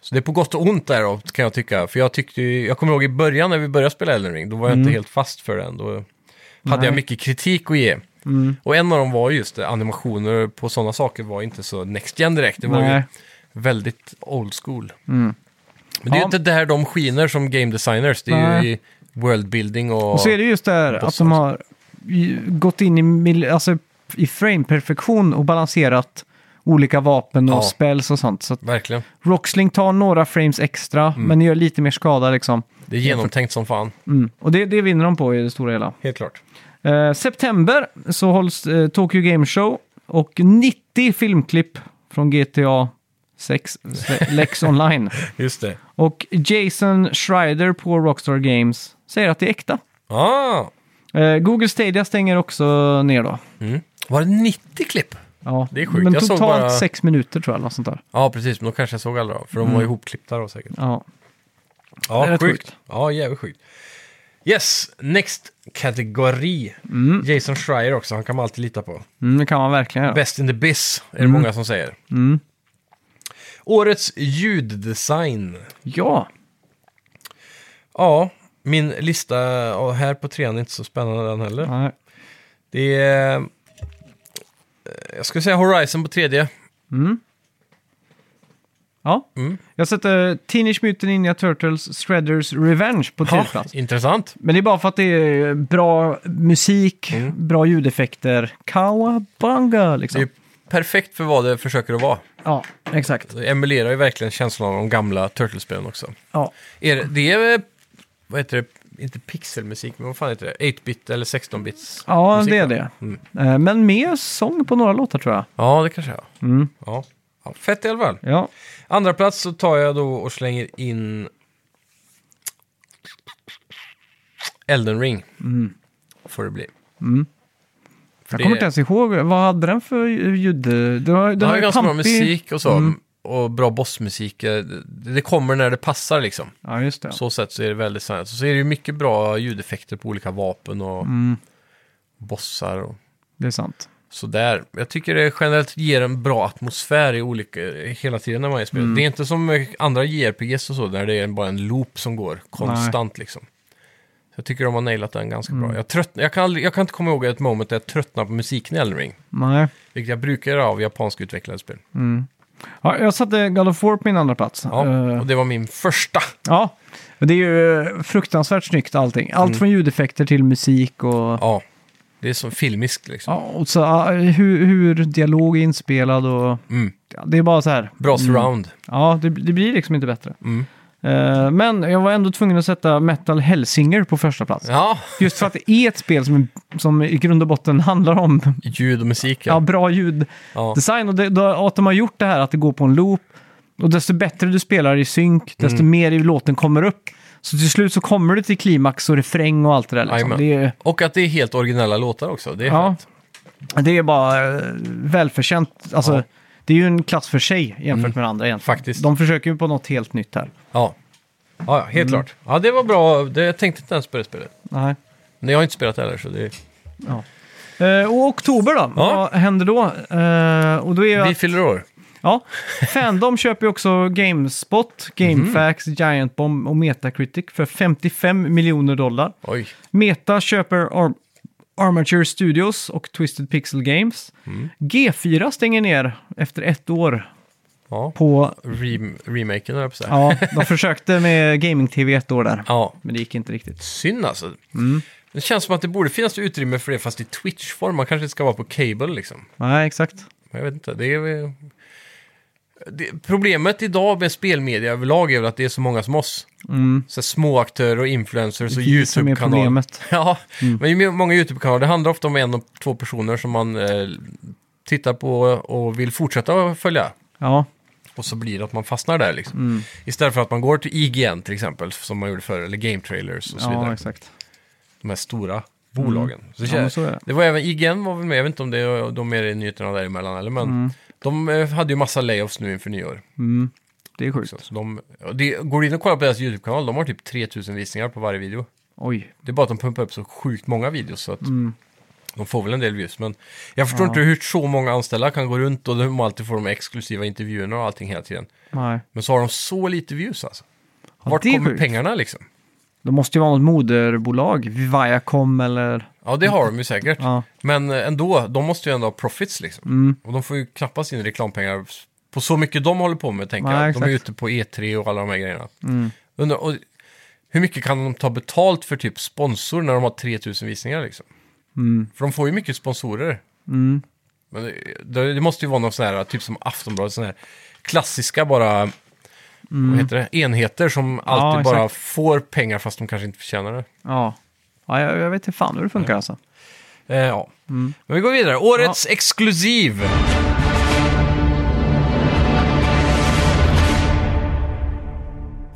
[SPEAKER 1] Så det är på gott och ont där då, kan jag tycka. För jag tyckte ju, jag kommer ihåg i början när vi började spela Elden Ring, då var jag inte helt fast för den. Då hade
[SPEAKER 2] Mm. Nej. Mm.
[SPEAKER 1] jag mycket kritik att ge. Och en av dem var just det, animationer på sådana saker var inte så next gen direkt. Det var ju
[SPEAKER 2] Nej.
[SPEAKER 1] väldigt old school. Men det är ju
[SPEAKER 2] Ja.
[SPEAKER 1] inte där de skiner som game designers. Det är
[SPEAKER 2] Nej.
[SPEAKER 1] ju i worldbuilding och...
[SPEAKER 2] Och så är det just där att de har ju- gått in i, mil- alltså, i frame-perfektion och balanserat olika vapen och
[SPEAKER 1] Ja.
[SPEAKER 2] spells och sånt. Så att
[SPEAKER 1] Verkligen.
[SPEAKER 2] Rocksling tar några frames extra,
[SPEAKER 1] Mm.
[SPEAKER 2] men gör lite mer skada liksom.
[SPEAKER 1] Det är genomtänkt som fan.
[SPEAKER 2] Mm. Och det, det vinner de på i det stora hela.
[SPEAKER 1] Helt klart.
[SPEAKER 2] Eh, september så hålls eh, Tokyo Game Show och 90 filmklipp från GTA 6
[SPEAKER 1] <laughs>
[SPEAKER 2] sle- Lex Online.
[SPEAKER 1] Just det.
[SPEAKER 2] Och Jason Schreider på Rockstar Games säger att det är äkta.
[SPEAKER 1] Ah!
[SPEAKER 2] Eh, Google Stadia stänger också ner då.
[SPEAKER 1] Mm. Var det 90 klipp?
[SPEAKER 2] Ja,
[SPEAKER 1] Det är sjukt.
[SPEAKER 2] Men
[SPEAKER 1] Jag såg
[SPEAKER 2] totalt
[SPEAKER 1] bara-
[SPEAKER 2] sex minuter tror jag, eller något sånt där.
[SPEAKER 1] Ja, precis. Men då kanske jag såg alla då, för de var ihopklippta då säkert.
[SPEAKER 2] Ja.
[SPEAKER 1] Ja,
[SPEAKER 2] Mm. Det är rätt
[SPEAKER 1] sjukt.
[SPEAKER 2] sjukt.
[SPEAKER 1] Ja, jävligt sjukt. Yes, next kategori. Jason Schreier också, han kan man alltid lita på.
[SPEAKER 2] Mm, det kan man verkligen göra.
[SPEAKER 1] Best in the biz, är det
[SPEAKER 2] Mm.
[SPEAKER 1] många som säger. Årets ljuddesign.
[SPEAKER 2] Ja,
[SPEAKER 1] Ja, min lista ja, här på trean är inte så spännande den heller.
[SPEAKER 2] nej.
[SPEAKER 1] Det är... eh, Jag skulle säga Horizon på tredje.
[SPEAKER 2] ja.
[SPEAKER 1] Mm.
[SPEAKER 2] Jag sätter Teenage Mutant Ninja Turtles Shredders Revenge på tredje plats.
[SPEAKER 1] intressant.
[SPEAKER 2] Men det är bara för att det är bra musik,
[SPEAKER 1] Mm.
[SPEAKER 2] bra ljudeffekter, kawabanga
[SPEAKER 1] Det
[SPEAKER 2] liksom.
[SPEAKER 1] är perfekt för vad det försöker att vara.
[SPEAKER 2] Ja, exakt.
[SPEAKER 1] Det emulerar ju verkligen känslan av de gamla Turtlespelen också.
[SPEAKER 2] Ja.
[SPEAKER 1] Är det, det är, eh, vad heter det, inte pixelmusik, men vad fan heter det? 8-bit eller 16-bits?
[SPEAKER 2] Ja,
[SPEAKER 1] musik,
[SPEAKER 2] det är
[SPEAKER 1] va?
[SPEAKER 2] det.
[SPEAKER 1] Mm.
[SPEAKER 2] Eh, Men med sång på några låtar tror jag.
[SPEAKER 1] Ja, det kanske jag har.
[SPEAKER 2] Mm.
[SPEAKER 1] Ja. ja. Fett i alla fall.
[SPEAKER 2] Ja,
[SPEAKER 1] Andra plats så tar jag då och slänger in Elden Ring.
[SPEAKER 2] Mm.
[SPEAKER 1] Får det bli. För
[SPEAKER 2] jag kommer inte
[SPEAKER 1] det,
[SPEAKER 2] ens ihåg. Vad hade den för ljud? Det var, den
[SPEAKER 1] den har ju ganska bra
[SPEAKER 2] pampig- Mm.
[SPEAKER 1] musik och så. Och bra bossmusik. Eh, Det, det kommer när det passar liksom.
[SPEAKER 2] Ja, just det.
[SPEAKER 1] På så sätt så är det väldigt sant. Så är det ju mycket bra ljudeffekter på olika vapen och
[SPEAKER 2] Mm.
[SPEAKER 1] bossar och
[SPEAKER 2] Det är sant.
[SPEAKER 1] sådär. Jag tycker det generellt ger en bra atmosfär i olika, hela tiden när man är i
[SPEAKER 2] Mm.
[SPEAKER 1] spelet. Det är inte som eh, andra JRPGs och så, där det är bara en loop som går konstant liksom. Så Jag tycker de har nailat den ganska
[SPEAKER 2] Mm.
[SPEAKER 1] bra. Jag, trött, jag, kan aldrig, jag kan inte komma ihåg ett moment där jag tröttnar på musiken i Elden Ring.
[SPEAKER 2] Nej.
[SPEAKER 1] Vilket jag brukar göra av japansk utvecklade spel.
[SPEAKER 2] Ja, jag satte God of War på min andra plats.
[SPEAKER 1] Ja,
[SPEAKER 2] Eh,
[SPEAKER 1] och det var min första.
[SPEAKER 2] ja. Men det är ju eh, fruktansvärt snyggt allting. Allt
[SPEAKER 1] Mm.
[SPEAKER 2] från ljudeffekter till musik och...
[SPEAKER 1] Ja, det är som filmiskt liksom.
[SPEAKER 2] Ja, och så, ah, hur, hur dialog är inspelad och...
[SPEAKER 1] Mm.
[SPEAKER 2] Ja, Mm. det är bara så här.
[SPEAKER 1] Bra surround.
[SPEAKER 2] Ja, det, det blir liksom inte bättre.
[SPEAKER 1] Mm.
[SPEAKER 2] Eh, Men jag var ändå tvungen att sätta Metal Hellsinger på första plats.
[SPEAKER 1] Ja,
[SPEAKER 2] Just för att det är ett spel som, som i grund och botten handlar om
[SPEAKER 1] ljud och musik.
[SPEAKER 2] ja,
[SPEAKER 1] Ja.
[SPEAKER 2] bra ljud.
[SPEAKER 1] Ja.
[SPEAKER 2] design och det, då, att de har gjort det här att det går på en loop. Och desto bättre du spelar i synk, desto
[SPEAKER 1] Mm.
[SPEAKER 2] mer i låten kommer upp. Så till slut så kommer du till klimax och refräng och allt det där. Liksom.
[SPEAKER 1] Jajamän.
[SPEAKER 2] Det, är,
[SPEAKER 1] Och att det är helt originella låtar också. Det är
[SPEAKER 2] ja,
[SPEAKER 1] fett.
[SPEAKER 2] det är bara eh, välförtjänt. Alltså,
[SPEAKER 1] Ja. Mm.
[SPEAKER 2] Det är ju en klass för sig jämfört med andra egentligen.
[SPEAKER 1] Faktiskt.
[SPEAKER 2] De försöker ju på något helt nytt här.
[SPEAKER 1] Ja. Ja, ja, helt
[SPEAKER 2] Mm.
[SPEAKER 1] klart. Ja, det var bra. Det, jag tänkte inte ens på det spelet.
[SPEAKER 2] Nej.
[SPEAKER 1] Men jag har inte spelat det heller, så det,
[SPEAKER 2] Eh, och oktober då?
[SPEAKER 1] Ja.
[SPEAKER 2] Vad händer då? Eh, och då är ju
[SPEAKER 1] vi
[SPEAKER 2] att,
[SPEAKER 1] fyller år.
[SPEAKER 2] ja, Fandom <laughs> köper ju också Gamespot, Gamefax,
[SPEAKER 1] Mhm.
[SPEAKER 2] Giant Bomb och Metacritic för 55 miljoner dollar.
[SPEAKER 1] Oj.
[SPEAKER 2] Meta köper Ar- Armature Studios och Twisted Pixel Games.
[SPEAKER 1] Mm.
[SPEAKER 2] G4 stänger ner efter ett år
[SPEAKER 1] Ja.
[SPEAKER 2] på...
[SPEAKER 1] Rem- remaken, höll jag på att säga. <laughs>
[SPEAKER 2] Ja, de försökte med Gaming-TV ett år där.
[SPEAKER 1] Ja.
[SPEAKER 2] Men det gick inte riktigt.
[SPEAKER 1] Synd alltså.
[SPEAKER 2] Mm.
[SPEAKER 1] Det känns som att det borde finnas utrymme för det, fast i Twitch-form. Man kanske ska vara på cable liksom.
[SPEAKER 2] Nej, exakt.
[SPEAKER 1] Jag vet inte. Det är... väl- Det, problemet idag med spelmedia överlag är väl att det är så många som oss. Så här små aktörer och influencers och
[SPEAKER 2] Mm. Det är vi som är
[SPEAKER 1] YouTube-kanaler.
[SPEAKER 2] problemet.
[SPEAKER 1] <laughs> Ja,
[SPEAKER 2] Mm.
[SPEAKER 1] men i många YouTube-kanaler, det handlar ofta om en och två personer som man eh, tittar på och vill fortsätta att följa.
[SPEAKER 2] Ja,
[SPEAKER 1] Och så blir det att man fastnar där liksom.
[SPEAKER 2] Mm.
[SPEAKER 1] Istället för att man går till IGN till exempel, som man gjorde förr, eller Game Trailers och så
[SPEAKER 2] ja
[SPEAKER 1] vidare.
[SPEAKER 2] exakt. Mm.
[SPEAKER 1] De här stora bolagen. Så det
[SPEAKER 2] Ja,
[SPEAKER 1] kän-
[SPEAKER 2] men så är det.
[SPEAKER 1] det var även, IGN var väl med, jag vet inte om det, de är i nyheterna däremellan eller men.
[SPEAKER 2] Mm.
[SPEAKER 1] De eh, hade ju massa layoffs nu inför nyår.
[SPEAKER 2] Det är sjukt.
[SPEAKER 1] Så att de, och det, går du in och kollar på deras YouTube-kanal, de har typ 3000 visningar på varje video.
[SPEAKER 2] Oj.
[SPEAKER 1] Det är bara att de pumpar upp så sjukt många videos så att
[SPEAKER 2] Mm.
[SPEAKER 1] de får väl en del views. Men jag förstår inte hur så många anställda kan gå runt och de alltid får de exklusiva intervjuerna och allting hela tiden.
[SPEAKER 2] Nej.
[SPEAKER 1] Men så har de så lite views alltså.
[SPEAKER 2] Ja,
[SPEAKER 1] Vart
[SPEAKER 2] det är
[SPEAKER 1] kommer
[SPEAKER 2] sjukt.
[SPEAKER 1] pengarna liksom?
[SPEAKER 2] Det måste ju vara något moderbolag, Viacom eller...
[SPEAKER 1] Ja, det har de ju säkert.
[SPEAKER 2] Ja.
[SPEAKER 1] Men ändå, de måste ju ändå ha profits liksom.
[SPEAKER 2] Mm.
[SPEAKER 1] Och de får ju knappast in reklampengar på så mycket de håller på med, tänker
[SPEAKER 2] Nej,
[SPEAKER 1] jag. De är
[SPEAKER 2] exakt. Mm.
[SPEAKER 1] ute på E3 och alla de här grejerna. Undrar, och hur mycket kan de ta betalt för typ sponsor när de har 3000 visningar liksom?
[SPEAKER 2] Mm.
[SPEAKER 1] För de får ju mycket sponsorer. Men det, det- det måste ju vara någon sån här, typ som Aftonbladet, sån här klassiska bara,
[SPEAKER 2] Mm.
[SPEAKER 1] vad heter det, enheter som alltid bara får pengar fast de kanske inte förtjänar det.
[SPEAKER 2] Ja. Ja, jag, jag vet inte fan hur det funkar alltså.
[SPEAKER 1] Eh, ja.
[SPEAKER 2] Mm.
[SPEAKER 1] Men vi går vidare. Årets exklusiv!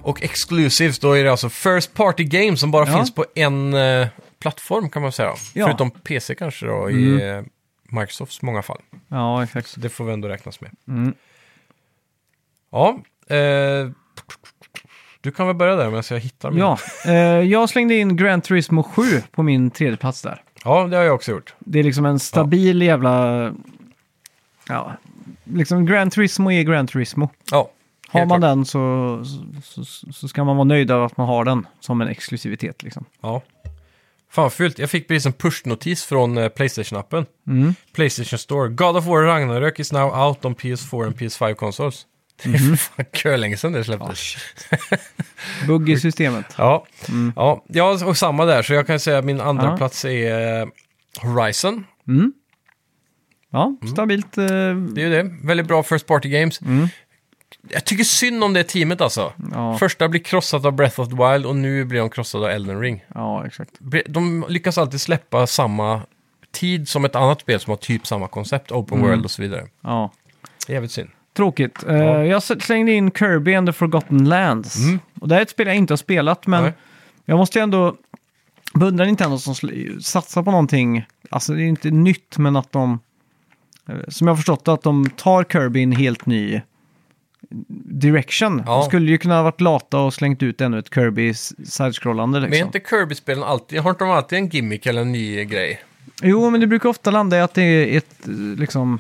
[SPEAKER 1] Och exclusives, då är det alltså First Party Game som bara
[SPEAKER 2] Ja.
[SPEAKER 1] finns på en eh, plattform kan man säga.
[SPEAKER 2] Ja. Mm.
[SPEAKER 1] Förutom PC kanske då, i eh, Microsofts många fall.
[SPEAKER 2] Ja, exakt.
[SPEAKER 1] Så det får vi ändå räknas med.
[SPEAKER 2] Mm.
[SPEAKER 1] Ja, eh, du kan väl börja där medan jag hittar min.
[SPEAKER 2] Ja, eh, jag slängde in Gran Turismo 7 på min tredje plats där.
[SPEAKER 1] ja, det har jag också gjort.
[SPEAKER 2] Det är liksom en stabil jävla... Ja, liksom Gran Turismo är Gran Turismo.
[SPEAKER 1] Ja,
[SPEAKER 2] Har
[SPEAKER 1] helt
[SPEAKER 2] man
[SPEAKER 1] klart.
[SPEAKER 2] den så, så, så, så ska man vara nöjd över att man har den som en exklusivitet. Liksom.
[SPEAKER 1] Ja. Fan vad fult. Jag fick precis en pushnotis från eh, Playstation-appen. Playstation Store. God of War Ragnarök is now out on PS4 and PS5 consoles. Det
[SPEAKER 2] Mhm.
[SPEAKER 1] är för fan kö länge sedan det
[SPEAKER 2] Ah,
[SPEAKER 1] släpptes.
[SPEAKER 2] Bugg i systemet.
[SPEAKER 1] Ja, ja. ja, och samma där. Så jag kan säga att min andra
[SPEAKER 2] Mm. Ja.
[SPEAKER 1] plats är eh, Horizon.
[SPEAKER 2] Ja, stabilt. Eh,
[SPEAKER 1] Det är ju det. Väldigt bra First Party Games. Jag tycker synd om det teamet alltså.
[SPEAKER 2] Mm. ja,
[SPEAKER 1] Första blir krossat av Breath of the Wild och nu blir de krossade av Elden Ring.
[SPEAKER 2] ja, exakt.
[SPEAKER 1] Bre- De lyckas alltid släppa samma tid som ett annat spel som har typ samma koncept, Open
[SPEAKER 2] Mm.
[SPEAKER 1] World och så vidare.
[SPEAKER 2] Ja.
[SPEAKER 1] Det är jävligt synd.
[SPEAKER 2] Tråkigt. Eh, Jag slängde in Kirby and the Forgotten Lands. Och det här är ett spel jag inte har spelat, men
[SPEAKER 1] Mm. Nej.
[SPEAKER 2] jag måste ju ändå beundra Nintendo som sl- satsar på någonting. Alltså det är inte nytt, men att de, eh, som jag har förstått det, att de tar Kirby i en helt ny direction.
[SPEAKER 1] Ja.
[SPEAKER 2] De skulle ju kunna ha varit lata och slängt ut ännu ett Kirby s- side-scrollande liksom.
[SPEAKER 1] Men är inte Kirby-spelen alltid, har inte de alltid en gimmick eller en ny grej?
[SPEAKER 2] Jo, men det brukar ofta landa i att det är ett eh, liksom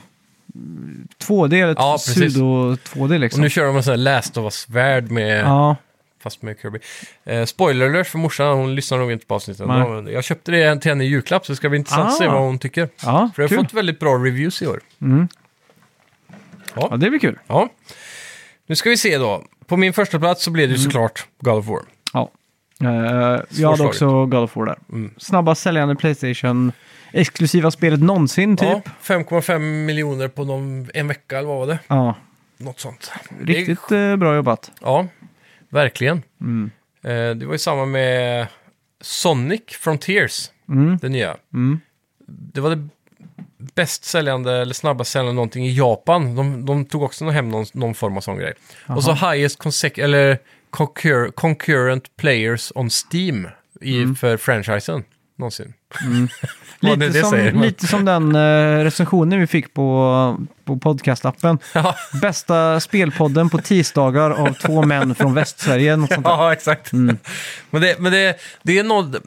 [SPEAKER 2] 2D eller
[SPEAKER 1] Ja,
[SPEAKER 2] ett
[SPEAKER 1] precis.
[SPEAKER 2] pseudo-2D
[SPEAKER 1] Och
[SPEAKER 2] liksom.
[SPEAKER 1] nu kör de en sån här Last of Us-värld med,
[SPEAKER 2] Ja,
[SPEAKER 1] fast med Kirby. Eh, spoiler alert för morsan, hon lyssnar nog inte på avsnittet.
[SPEAKER 2] Nej.
[SPEAKER 1] ändå, men Jag köpte det till henne i julklapp så det ska bli intressant att se
[SPEAKER 2] Ah.
[SPEAKER 1] vad hon tycker.
[SPEAKER 2] ja
[SPEAKER 1] För jag har
[SPEAKER 2] kul.
[SPEAKER 1] fått väldigt bra reviews i år.
[SPEAKER 2] Ja, det blir kul.
[SPEAKER 1] Ja. Nu ska vi se då. På min första plats så blev det ju
[SPEAKER 2] Mm.
[SPEAKER 1] såklart God of War.
[SPEAKER 2] Ja. Eh, jag hade
[SPEAKER 1] Svårslaget.
[SPEAKER 2] också God of War där.
[SPEAKER 1] Mm.
[SPEAKER 2] Snabbast säljande Playstation, exklusiva spelet någonsin typ.
[SPEAKER 1] Ja, 5,5 miljoner på någon, en vecka eller vad var det?
[SPEAKER 2] Ja.
[SPEAKER 1] Något sånt. Det är-
[SPEAKER 2] Riktigt eh, bra jobbat.
[SPEAKER 1] Ja. Verkligen.
[SPEAKER 2] Mm.
[SPEAKER 1] Eh, det var ju samma med Sonic Frontiers,
[SPEAKER 2] Mm.
[SPEAKER 1] det nya. Det var det bäst säljande eller snabbast säljande någonting i Japan. De, de tog också hem någon, någon form av sån grej. Och så highest consec- eller concur- concurrent players on Steam i,
[SPEAKER 2] Mm.
[SPEAKER 1] för franchisen någonsin. <laughs> Vad
[SPEAKER 2] Lite,
[SPEAKER 1] det- det
[SPEAKER 2] som,
[SPEAKER 1] säger man.
[SPEAKER 2] lite som den eh, recensionen vi fick på, på podcastappen.
[SPEAKER 1] <laughs> Ja,
[SPEAKER 2] Bästa spelpodden på tisdagar av två män från Västsverige. Något sånt där.
[SPEAKER 1] <laughs> ja exakt. Men, det, men det, det är något...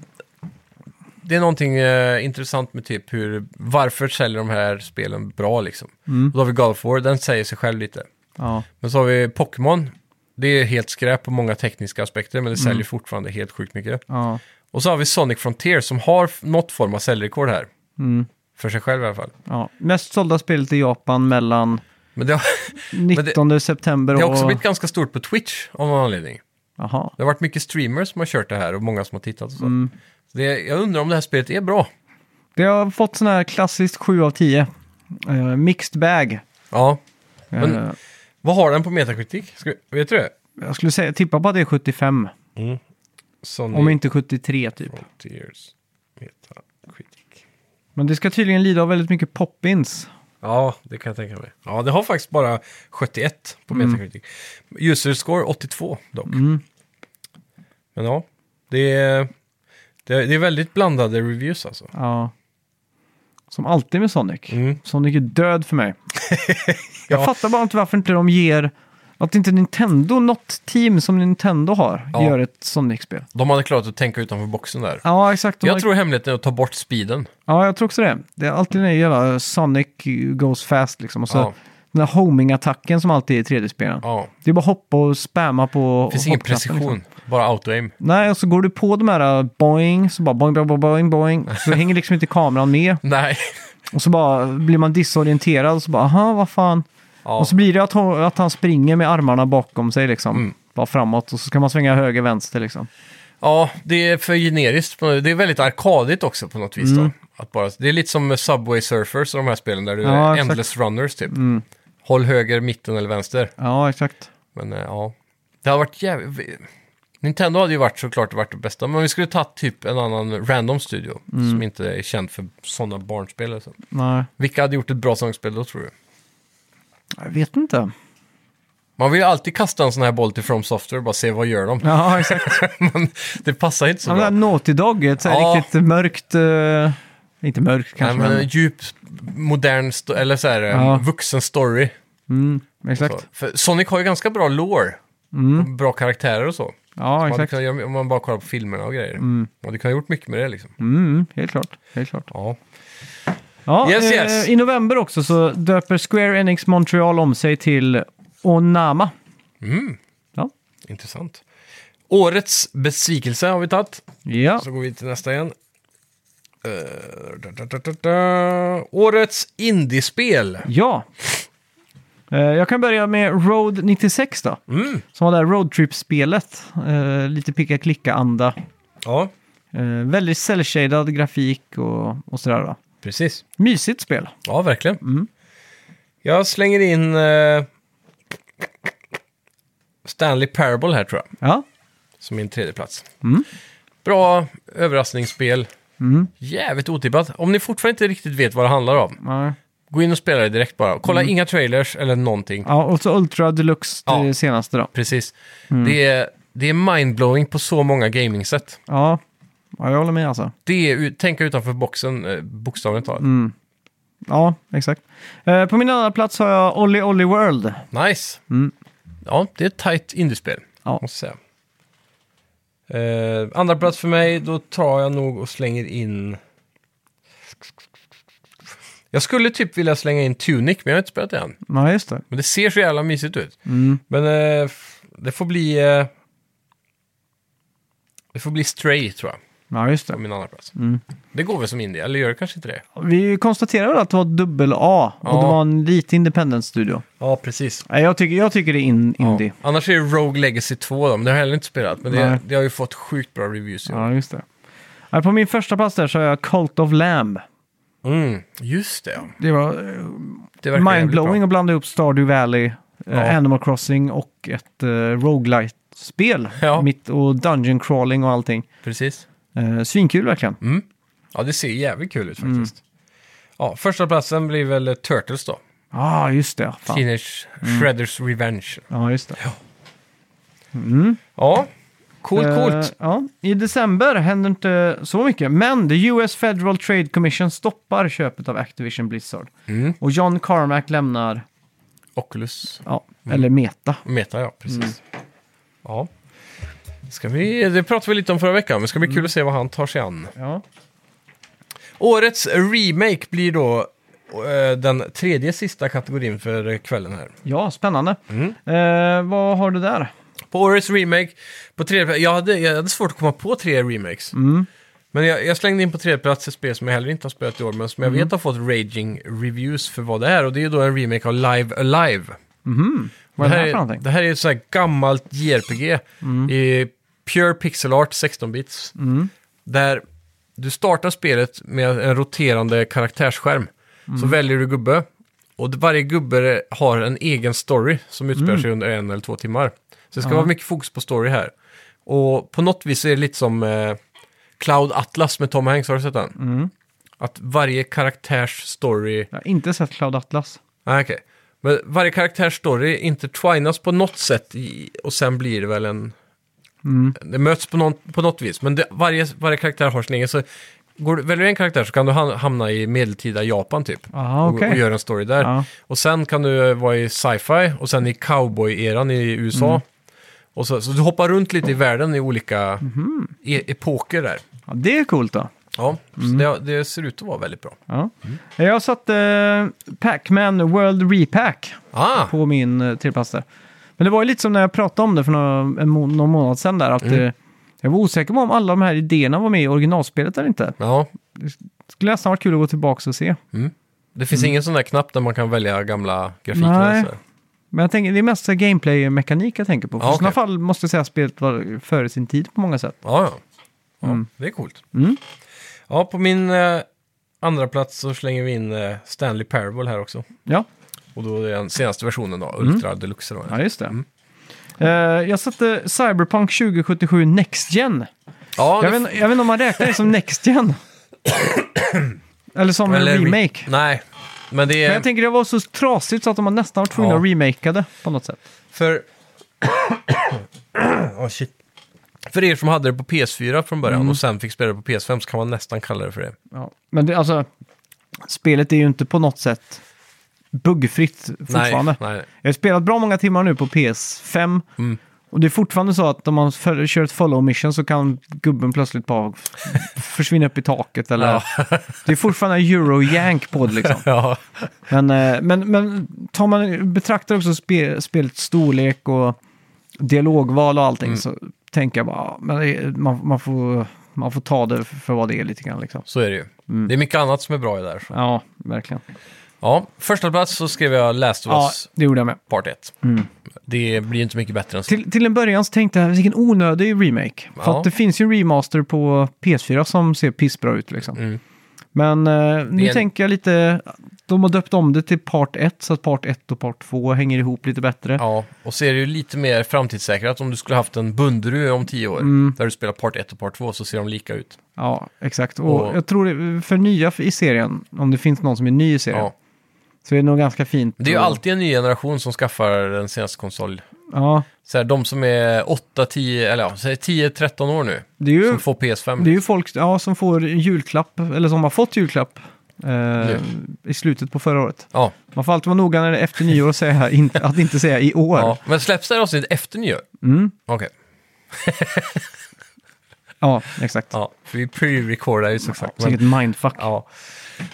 [SPEAKER 1] Det är någonting eh, intressant med typ hur, varför säljer de här spelen bra liksom. Och då har vi God of War, den säger sig själv lite.
[SPEAKER 2] Ja.
[SPEAKER 1] Men så har vi Pokémon, det är helt skräp på många tekniska aspekter, men det säljer fortfarande helt sjukt mycket.
[SPEAKER 2] Ja.
[SPEAKER 1] Och så har vi Sonic Frontier som har f- något form av säljrekord här. För sig själv i alla fall.
[SPEAKER 2] Ja. Mest sålda spelet i Japan mellan
[SPEAKER 1] Men det har, <laughs>
[SPEAKER 2] 19 september
[SPEAKER 1] det
[SPEAKER 2] och...
[SPEAKER 1] har också blivit ganska stort på Twitch av någon anledning.
[SPEAKER 2] Jaha.
[SPEAKER 1] Det har varit mycket streamers som har kört det här och många som har tittat och så. Så Det, jag undrar om det här spelet är bra.
[SPEAKER 2] Det har fått sån här klassiskt 7 av 10. Eh, mixed bag.
[SPEAKER 1] Ja.
[SPEAKER 2] Eh,
[SPEAKER 1] Men- Vad har den på Metacritic? Ska, vi- vet du det?
[SPEAKER 2] jag skulle säga, tippa på att det är 75.
[SPEAKER 1] Sonic
[SPEAKER 2] Om inte 73 typ.
[SPEAKER 1] Frontiers Metacritic.
[SPEAKER 2] Men det ska tydligen lida av väldigt mycket poppins.
[SPEAKER 1] Ja, det kan jag tänka mig. Ja, det har faktiskt bara 71 på
[SPEAKER 2] Mm.
[SPEAKER 1] Metacritic. User score 82 dock. Men ja, det är, det, är, det är väldigt blandade reviews alltså.
[SPEAKER 2] Ja. Som alltid med Sonic.
[SPEAKER 1] Mm.
[SPEAKER 2] Sonic är död
[SPEAKER 1] <laughs>
[SPEAKER 2] för mig. Jag fattar bara inte varför inte de ger... Att inte Nintendo, något team som Nintendo har,
[SPEAKER 1] Ja.
[SPEAKER 2] gör ett Sonic-spel.
[SPEAKER 1] De hade klarat att tänka utanför boxen där.
[SPEAKER 2] Ja, exakt. De
[SPEAKER 1] Jag
[SPEAKER 2] har-
[SPEAKER 1] tror hemligheten är att ta bort speeden.
[SPEAKER 2] Ja, jag tror också det. Det är alltid den här jävla Sonic goes fast liksom. Och så
[SPEAKER 1] Ja.
[SPEAKER 2] den här homing-attacken som alltid är i 3D-spelen.
[SPEAKER 1] Ja.
[SPEAKER 2] Det är bara hoppa och spamma på...
[SPEAKER 1] Det finns
[SPEAKER 2] och
[SPEAKER 1] ingen
[SPEAKER 2] hoppknappen,
[SPEAKER 1] precision,
[SPEAKER 2] liksom.
[SPEAKER 1] bara auto-aim.
[SPEAKER 2] Nej, och så går du på de här boing, så bara boing, boing, boing, boing, boing.
[SPEAKER 1] <laughs>
[SPEAKER 2] Så hänger liksom inte kameran med.
[SPEAKER 1] Nej.
[SPEAKER 2] Och så bara blir man disorienterad och så bara, aha, vad fan.
[SPEAKER 1] Ja.
[SPEAKER 2] Och så blir det att, hon- att han springer med armarna bakom sig liksom.
[SPEAKER 1] Mm.
[SPEAKER 2] Bara framåt och så kan man svänga höger, vänster liksom.
[SPEAKER 1] ja, det är för generiskt. på- Det är väldigt arkadigt också på något vis.
[SPEAKER 2] Mm.
[SPEAKER 1] Då. Att bara, det är lite som Subway Surfers och de här spelen där du
[SPEAKER 2] Ja,
[SPEAKER 1] är
[SPEAKER 2] exakt. Mm.
[SPEAKER 1] endless runners typ. Håll höger, mitten eller vänster.
[SPEAKER 2] Ja, exakt.
[SPEAKER 1] Men eh, ja, det har varit jävligt... Nintendo hade ju varit såklart varit det bästa, men vi skulle tagit typ en annan random studio
[SPEAKER 2] Mm.
[SPEAKER 1] som inte är känd för sådana barnspel. eller så.
[SPEAKER 2] Nej,
[SPEAKER 1] Vilka hade gjort ett bra sångspel då tror du?
[SPEAKER 2] jag vet inte.
[SPEAKER 1] Man vill ju alltid kasta en sån här boll till From Software och bara se vad gör de.
[SPEAKER 2] Ja, exakt.
[SPEAKER 1] <laughs> men det passar inte så
[SPEAKER 2] Ja,
[SPEAKER 1] bra.
[SPEAKER 2] men Naughty Dog, ett så här
[SPEAKER 1] Ja.
[SPEAKER 2] riktigt mörkt... eh, inte mörkt
[SPEAKER 1] Nej,
[SPEAKER 2] kanske,
[SPEAKER 1] men en
[SPEAKER 2] men...
[SPEAKER 1] djup, modern, sto- eller så här, eh,
[SPEAKER 2] Ja.
[SPEAKER 1] vuxen story.
[SPEAKER 2] Mm, exakt. Mm.
[SPEAKER 1] Så. För Sonic har ju ganska bra lore, och bra karaktärer och så.
[SPEAKER 2] Ja,
[SPEAKER 1] Man hade
[SPEAKER 2] exakt.
[SPEAKER 1] kunnat göra, om man bara kollar på filmerna och grejer. Man hade kunnat gjort mycket med det liksom.
[SPEAKER 2] Mm, helt klart. Helt klart.
[SPEAKER 1] Ja.
[SPEAKER 2] Ja,
[SPEAKER 1] Yes,
[SPEAKER 2] eh,
[SPEAKER 1] yes.
[SPEAKER 2] I november också så döper Square Enix Montreal om sig till Onama. Ja.
[SPEAKER 1] Intressant. Årets besvikelse har vi tagit.
[SPEAKER 2] ja.
[SPEAKER 1] Så går vi till nästa igen. Eh, da, da, da, da, da. Årets indiespel.
[SPEAKER 2] Ja. Eh, Jag kan börja med Road 96 då.
[SPEAKER 1] Mm.
[SPEAKER 2] Som var det här roadtrip-spelet. Eh, Lite picka-klicka-anda.
[SPEAKER 1] Ja,
[SPEAKER 2] Eh, Väldigt cell-shaded grafik och, och sådär. Då.
[SPEAKER 1] precis.
[SPEAKER 2] Mysigt spel.
[SPEAKER 1] Ja, verkligen.
[SPEAKER 2] Mm.
[SPEAKER 1] Jag slänger in eh, Stanley Parable här tror jag,
[SPEAKER 2] Ja,
[SPEAKER 1] som min tredje plats. Bra överraskningsspel. Jävligt otippat. Om ni fortfarande inte riktigt vet vad det handlar om,
[SPEAKER 2] ja.
[SPEAKER 1] gå in och spela det direkt bara. Kolla inga trailers eller någonting.
[SPEAKER 2] ja och så Ultra Deluxe det
[SPEAKER 1] Ja.
[SPEAKER 2] senaste då.
[SPEAKER 1] Precis. Det är, det är mindblowing på så många gamingsätt.
[SPEAKER 2] Ja. ja, jag håller med alltså.
[SPEAKER 1] Det är ut- tänka utanför boxen, eh, bokstavligt talat.
[SPEAKER 2] Ja, exakt. Eh, På min andra plats har jag Olly Olly World.
[SPEAKER 1] Nice! Ja, det är ett tajt indiespel,
[SPEAKER 2] Mm. Ja.
[SPEAKER 1] måste jag säga. Eh, andra plats för mig, då tar jag nog och slänger in... Jag skulle typ vilja slänga in Tunic, men jag har inte spelat det än.
[SPEAKER 2] Ja, just det.
[SPEAKER 1] Men det ser så jävla mysigt ut.
[SPEAKER 2] Mm.
[SPEAKER 1] Men eh, f- det får bli... Eh... Det får bli Stray, tror jag,
[SPEAKER 2] Ja, just det.
[SPEAKER 1] på min andra plats.
[SPEAKER 2] Mm.
[SPEAKER 1] Det går väl som indie, eller gör det kanske inte det?
[SPEAKER 2] Vi konstaterade att det var dubbel A och
[SPEAKER 1] Ja.
[SPEAKER 2] det var en lite independent studio.
[SPEAKER 1] Ja, precis.
[SPEAKER 2] Nej, Jag tycker, jag tycker det är in, indie.
[SPEAKER 1] Annars är det Rogue Legacy 2 då, men det har jag heller inte spelat. Men det,
[SPEAKER 2] Nej.
[SPEAKER 1] det har ju fått sjukt bra reviews.
[SPEAKER 2] Ja,
[SPEAKER 1] Ja.
[SPEAKER 2] just det. Ja, På min första plats där så har jag Cult of Lamb.
[SPEAKER 1] Mm, just det. ja.
[SPEAKER 2] Det var eh,
[SPEAKER 1] det verkar jävligt
[SPEAKER 2] mindblowing att blanda ihop Stardew Valley, eh,
[SPEAKER 1] Ja.
[SPEAKER 2] Animal Crossing och ett eh, roguelite spel.
[SPEAKER 1] Ja.
[SPEAKER 2] Mitt och dungeon crawling och allting.
[SPEAKER 1] Precis.
[SPEAKER 2] Eh, svinkul verkligen.
[SPEAKER 1] Mm. Ja, det ser jävligt kul ut faktiskt. Ja, första platsen blir väl eh, Turtles då.
[SPEAKER 2] Ja, ah, just det. Fan.
[SPEAKER 1] Teenage Shredders Revenge.
[SPEAKER 2] Ja, just det.
[SPEAKER 1] Ja, coolt,
[SPEAKER 2] Eh,
[SPEAKER 1] coolt.
[SPEAKER 2] ja. I december händer inte så mycket, men the US Federal Trade Commission stoppar köpet av Activision Blizzard.
[SPEAKER 1] Mm.
[SPEAKER 2] Och John Carmack lämnar,
[SPEAKER 1] Oculus Mm.
[SPEAKER 2] ja, eller Meta.
[SPEAKER 1] Meta, ja, precis. Ja. Ska vi, det pratade vi lite om förra veckan, men det ska bli kul att se vad han tar sig an.
[SPEAKER 2] Ja.
[SPEAKER 1] Årets remake blir då eh, den tredje sista kategorin för eh, kvällen här.
[SPEAKER 2] ja, spännande. Eh, vad har du där?
[SPEAKER 1] På årets remake, på tredje plats, jag hade, jag hade svårt att komma på tre remakes. Men jag, jag slängde in på tredje plats ett spel som jag heller inte har spelat i år, men som jag vet har fått raging reviews för vad det är. Och det är ju då en remake av Live Alive.
[SPEAKER 2] Vad är det här för
[SPEAKER 1] är,
[SPEAKER 2] någonting? Mm.
[SPEAKER 1] det här är ett sånt här gammalt JRPG i pure pixel art, 16 bits. Där du startar spelet med en roterande karaktärsskärm. Så
[SPEAKER 2] Mm.
[SPEAKER 1] väljer du gubbe. Och varje gubbe har en egen story som utspelar
[SPEAKER 2] Mm.
[SPEAKER 1] sig under en eller två timmar. Så det ska vara mycket fokus på story här. Och på något vis är det lite som eh, Cloud Atlas med Tom Hanks, har du sett den?
[SPEAKER 2] Mm.
[SPEAKER 1] Att varje karaktärs story
[SPEAKER 2] Jag har inte sett Cloud Atlas.
[SPEAKER 1] Nej, Ah, okej. Men varje karaktärs story intertwinas på något sätt i, och sen blir det väl en...
[SPEAKER 2] Mm.
[SPEAKER 1] Det möts på, någon, på något vis, men det, varje, varje karaktär har sin egen. Så går, du- väljer du en karaktär så kan du ham- hamna i medeltida Japan typ.
[SPEAKER 2] Aha,
[SPEAKER 1] och,
[SPEAKER 2] Ah, okej.
[SPEAKER 1] och göra en story där.
[SPEAKER 2] Ja.
[SPEAKER 1] Och sen kan du eh, vara i sci-fi och sen i cowboy-eran i USA.
[SPEAKER 2] Mm.
[SPEAKER 1] Och så, så du hoppar runt lite i världen i olika
[SPEAKER 2] Mhm.
[SPEAKER 1] e- epoker där.
[SPEAKER 2] Ja, det är coolt då.
[SPEAKER 1] Ja,
[SPEAKER 2] Mm.
[SPEAKER 1] så det, det ser ut att vara väldigt bra.
[SPEAKER 2] Ja. Jag satte eh, Pac-Man World Repack
[SPEAKER 1] Ah,
[SPEAKER 2] på min eh, tredjeplats där. Men det var ju lite som när jag pratade om det för några, en må- någon månad sedan där, att
[SPEAKER 1] Mm.
[SPEAKER 2] eh, jag var osäker på om alla de här idéerna var med i originalspelet eller inte.
[SPEAKER 1] ja.
[SPEAKER 2] Det skulle nästan varit kul att gå tillbaka och se.
[SPEAKER 1] Det finns ingen sån där knapp där man kan välja gamla grafiker?
[SPEAKER 2] Mm. Nej.
[SPEAKER 1] och sådär.
[SPEAKER 2] Men jag tänker, det är mest så här gameplay-mekanik jag tänker på. För
[SPEAKER 1] Ja,
[SPEAKER 2] I sådana
[SPEAKER 1] okej.
[SPEAKER 2] fall måste jag säga att spelet var före sin tid på många sätt.
[SPEAKER 1] Ja, ja. ja
[SPEAKER 2] Mm.
[SPEAKER 1] Det är coolt. Ja, på min eh, andra plats så slänger vi in eh, Stanley Parable här också.
[SPEAKER 2] Ja,
[SPEAKER 1] Och då är det den senaste versionen då,
[SPEAKER 2] Mm.
[SPEAKER 1] Ultra Deluxe. Då.
[SPEAKER 2] ja just det. Mm. Eh, jag satte Cyberpunk 2077 Next Gen.
[SPEAKER 1] Ja,
[SPEAKER 2] Jag
[SPEAKER 1] det-
[SPEAKER 2] vet, jag vet inte om man räknar det som
[SPEAKER 1] <coughs>
[SPEAKER 2] Next Gen. Eller som
[SPEAKER 1] eller
[SPEAKER 2] en
[SPEAKER 1] re-
[SPEAKER 2] remake.
[SPEAKER 1] Nej, men det
[SPEAKER 2] Men
[SPEAKER 1] är...
[SPEAKER 2] jag tänker det var så trasigt så att de nästan var tvungna
[SPEAKER 1] Ja.
[SPEAKER 2] att remakea det på något sätt.
[SPEAKER 1] För... <coughs> Åh, shit. För er som hade det på PS4 från
[SPEAKER 2] Mm.
[SPEAKER 1] början och sen fick spela det på PS5 så kan man nästan kalla det för det.
[SPEAKER 2] Ja. Men det, alltså, spelet är ju inte på något sätt buggfritt fortfarande.
[SPEAKER 1] Nej, nej.
[SPEAKER 2] Jag har spelat bra många timmar nu på PS5.
[SPEAKER 1] Mm.
[SPEAKER 2] Och det är fortfarande så att om man föl- kör ett follow mission så kan gubben plötsligt bara f- försvinna upp i taket. Eller... <laughs> Det är fortfarande euro-jank på
[SPEAKER 1] <laughs>
[SPEAKER 2] det liksom.
[SPEAKER 1] Ja,
[SPEAKER 2] Men, eh, men, men tar man, betraktar också spe, spelets storlek och dialogval och
[SPEAKER 1] Mm.
[SPEAKER 2] allting så tänker jag bara, ja, men det- man, man, får, man får ta det för vad det är lite grann liksom.
[SPEAKER 1] så är det ju. Det är mycket annat som är bra i det här. Så.
[SPEAKER 2] Ja, verkligen.
[SPEAKER 1] Ja, första plats så skrev jag Last of
[SPEAKER 2] Ja,
[SPEAKER 1] Us
[SPEAKER 2] det gjorde jag med.
[SPEAKER 1] Part 1. Det blir ju inte mycket bättre än så.
[SPEAKER 2] Till, till en början så tänkte jag, vilken onödig remake. För
[SPEAKER 1] Ja.
[SPEAKER 2] att det finns ju en remaster på PS4 som ser pissbra ut liksom. Men eh, nu
[SPEAKER 1] Mm. Det är en-
[SPEAKER 2] tänker jag lite, de har döpt om det till Part 1 så att Part 1 och Part 2 hänger ihop lite bättre.
[SPEAKER 1] Ja, och så är det ju lite mer framtidssäkrat om du skulle haft en Bunderu om tio år.
[SPEAKER 2] Mm.
[SPEAKER 1] Där du spelar part 1 och part 2 så ser de lika ut.
[SPEAKER 2] Ja, exakt. Och,
[SPEAKER 1] Och-
[SPEAKER 2] jag tror det, för nya i serien, om det finns någon som är ny i serien,
[SPEAKER 1] Ja.
[SPEAKER 2] så är det nog ganska fint.
[SPEAKER 1] Det är ju
[SPEAKER 2] att-
[SPEAKER 1] alltid en ny generation som skaffar den senaste konsol.
[SPEAKER 2] Ja,
[SPEAKER 1] Så här, de som är 8, 10, eller ja, säg 10, 13 år nu.
[SPEAKER 2] det är ju,
[SPEAKER 1] Som får PS5.
[SPEAKER 2] det är ju folk ja, som får julklapp, eller som har fått julklapp eh, i slutet på förra året.
[SPEAKER 1] Ja,
[SPEAKER 2] Man får alltid vara noga när det är efter nyår och säga, <laughs> inte- att inte säga i år.
[SPEAKER 1] ja.
[SPEAKER 2] Ja,
[SPEAKER 1] Men släpps det här avsnittet efter nyår?
[SPEAKER 2] mm,
[SPEAKER 1] Okej.
[SPEAKER 2] exakt.
[SPEAKER 1] Ja, för vi pre-recordar ju som sagt. Men,
[SPEAKER 2] Säkert mindfuck.
[SPEAKER 1] ja.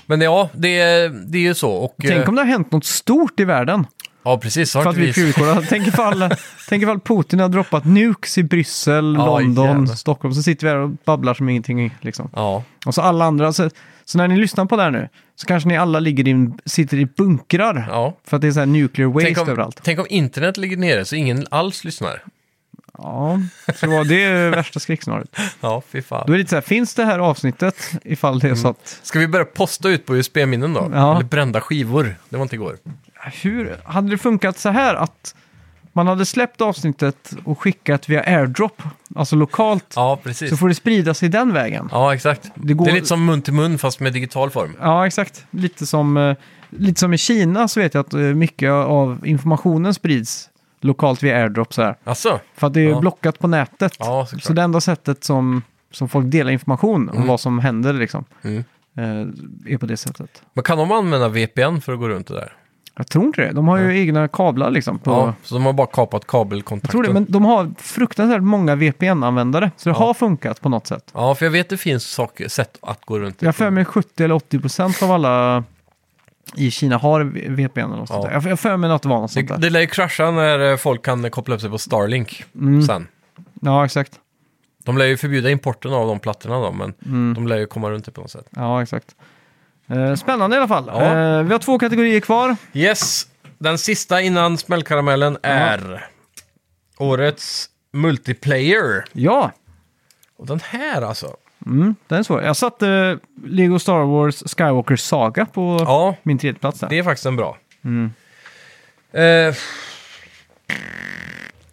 [SPEAKER 1] men ja, det, är- det är ju så. Och,
[SPEAKER 2] Tänk om det har hänt något stort i världen
[SPEAKER 1] Ja, precis. eh, Har
[SPEAKER 2] för att
[SPEAKER 1] inte <laughs>
[SPEAKER 2] vi prerecordar. Tänk ifall, tänk ifall Putin har droppat nukes i Bryssel,
[SPEAKER 1] Ja,
[SPEAKER 2] London,
[SPEAKER 1] jävlar.
[SPEAKER 2] Stockholm. Så sitter vi här och babblar som ingenting. Liksom.
[SPEAKER 1] Ja,
[SPEAKER 2] Och så alla andra. Så, så när ni lyssnar på det här nu så kanske ni alla ligger i, sitter i bunkrar.
[SPEAKER 1] ja.
[SPEAKER 2] För att det är så här nuclear
[SPEAKER 1] Tänk
[SPEAKER 2] waste
[SPEAKER 1] om,
[SPEAKER 2] överallt.
[SPEAKER 1] tänk om internet ligger nere så ingen alls lyssnar.
[SPEAKER 2] Ja, så var det är värsta skräckscenariot.
[SPEAKER 1] Ja, fy fan.
[SPEAKER 2] Då är det lite så här, finns det här avsnittet ifall det är så att...
[SPEAKER 1] Ska vi börja posta ut på USB-minnen då?
[SPEAKER 2] Ja.
[SPEAKER 1] Eller brända skivor? Det var inte igår.
[SPEAKER 2] Hur hade det funkat så här att man hade släppt avsnittet och skickat via airdrop, alltså lokalt,
[SPEAKER 1] Ja, precis.
[SPEAKER 2] så får det spridas i den vägen.
[SPEAKER 1] Ja, exakt. Det,
[SPEAKER 2] Det går-
[SPEAKER 1] är lite som mun till mun fast med digital form.
[SPEAKER 2] Ja, exakt. Lite som, eh, lite som i Kina så vet jag att eh, mycket av informationen sprids lokalt via airdrop så här.
[SPEAKER 1] Alltså,
[SPEAKER 2] För att det är
[SPEAKER 1] Ja.
[SPEAKER 2] blockat på nätet.
[SPEAKER 1] Ja, såklart.
[SPEAKER 2] så det enda sättet som, som folk delar information om vad som händer liksom,
[SPEAKER 1] Mm.
[SPEAKER 2] eh, är på det sättet.
[SPEAKER 1] men kan de använda VPN för att gå runt det där?
[SPEAKER 2] Jag tror inte det. De har ju egna kablar liksom. På,
[SPEAKER 1] Ja, så de har bara kapat
[SPEAKER 2] jag
[SPEAKER 1] kabelkontakten.
[SPEAKER 2] tror det, men de har fruktansvärt många VPN-användare. Så det har funkat på något sätt.
[SPEAKER 1] Ja, för jag vet det finns saker, sätt att gå runt det.
[SPEAKER 2] Jag har för mig 70 eller 80 procent av alla i Kina har v- VPN eller något sånt
[SPEAKER 1] Ja.
[SPEAKER 2] där. Jag har för mig att det var något sånt
[SPEAKER 1] Det,
[SPEAKER 2] där.
[SPEAKER 1] det lär ju krascha när eh, folk kan eh, koppla upp sig på Starlink
[SPEAKER 2] Mm.
[SPEAKER 1] sen.
[SPEAKER 2] Ja, exakt.
[SPEAKER 1] De lär ju förbjuda importen av de plattorna då, men
[SPEAKER 2] Mm.
[SPEAKER 1] de lär ju komma runt det på något sätt.
[SPEAKER 2] Ja, exakt. Eh, Spännande i alla fall.
[SPEAKER 1] Ja.
[SPEAKER 2] Eh, Vi har två kategorier kvar.
[SPEAKER 1] Yes, den sista innan smällkaramellen är årets multiplayer.
[SPEAKER 2] Ja,
[SPEAKER 1] Och den här alltså.
[SPEAKER 2] Mm, den är svår. Jag satte eh, Lego Star Wars Skywalker Saga på
[SPEAKER 1] Ja,
[SPEAKER 2] min tredje plats där.
[SPEAKER 1] det är faktiskt en bra.
[SPEAKER 2] Mm.
[SPEAKER 1] Eh,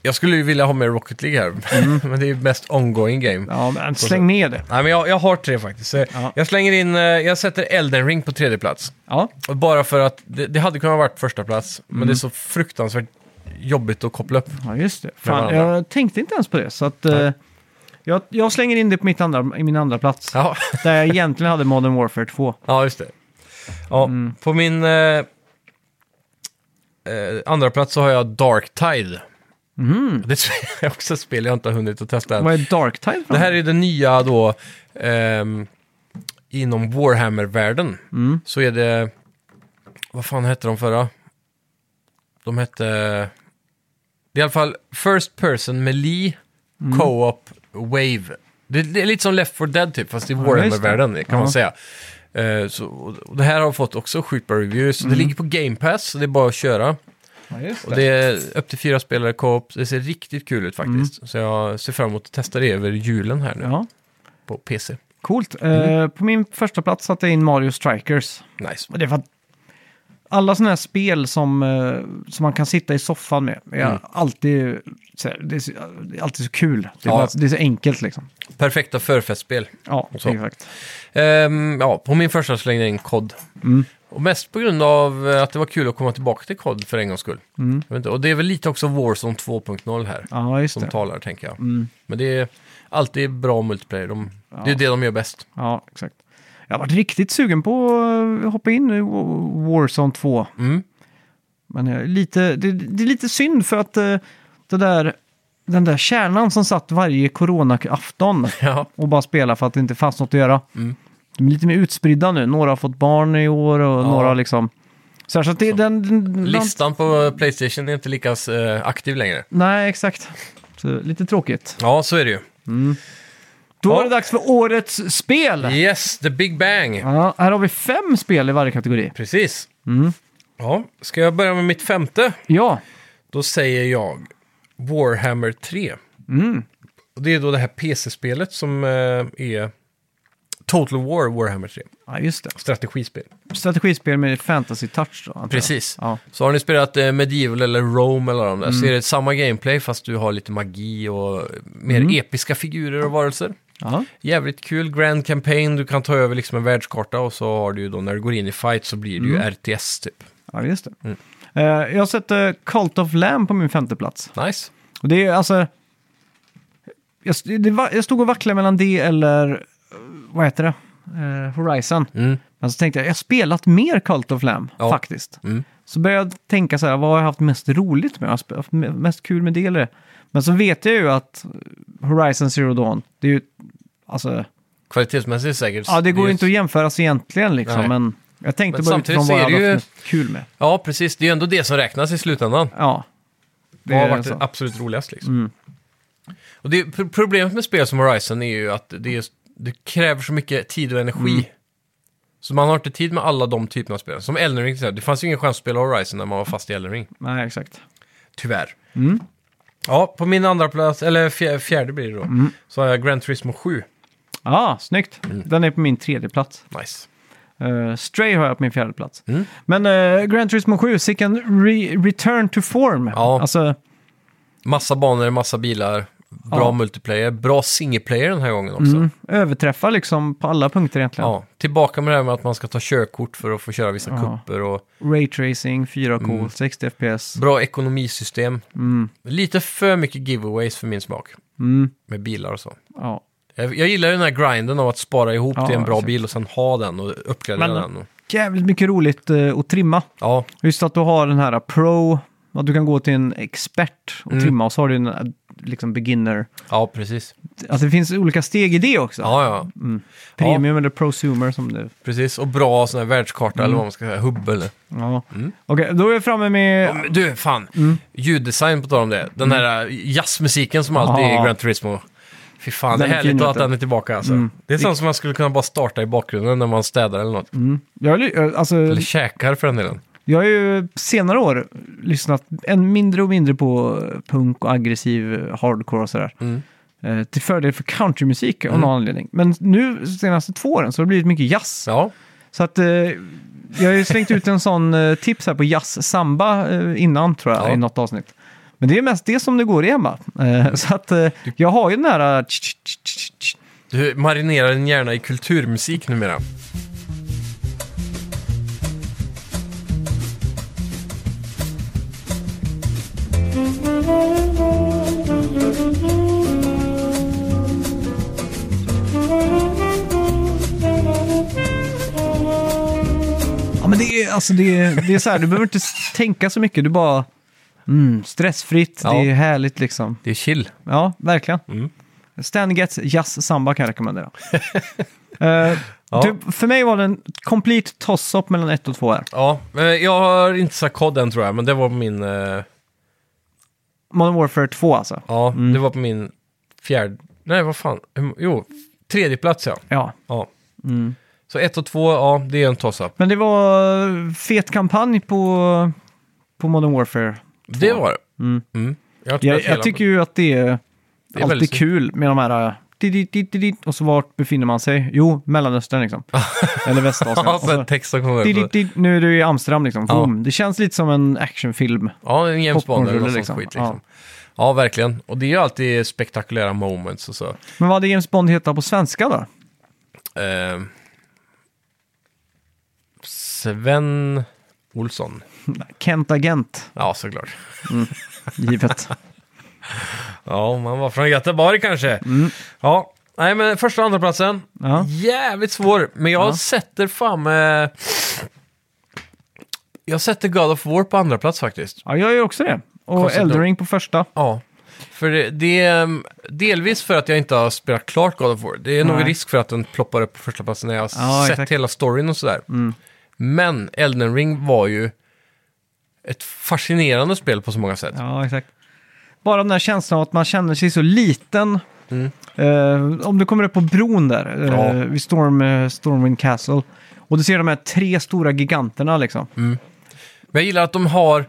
[SPEAKER 1] jag skulle ju vilja ha med Rocket League här, <laughs> men det är ju mest ongoing game.
[SPEAKER 2] Mm. Ja, men släng med det.
[SPEAKER 1] Nej, men jag, jag har tre faktiskt. Så
[SPEAKER 2] Ja.
[SPEAKER 1] Jag slänger in, eh, jag sätter Elden Ring på tredje plats.
[SPEAKER 2] Ja,
[SPEAKER 1] Och Bara för att det, det hade kunnat varit första plats
[SPEAKER 2] Mm.
[SPEAKER 1] men det är så fruktansvärt jobbigt att koppla upp.
[SPEAKER 2] ja just det.
[SPEAKER 1] Med
[SPEAKER 2] Fan,
[SPEAKER 1] varandra.
[SPEAKER 2] jag tänkte inte ens på det. Så att, eh,
[SPEAKER 1] Nej.
[SPEAKER 2] jag, jag slänger in det på mitt andra, i min andra plats.
[SPEAKER 1] <laughs> Ja,
[SPEAKER 2] Där jag egentligen hade Modern Warfare 2.
[SPEAKER 1] ja just det. Ja, På min eh, eh, andra plats så har jag Dark Tide. Det är <laughs> också ett spel jag inte har hunnit att testa än.
[SPEAKER 2] Vad är Darktide? för
[SPEAKER 1] Det här är det nya då ehm, inom Warhammer-världen.
[SPEAKER 2] Mm.
[SPEAKER 1] Så är det, vad fan hette de förra? De hette, det är i alla fall First Person Melee
[SPEAKER 2] Mm.
[SPEAKER 1] Co-op Wave. Det, det är lite som Left 4 Dead typ, fast i Warhammer-världen kan man
[SPEAKER 2] Ja.
[SPEAKER 1] säga. Eh, så, och det här har fått också sjukt bra reviews.
[SPEAKER 2] Mm.
[SPEAKER 1] Det ligger på Game Pass, så det är bara att köra.
[SPEAKER 2] Ja, just
[SPEAKER 1] Och
[SPEAKER 2] det.
[SPEAKER 1] det är upp till fyra spelare co-op. Det ser riktigt kul ut faktiskt. Så jag ser fram emot att testa det över julen här nu
[SPEAKER 2] Mm. Ja,
[SPEAKER 1] på PC.
[SPEAKER 2] coolt. Eh,
[SPEAKER 1] Mm.
[SPEAKER 2] på min första plats satte jag in Mario Strikers.
[SPEAKER 1] Nice.
[SPEAKER 2] Och det var alla sådana här spel som, eh, som man kan sitta i soffan med. Är
[SPEAKER 1] Mm.
[SPEAKER 2] alltid, så här, det, är så, det är alltid så kul. Det är,
[SPEAKER 1] Ja.
[SPEAKER 2] bara, det är så enkelt liksom.
[SPEAKER 1] Perfekta förfestspel.
[SPEAKER 2] Ja,
[SPEAKER 1] Så.
[SPEAKER 2] exakt.
[SPEAKER 1] Ehm, ja, på min första slängde jag in kod.
[SPEAKER 2] Mm.
[SPEAKER 1] Och mest på grund av eh, att det var kul att komma tillbaka till kod för en gångs skull.
[SPEAKER 2] Mm.
[SPEAKER 1] Jag vet inte, och det är väl lite också Warzone 2.0 här
[SPEAKER 2] Ja, just
[SPEAKER 1] som
[SPEAKER 2] det.
[SPEAKER 1] talar, tänker jag.
[SPEAKER 2] Mm.
[SPEAKER 1] Men det är alltid bra multiplayer. De, Det
[SPEAKER 2] Ja.
[SPEAKER 1] är det de gör bäst.
[SPEAKER 2] Ja, exakt. Jag har varit riktigt sugen på att hoppa in i Wa- Warzone 2.
[SPEAKER 1] Mm.
[SPEAKER 2] Men jag är lite, det, det är lite synd för att eh, det där, den där kärnan som satt varje corona-afton
[SPEAKER 1] Ja.
[SPEAKER 2] och bara spela för att det inte fanns något att göra.
[SPEAKER 1] Mm.
[SPEAKER 2] De är lite mer utspridda nu. Några har fått barn i år och
[SPEAKER 1] Ja.
[SPEAKER 2] några liksom... Så, här, så att det är den...
[SPEAKER 1] <laughs>
[SPEAKER 2] den
[SPEAKER 1] Listan på Playstation är inte lika eh, aktiv längre.
[SPEAKER 2] Nej, exakt. Så, lite tråkigt.
[SPEAKER 1] Ja, så är det ju.
[SPEAKER 2] Då
[SPEAKER 1] Ja.
[SPEAKER 2] är det dags för årets spel!
[SPEAKER 1] Yes, the big bang.
[SPEAKER 2] Ja, här har vi fem spel i varje kategori.
[SPEAKER 1] Precis.
[SPEAKER 2] Mm.
[SPEAKER 1] Ja, ska jag börja med mitt femte?
[SPEAKER 2] Ja,
[SPEAKER 1] Då säger jag Warhammer 3.
[SPEAKER 2] Mm.
[SPEAKER 1] Och det är då det här PC-spelet som eh, är Total War Warhammer 3.
[SPEAKER 2] ja just det.
[SPEAKER 1] Strategispel.
[SPEAKER 2] Strategispel med fantasy-touch då, antar jag.
[SPEAKER 1] Precis.
[SPEAKER 2] Ja.
[SPEAKER 1] Så har ni spelat eh, Medieval eller Rome eller de där
[SPEAKER 2] Mm.
[SPEAKER 1] så är det samma gameplay fast du har lite magi och mer
[SPEAKER 2] Mm.
[SPEAKER 1] episka figurer och varelser.
[SPEAKER 2] Ja.
[SPEAKER 1] Jävligt kul, Grand Campaign, du kan ta över liksom en världskarta och så har du ju då när du går in i fight så blir det
[SPEAKER 2] Mm.
[SPEAKER 1] ju RTS typ.
[SPEAKER 2] ja, just det. Eh, jag sätter Cult of Lamb på min femte plats.
[SPEAKER 1] Nice.
[SPEAKER 2] Och det är alltså... Jag, st- det var, jag stod och vacklade mellan det eller, eh, vad heter det, Eh, Horizon.
[SPEAKER 1] Mm.
[SPEAKER 2] Men så tänkte jag, jag har spelat mer Cult of Lamb
[SPEAKER 1] Ja.
[SPEAKER 2] faktiskt.
[SPEAKER 1] Mm.
[SPEAKER 2] Så började jag tänka så här, vad har jag haft mest roligt med? Har jag sp- haft me- mest kul med det eller det? Men så vet jag ju att Horizon Zero Dawn, det är ju, alltså,
[SPEAKER 1] Kvalitetsmässigt säkert.
[SPEAKER 2] ja det går
[SPEAKER 1] är
[SPEAKER 2] ju
[SPEAKER 1] ju-
[SPEAKER 2] inte att jämföras egentligen liksom,
[SPEAKER 1] Nej.
[SPEAKER 2] men jag tänkte
[SPEAKER 1] Men
[SPEAKER 2] bara
[SPEAKER 1] samtidigt
[SPEAKER 2] utifrån
[SPEAKER 1] så
[SPEAKER 2] vad
[SPEAKER 1] är
[SPEAKER 2] jag har
[SPEAKER 1] det ju-
[SPEAKER 2] haft mest kul med.
[SPEAKER 1] Ja, precis. Det är ju ändå det som räknas i slutändan.
[SPEAKER 2] Ja,
[SPEAKER 1] Det har varit
[SPEAKER 2] så. Mm.
[SPEAKER 1] det absolut roligast liksom. Och det, pro- problemet med spel som Horizon är ju att det, är, det kräver så mycket tid och energi.
[SPEAKER 2] Mm.
[SPEAKER 1] Så man har inte tid med alla de typerna av spel. Som Elden Ring till exempel. Det fanns ju ingen chans att spela Horizon när man var fast i Elden Ring.
[SPEAKER 2] Nej, exakt.
[SPEAKER 1] Tyvärr.
[SPEAKER 2] Mm.
[SPEAKER 1] Ja, på min andra plats, eller fjär, fjärde blir det då,
[SPEAKER 2] Mm.
[SPEAKER 1] så har jag Gran Turismo 7.
[SPEAKER 2] Ja, ah, snyggt.
[SPEAKER 1] Mm.
[SPEAKER 2] Den är på min tredje plats.
[SPEAKER 1] Nice.
[SPEAKER 2] Eh, Stray har jag på min fjärde plats. eh,
[SPEAKER 1] Mm.
[SPEAKER 2] Men uh, Grand Turismo 7, sicken re return to form.
[SPEAKER 1] Ja.
[SPEAKER 2] Alltså,
[SPEAKER 1] Massa banor, massa bilar, bra
[SPEAKER 2] Ja.
[SPEAKER 1] multiplayer, bra singleplayer den här gången också.
[SPEAKER 2] Mm. Överträffa liksom på alla punkter egentligen.
[SPEAKER 1] Ja, tillbaka med det här med att man ska ta körkort för att få köra vissa
[SPEAKER 2] Ja.
[SPEAKER 1] kupper och
[SPEAKER 2] Raytracing,
[SPEAKER 1] Mm.
[SPEAKER 2] 4K, 60 FPS.
[SPEAKER 1] bra ekonomisystem.
[SPEAKER 2] Mm.
[SPEAKER 1] Lite för mycket giveaways för min smak
[SPEAKER 2] Mm.
[SPEAKER 1] med bilar och så.
[SPEAKER 2] Ja.
[SPEAKER 1] Jag, jag gillar ju den här grinden av att spara ihop
[SPEAKER 2] Ja,
[SPEAKER 1] till en bra
[SPEAKER 2] exakt.
[SPEAKER 1] bil och sen ha den och uppgradera
[SPEAKER 2] Men-
[SPEAKER 1] den. Och,
[SPEAKER 2] Jävligt mycket roligt eh, att trimma.
[SPEAKER 1] ja,
[SPEAKER 2] Just att du har den här pro, att du kan gå till en expert
[SPEAKER 1] Mm.
[SPEAKER 2] och trimma och så har du en eh, liksom beginner.
[SPEAKER 1] ja, precis.
[SPEAKER 2] Alltså det finns olika steg i det också.
[SPEAKER 1] Ja, ja,
[SPEAKER 2] Mm. Premium eller prosumer som det
[SPEAKER 1] precis. Och bra sån här världskarta eller vad man ska säga, hubb eller.
[SPEAKER 2] Ja. Okej, då är vi framme med...
[SPEAKER 1] Mm. Ja, men Du, fan.
[SPEAKER 2] Mm.
[SPEAKER 1] Ljuddesign på tal om det. Den här eh, jazzmusiken som alltid är
[SPEAKER 2] Ja.
[SPEAKER 1] i Gran Turismo. Fy fan, det
[SPEAKER 2] Den
[SPEAKER 1] är
[SPEAKER 2] är fin,
[SPEAKER 1] härligt att
[SPEAKER 2] vet du. Mm.
[SPEAKER 1] den är tillbaka alltså. Det är sånt som man skulle kunna bara starta i bakgrunden när man städar eller
[SPEAKER 2] Mm.
[SPEAKER 1] något.
[SPEAKER 2] Jag, har ly- alltså,
[SPEAKER 1] Eller käkar för den delen.
[SPEAKER 2] jag har ju senare år lyssnat än mindre och mindre på punk och aggressiv hardcore och sådär.
[SPEAKER 1] Mm.
[SPEAKER 2] Eh, till fördel för countrymusik av någon anledning. Men nu, senaste två åren, så har det blivit mycket jazz.
[SPEAKER 1] Ja,
[SPEAKER 2] Så att eh, jag har ju slängt ut en sån eh, tips här på jazz samba eh, innan tror jag
[SPEAKER 1] Ja.
[SPEAKER 2] i något avsnitt. Men det är mest det som det går i hemma. Eh, så att eh, jag har ju den här... eh, tsch, tsch, tsch, tsch.
[SPEAKER 1] du marinerar din hjärna i kulturmusik numera.
[SPEAKER 2] Ja men det är, alltså, det är, det är så här, du behöver inte s- tänka så mycket, du bara... Mm, stressfritt,
[SPEAKER 1] Ja.
[SPEAKER 2] det är härligt liksom.
[SPEAKER 1] Det är chill.
[SPEAKER 2] Ja, verkligen.
[SPEAKER 1] Mm.
[SPEAKER 2] Stan Getz Jazz Samba kan jag
[SPEAKER 1] <laughs>
[SPEAKER 2] rekommendera. Eh,
[SPEAKER 1] Ja.
[SPEAKER 2] typ, för mig var det en complete toss-up mellan ett och två här.
[SPEAKER 1] Ja, eh, jag har inte sagt kod än tror jag, men det var på min... eh,
[SPEAKER 2] Modern Warfare 2 alltså.
[SPEAKER 1] Ja, det var på min fjärde... Nej, vad fan. Hur- Jo, tredje plats ja.
[SPEAKER 2] Ja.
[SPEAKER 1] ja. Så ett och två, ja, det är en toss-up.
[SPEAKER 2] Men det var eh, fet kampanj på, på Modern Warfare.
[SPEAKER 1] Det var det.
[SPEAKER 2] Mm.
[SPEAKER 1] Mm. Jag, har inte
[SPEAKER 2] Jag,
[SPEAKER 1] spelat hela,
[SPEAKER 2] jag tycker ju att det är,
[SPEAKER 1] är väldigt
[SPEAKER 2] alltid
[SPEAKER 1] snyggt.
[SPEAKER 2] kul med de här... eh, dit, dit, dit, dit, dit, Och så vart befinner man sig? Jo, Mellanöstern
[SPEAKER 1] <laughs>
[SPEAKER 2] liksom. Eller Västasien.
[SPEAKER 1] Ja,
[SPEAKER 2] Och så,
[SPEAKER 1] sen texten kommer
[SPEAKER 2] dit,
[SPEAKER 1] upp.
[SPEAKER 2] dit, dit, nu Alltså, är du i Amsterdam liksom.
[SPEAKER 1] Ja.
[SPEAKER 2] Boom. Det känns lite som en actionfilm.
[SPEAKER 1] Ja, en James Bond eller
[SPEAKER 2] Popcornrulle,
[SPEAKER 1] något sånt
[SPEAKER 2] liksom.
[SPEAKER 1] skit liksom. Ja. verkligen. Och det är ju alltid spektakulära moments och så.
[SPEAKER 2] Men vad hade James Bond hetat på svenska då?
[SPEAKER 1] Ehm. Sven Olsson.
[SPEAKER 2] Kent Agent,
[SPEAKER 1] Ja, såklart. <laughs>
[SPEAKER 2] givet.
[SPEAKER 1] Ja, om han var från Göteborg kanske. Ja, nej men första och andra platsen.
[SPEAKER 2] Ja.
[SPEAKER 1] Jävligt svår, men jag sätter fan med... Jag sätter God of War på andra plats faktiskt.
[SPEAKER 2] ja, jag gör också det. Och
[SPEAKER 1] Konstigt nog.
[SPEAKER 2] Eldering på första.
[SPEAKER 1] Ja, för det, det är ehm, delvis för att jag inte har spelat klart God of War. Det är nog
[SPEAKER 2] Nej.
[SPEAKER 1] risk för att den ploppar upp på första platsen när jag har
[SPEAKER 2] Ja,
[SPEAKER 1] sett
[SPEAKER 2] exakt. Mm.
[SPEAKER 1] hela storyn och sådär. Men Elden Ring var ju ett fascinerande spel på så många sätt.
[SPEAKER 2] Ja, exakt. Bara den där känslan av att man känner sig så liten. Eh, om du kommer upp på bron där, eh,
[SPEAKER 1] Mm. Ja.
[SPEAKER 2] vid Storm, eh, Stormwind Castle. Och du ser de här tre stora giganterna liksom.
[SPEAKER 1] Mm. Men jag gillar att de har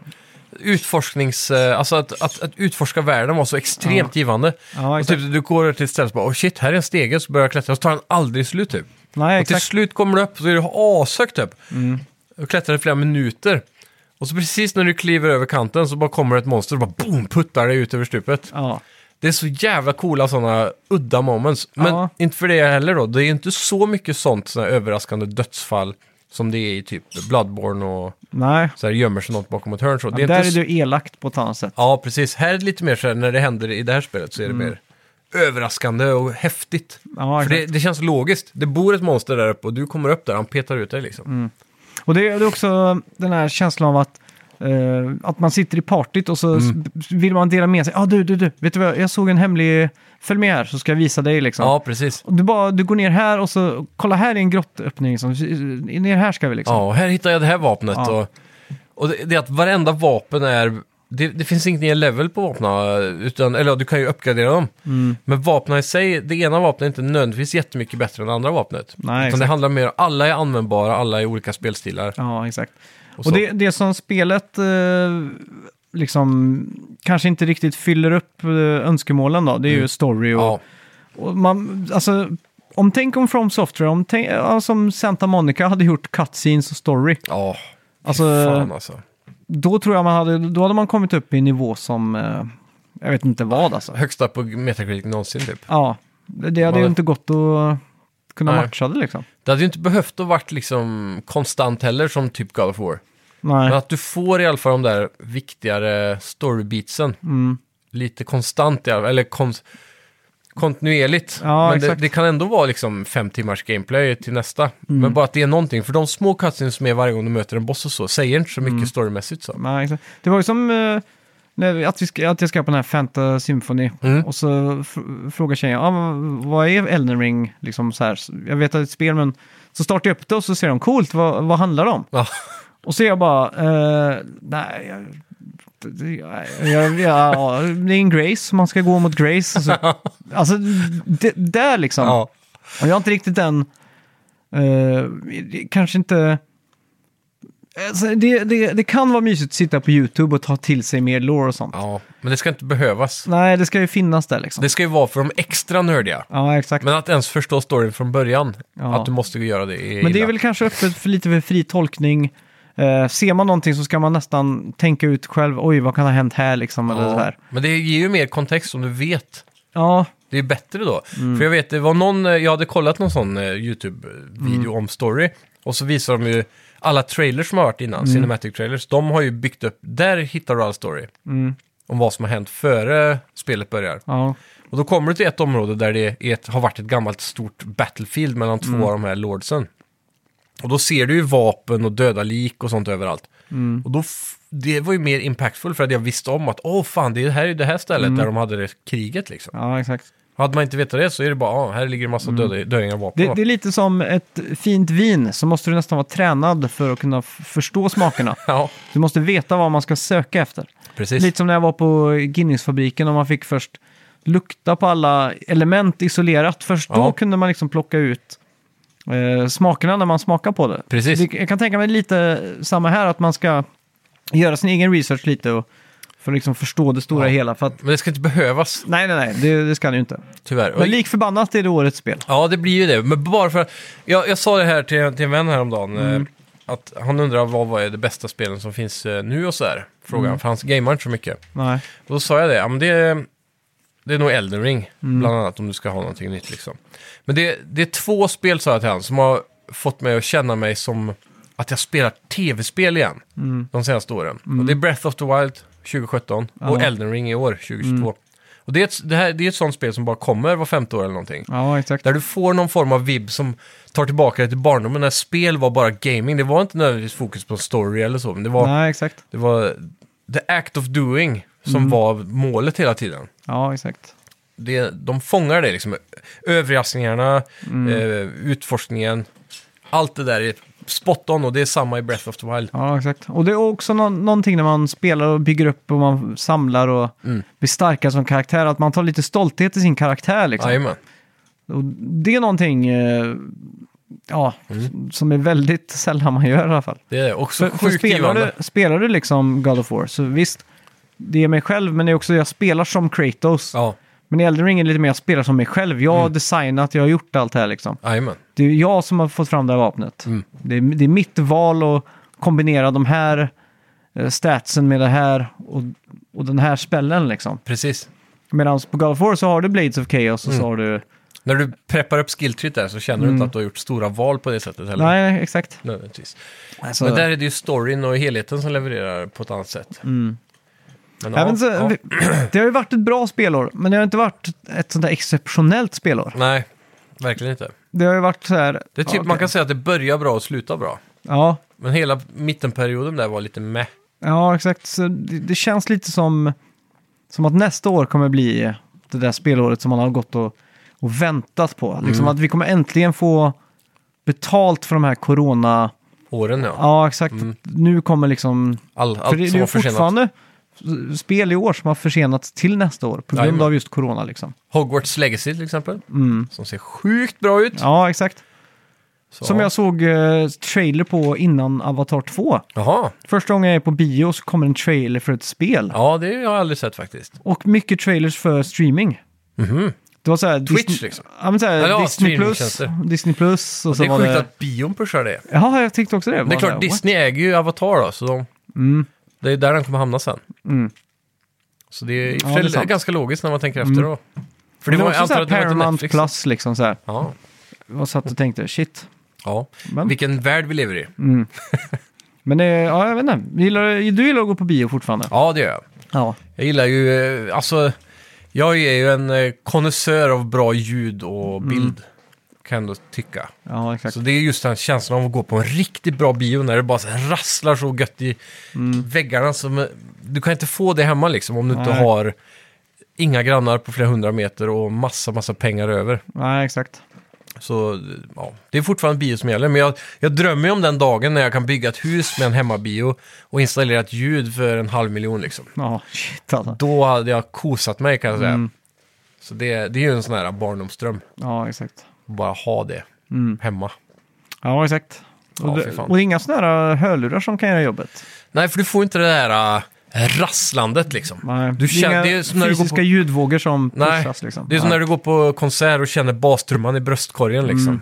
[SPEAKER 1] utforsknings... eh, Alltså att, att, att utforska världen var så extremt givande.
[SPEAKER 2] Ja,
[SPEAKER 1] och
[SPEAKER 2] exakt.
[SPEAKER 1] typ, du går till ett ställe och bara, oh shit, här är en stege, så börjar jag klättra, så tar den aldrig slut typ.
[SPEAKER 2] Nej,
[SPEAKER 1] Och till
[SPEAKER 2] exakt. Mm.
[SPEAKER 1] slut kommer du upp så är du ashögt upp. Och klättrar i flera minuter. Och så precis när du kliver över kanten så bara kommer ett monster och bara boom, puttar dig ut över stupet.
[SPEAKER 2] Ja.
[SPEAKER 1] Det är så jävla coola sådana udda moments. Men
[SPEAKER 2] Ja.
[SPEAKER 1] inte för det heller då. Det är inte så mycket sånt, sådana överraskande dödsfall som det är i typ Bloodborne och
[SPEAKER 2] Nej,
[SPEAKER 1] så här gömmer sig något bakom ett hörn. Så. Det är
[SPEAKER 2] där
[SPEAKER 1] inte...
[SPEAKER 2] är
[SPEAKER 1] s-
[SPEAKER 2] du elakt på ett annat sätt.
[SPEAKER 1] Ja, precis. Här är det lite mer så här, när det händer i det här spelet så är det
[SPEAKER 2] Mm.
[SPEAKER 1] mer överraskande och häftigt.
[SPEAKER 2] Ja,
[SPEAKER 1] för det,
[SPEAKER 2] exakt.
[SPEAKER 1] det känns logiskt. Det bor ett monster där uppe och du kommer upp där, han petar ut dig liksom.
[SPEAKER 2] Mm. Och det är det är också den här känslan av att, eh, att man sitter i partyt och så
[SPEAKER 1] Mm.
[SPEAKER 2] s- vill man dela med sig. Ja, ah, du, du, du, vet du vad, jag såg en hemlig, följ med här så ska jag visa dig liksom.
[SPEAKER 1] Ja, precis.
[SPEAKER 2] Och Du, bara, du går ner här och så, kolla här är en grottöppning, liksom. ner här ska vi liksom.
[SPEAKER 1] Ja, och här hittar jag det här vapnet.
[SPEAKER 2] Ja.
[SPEAKER 1] Och, och det, det är att varenda vapen är... Det, det finns inget ner level på vapnen, utan, eller ja, du kan ju uppgradera dem.
[SPEAKER 2] Mm.
[SPEAKER 1] Men vapnen i sig, det ena vapnet är inte nödvändigtvis jättemycket bättre än det andra vapnet. utan
[SPEAKER 2] exakt.
[SPEAKER 1] det handlar mer om alla är användbara, alla är olika spelstilar.
[SPEAKER 2] Ja, exakt. Och,
[SPEAKER 1] så.
[SPEAKER 2] det, det som spelet eh, liksom kanske inte riktigt fyller upp eh, önskemålen då, det är ju story och,
[SPEAKER 1] Mm. Ja,
[SPEAKER 2] och man, alltså, om tänk om From Software, om tänk, ja, som Santa Monica hade gjort cutscenes och story,
[SPEAKER 1] ja. Fy
[SPEAKER 2] Alltså-
[SPEAKER 1] Fan alltså.
[SPEAKER 2] då tror jag man hade, då hade man kommit upp i en nivå som eh, jag vet inte vad alltså.
[SPEAKER 1] Högsta på Metacritic någonsin typ.
[SPEAKER 2] Ja, det det hade
[SPEAKER 1] Vad-
[SPEAKER 2] ju inte gått att kunna
[SPEAKER 1] Nej.
[SPEAKER 2] matcha det liksom.
[SPEAKER 1] Det hade ju inte behövt att varit liksom konstant heller som typ God of War.
[SPEAKER 2] Nej,
[SPEAKER 1] Men att du får i alla fall de där viktigare storybeatsen.
[SPEAKER 2] Mm.
[SPEAKER 1] Lite konstant i alla fall, eller kons- kontinuerligt. men
[SPEAKER 2] Ja,
[SPEAKER 1] det,
[SPEAKER 2] exakt. Mm.
[SPEAKER 1] det kan ändå vara liksom fem timmars gameplay till nästa. Men bara att det är någonting, för de små cutscenes som är varje gång du möter en boss och så, säger inte så mycket
[SPEAKER 2] Mm.
[SPEAKER 1] storymässigt så.
[SPEAKER 2] nej exakt. Det var ju som eh, när vi- att, vi ska, att jag ska på den här Fanta Symphony.
[SPEAKER 1] Mm.
[SPEAKER 2] Och så fr- frågar tjejen, ah, vad- vad är Elden Ring? Liksom så här, jag vet att det är ett spel, men så startar jag upp det och så ser de coolt, vad, vad handlar det om?
[SPEAKER 1] Ja,
[SPEAKER 2] Och så är jag bara, eh, nej, jag, jag, jag, ja, det är en Grace, man ska gå mot Grace. Alltså, alltså det, där liksom.
[SPEAKER 1] <laughs> ja.
[SPEAKER 2] Och jag har inte riktigt den, eh, kanske inte... Alltså, det, det, det kan vara mysigt att sitta på YouTube och ta till sig mer lore och sånt.
[SPEAKER 1] ja, men det ska inte behövas.
[SPEAKER 2] Nej, det ska ju finnas där liksom.
[SPEAKER 1] Det ska ju vara för de extra nördiga.
[SPEAKER 2] Ja, exakt. Men,
[SPEAKER 1] Men att ens förstå storyn från början,
[SPEAKER 2] Ja.
[SPEAKER 1] att du måste göra det är
[SPEAKER 2] det är
[SPEAKER 1] illa.
[SPEAKER 2] väl kanske öppet för lite för fri tolkning. Eh, ser man någonting så ska man nästan tänka ut själv, oj, vad kan ha hänt här liksom? Eller så
[SPEAKER 1] ja.
[SPEAKER 2] här.
[SPEAKER 1] Men det ger ju mer kontext om du vet
[SPEAKER 2] Ja,
[SPEAKER 1] Det är bättre då. För jag vet, det var någon, eh, jag hade kollat någon sån eh, YouTube-video om story. Och så visar de ju alla trailers som har varit innan, cinematic trailers. De har ju byggt upp, där hittar du all story. Om vad som har hänt före spelet börjar.
[SPEAKER 2] ja.
[SPEAKER 1] Och då kommer du till ett område där det är ett, har varit ett gammalt stort battlefield mellan två av de här lordsen. Och då ser du ju vapen och döda lik och sånt överallt. Och då, f- det var ju mer impactful för att jag visste om att åh fan, det är här, det här stället där de hade det kriget liksom.
[SPEAKER 2] Ja, exakt.
[SPEAKER 1] Hade man inte vetat det så är det bara, ah, här ligger en massa döda, döingar och vapen.
[SPEAKER 2] Mm. Det,
[SPEAKER 1] va?
[SPEAKER 2] det är lite som ett fint vin, så måste du nästan vara tränad för att kunna f- förstå smakerna.
[SPEAKER 1] Ja,
[SPEAKER 2] Du måste veta vad man ska söka efter.
[SPEAKER 1] precis.
[SPEAKER 2] Lite som när jag var på Guinness-fabriken och man fick först lukta på alla element isolerat. Först då
[SPEAKER 1] Ja.
[SPEAKER 2] kunde man liksom plocka ut eh, smakerna när man smakar på det.
[SPEAKER 1] Precis.
[SPEAKER 2] Det- Jag kan tänka mig lite samma här, att man ska göra sin egen research lite och, för att liksom förstå det stora
[SPEAKER 1] Ja.
[SPEAKER 2] hela. För att,
[SPEAKER 1] Men det ska inte behövas,
[SPEAKER 2] nej, nej, nej, det, det ska det ju inte.
[SPEAKER 1] tyvärr. Och-
[SPEAKER 2] Men lik förbannat är det årets spel.
[SPEAKER 1] Ja, det blir ju det. Men bara för Jag, jag sa det här till, till en vän häromdagen.
[SPEAKER 2] Mm.
[SPEAKER 1] Eh, att han undrar vad, vad är det bästa spelen som finns eh, nu och så här. Frågan,
[SPEAKER 2] Mm.
[SPEAKER 1] för han gamer inte så mycket.
[SPEAKER 2] Nej.
[SPEAKER 1] Då sa jag det, ja, men det, det är nog Elden Ring, bland annat, om du ska ha någonting nytt. Liksom. Men det, det är två spel, sa jag till han, som har fått mig att känna mig som att jag spelar tv-spel igen de senaste åren. Och det är Breath of the Wild 2017 och
[SPEAKER 2] Ja.
[SPEAKER 1] Elden Ring i år, 2022. Och det är, ett, det, här, det är ett sånt spel som bara kommer var femte år eller någonting.
[SPEAKER 2] Ja, exakt.
[SPEAKER 1] Där du får någon form av vibb som tar tillbaka dig till barndomen när spel var bara gaming. Det var inte nödvändigtvis fokus på en story eller så, men det var,
[SPEAKER 2] Nej, exakt.
[SPEAKER 1] det var the act of doing som
[SPEAKER 2] Mm.
[SPEAKER 1] var målet hela tiden.
[SPEAKER 2] Ja, exakt.
[SPEAKER 1] Det, de fångar det liksom. Överraskningarna,
[SPEAKER 2] Mm.
[SPEAKER 1] eh, utforskningen, allt det där är spot on och det är samma i Breath of the Wild.
[SPEAKER 2] Ja, exakt. Och det är också nå- någonting när man spelar och bygger upp och man samlar och
[SPEAKER 1] Mm.
[SPEAKER 2] blir starkare som karaktär, att man tar lite stolthet i sin karaktär liksom.
[SPEAKER 1] Jajamän.
[SPEAKER 2] Och det är någonting eh, ja, s- som är väldigt <laughs> sällan man gör i alla fall.
[SPEAKER 1] Det är också
[SPEAKER 2] För, för
[SPEAKER 1] Mm. sjukt
[SPEAKER 2] spelar,
[SPEAKER 1] givande.
[SPEAKER 2] du, spelar du liksom God of War, så visst, det är mig själv, men det är också jag spelar som Kratos.
[SPEAKER 1] Ja, Mm.
[SPEAKER 2] Men i Elden Ring är det lite mer jag spelar som mig själv. Jag har designat, jag har gjort allt det här liksom.
[SPEAKER 1] jajamän.
[SPEAKER 2] Det är jag som har fått fram det här vapnet.
[SPEAKER 1] Mm.
[SPEAKER 2] Det, är, det är mitt val att kombinera de här eh, statsen med det här och, och den här spellen liksom.
[SPEAKER 1] Precis.
[SPEAKER 2] Medan på God of War så har du Blades of Chaos och
[SPEAKER 1] Mm.
[SPEAKER 2] så har du...
[SPEAKER 1] När du preppar upp skilltreet där så känner du inte att du har gjort stora val på det sättet heller.
[SPEAKER 2] Mm. Nej, exakt.
[SPEAKER 1] Nödvändigtvis.
[SPEAKER 2] Alltså,
[SPEAKER 1] Men där är det ju storyn och helheten som levererar på ett annat sätt. Men, ja,
[SPEAKER 2] ja, men Mm. så,
[SPEAKER 1] ja.
[SPEAKER 2] vi- <clears throat> Det har ju varit ett bra spelår, men det har inte varit ett sånt där exceptionellt spelår.
[SPEAKER 1] Nej, verkligen inte.
[SPEAKER 2] Det har ju varit så här...
[SPEAKER 1] Det är typ,
[SPEAKER 2] ja,
[SPEAKER 1] Man
[SPEAKER 2] okej.
[SPEAKER 1] kan säga att det börjar bra och slutar bra.
[SPEAKER 2] Ja,
[SPEAKER 1] Men hela mittenperioden där var lite meh.
[SPEAKER 2] ja exakt. Så det, det känns lite som, som att nästa år kommer bli det där spelåret som man har gått och, och väntat på.
[SPEAKER 1] Mm.
[SPEAKER 2] Liksom att vi kommer äntligen få betalt för de här corona...
[SPEAKER 1] Åren ja.
[SPEAKER 2] Ja, exakt. Nu kommer liksom...
[SPEAKER 1] All, Mm.
[SPEAKER 2] För
[SPEAKER 1] allt
[SPEAKER 2] det, det är
[SPEAKER 1] som
[SPEAKER 2] ju
[SPEAKER 1] var försenat.
[SPEAKER 2] fortfarande spel i år som har försenats till nästa år på grund
[SPEAKER 1] Jajamän.
[SPEAKER 2] av just corona liksom.
[SPEAKER 1] Hogwarts Legacy till exempel. Som ser sjukt bra ut.
[SPEAKER 2] Mm. Ja, exakt.
[SPEAKER 1] Så,
[SPEAKER 2] Som
[SPEAKER 1] ja.
[SPEAKER 2] jag såg eh, trailer på innan Avatar 2.
[SPEAKER 1] Jaha,
[SPEAKER 2] Första gången jag är på bio så kommer en trailer för ett spel.
[SPEAKER 1] ja det har jag aldrig sett faktiskt.
[SPEAKER 2] Och mycket trailers för streaming.
[SPEAKER 1] Mhm.
[SPEAKER 2] Det var såhär...
[SPEAKER 1] Twitch, liksom.
[SPEAKER 2] Ja, men såhär,
[SPEAKER 1] Eller ja,
[SPEAKER 2] Disney Plus.
[SPEAKER 1] streamingtjänster.
[SPEAKER 2] Disney Plus. Och
[SPEAKER 1] Det
[SPEAKER 2] så
[SPEAKER 1] är
[SPEAKER 2] var
[SPEAKER 1] sjukt
[SPEAKER 2] det...
[SPEAKER 1] att bion pushar det.
[SPEAKER 2] Ja, jag tyckte också det.
[SPEAKER 1] Det är
[SPEAKER 2] Bara
[SPEAKER 1] klart,
[SPEAKER 2] såhär, Mm.
[SPEAKER 1] Disney äger ju Avatar då, så de... Det är där den kommer hamna sen. Så det är, i och för
[SPEAKER 2] Ja, det är
[SPEAKER 1] sig
[SPEAKER 2] sant. Mm.
[SPEAKER 1] ganska logiskt när man tänker efter då. För
[SPEAKER 2] Men det var
[SPEAKER 1] jag
[SPEAKER 2] också så
[SPEAKER 1] antar
[SPEAKER 2] här
[SPEAKER 1] att det var till
[SPEAKER 2] Paramount
[SPEAKER 1] Netflix.
[SPEAKER 2] Plus liksom så här.
[SPEAKER 1] Ja,
[SPEAKER 2] Jag satt och tänkte, shit.
[SPEAKER 1] ja.
[SPEAKER 2] Men- Mm.
[SPEAKER 1] vilken värld vi lever i.
[SPEAKER 2] Men det, ja, jag vet inte. Gillar, du- du gillar att gå på bio fortfarande?
[SPEAKER 1] Ja, det gör jag.
[SPEAKER 2] Ja.
[SPEAKER 1] Jag gillar ju, eh, alltså, jag är ju en eh, konnässör av bra ljud och bild. Kan jag ändå tycka.
[SPEAKER 2] Ja, exakt.
[SPEAKER 1] Så det är just den känslan av att gå på en riktigt bra bio när det bara så här rasslar så gött i väggarna. Som, eh, du kan inte få det hemma liksom om du inte
[SPEAKER 2] Nej.
[SPEAKER 1] har inga grannar på flera hundra meter och massa, massa pengar över.
[SPEAKER 2] Nej, exakt.
[SPEAKER 1] Så ja, det är fortfarande bio som gäller. Men jag, jag drömmer ju om den dagen när jag kan bygga ett hus med en hemmabio och installera ett ljud för en halv miljon liksom.
[SPEAKER 2] Ja, shit alltså.
[SPEAKER 1] Då hade jag kosat mig kan jag säga. Så det, det är ju en sån här barndomsdröm.
[SPEAKER 2] Ja, exakt.
[SPEAKER 1] Bara ha det
[SPEAKER 2] Mm.
[SPEAKER 1] hemma.
[SPEAKER 2] Ja, exakt.
[SPEAKER 1] Ja,
[SPEAKER 2] Och,
[SPEAKER 1] fy
[SPEAKER 2] det,
[SPEAKER 1] fan.
[SPEAKER 2] och inga sådana här hörlurar som kan göra jobbet.
[SPEAKER 1] Nej, för du får inte det där äh, rasslandet liksom.
[SPEAKER 2] Nej.
[SPEAKER 1] Du känner,
[SPEAKER 2] inga
[SPEAKER 1] det är som när du går
[SPEAKER 2] fysiska
[SPEAKER 1] på,
[SPEAKER 2] ljudvågor som
[SPEAKER 1] nej,
[SPEAKER 2] pushas liksom.
[SPEAKER 1] det är som när du går på konsert och känner bastrumman i bröstkorgen
[SPEAKER 2] Mm.
[SPEAKER 1] liksom.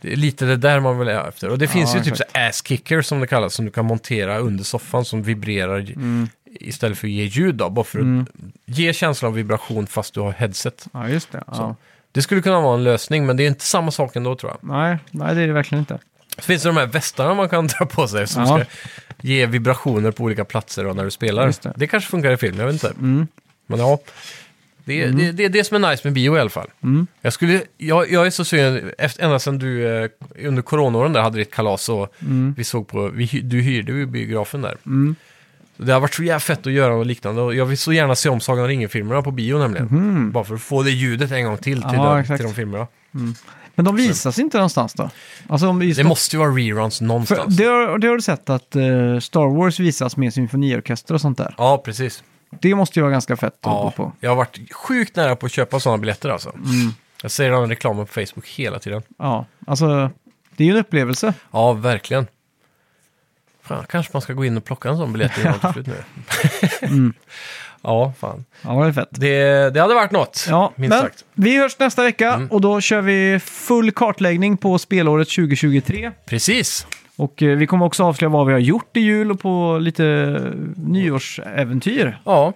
[SPEAKER 1] Det är lite det där man vill ha efter. Och det finns ju typ så
[SPEAKER 2] exakt.
[SPEAKER 1] här ass-kicker som det kallas, som du kan montera under soffan som vibrerar i-
[SPEAKER 2] Mm.
[SPEAKER 1] istället för att ge ljud då, bara för att ge känslan av vibration fast du har headset.
[SPEAKER 2] Ja, just det. Ja.
[SPEAKER 1] Det skulle kunna vara en lösning, men det är inte samma sak ändå tror jag.
[SPEAKER 2] Nej, nej, det är det verkligen inte.
[SPEAKER 1] Så finns det de här västarna man kan dra på sig som
[SPEAKER 2] Ja.
[SPEAKER 1] ska ge vibrationer på olika platser och när du spelar.
[SPEAKER 2] Just
[SPEAKER 1] Det.
[SPEAKER 2] det. Mm.
[SPEAKER 1] kanske funkar i film, jag vet inte. Men ja, det är det, det, är det som är nice med bio i alla fall.
[SPEAKER 2] Mm.
[SPEAKER 1] Jag, skulle, jag, jag är så sugen, efter, ända sedan du eh, under coronaåren där hade ditt kalas och
[SPEAKER 2] Mm.
[SPEAKER 1] vi såg på, vi, hy- du hyrde ju biografen där. Så Det har varit så jävla fett att göra något liknande och jag vill så gärna se om Sagan om ringen-filmerna på bio nämligen. Bara för att få det ljudet en gång till till,
[SPEAKER 2] Mm. Ja,
[SPEAKER 1] de,
[SPEAKER 2] exakt.
[SPEAKER 1] till de filmerna.
[SPEAKER 2] Men de visas inte någonstans då? Alltså, om
[SPEAKER 1] Det måste ju vara reruns
[SPEAKER 2] för,
[SPEAKER 1] någonstans.
[SPEAKER 2] det, har, det har du sett att eh, Star Wars visas med symfoniorkester och sånt där.
[SPEAKER 1] Ja, precis.
[SPEAKER 2] Det måste ju vara ganska fett att gå på. Mm.
[SPEAKER 1] jag har varit sjukt nära på att köpa sådana biljetter alltså. Jag ser den reklamen på Facebook hela tiden.
[SPEAKER 2] Ja, alltså det är ju en upplevelse.
[SPEAKER 1] Ja, verkligen. Fan, kanske man ska gå in och plocka en sån biljett innan det är slut nu.
[SPEAKER 2] <laughs> Mm.
[SPEAKER 1] <laughs> ja, fan.
[SPEAKER 2] Ja, det är fett.
[SPEAKER 1] Det, det hade varit något,
[SPEAKER 2] Ja,
[SPEAKER 1] minst
[SPEAKER 2] men
[SPEAKER 1] sagt.
[SPEAKER 2] vi hörs nästa vecka och då kör vi full kartläggning på spelåret 2023.
[SPEAKER 1] Precis.
[SPEAKER 2] Och eh, vi kommer också avslöja vad vi har gjort i jul och på lite eh, nyårsäventyr.
[SPEAKER 1] Ja,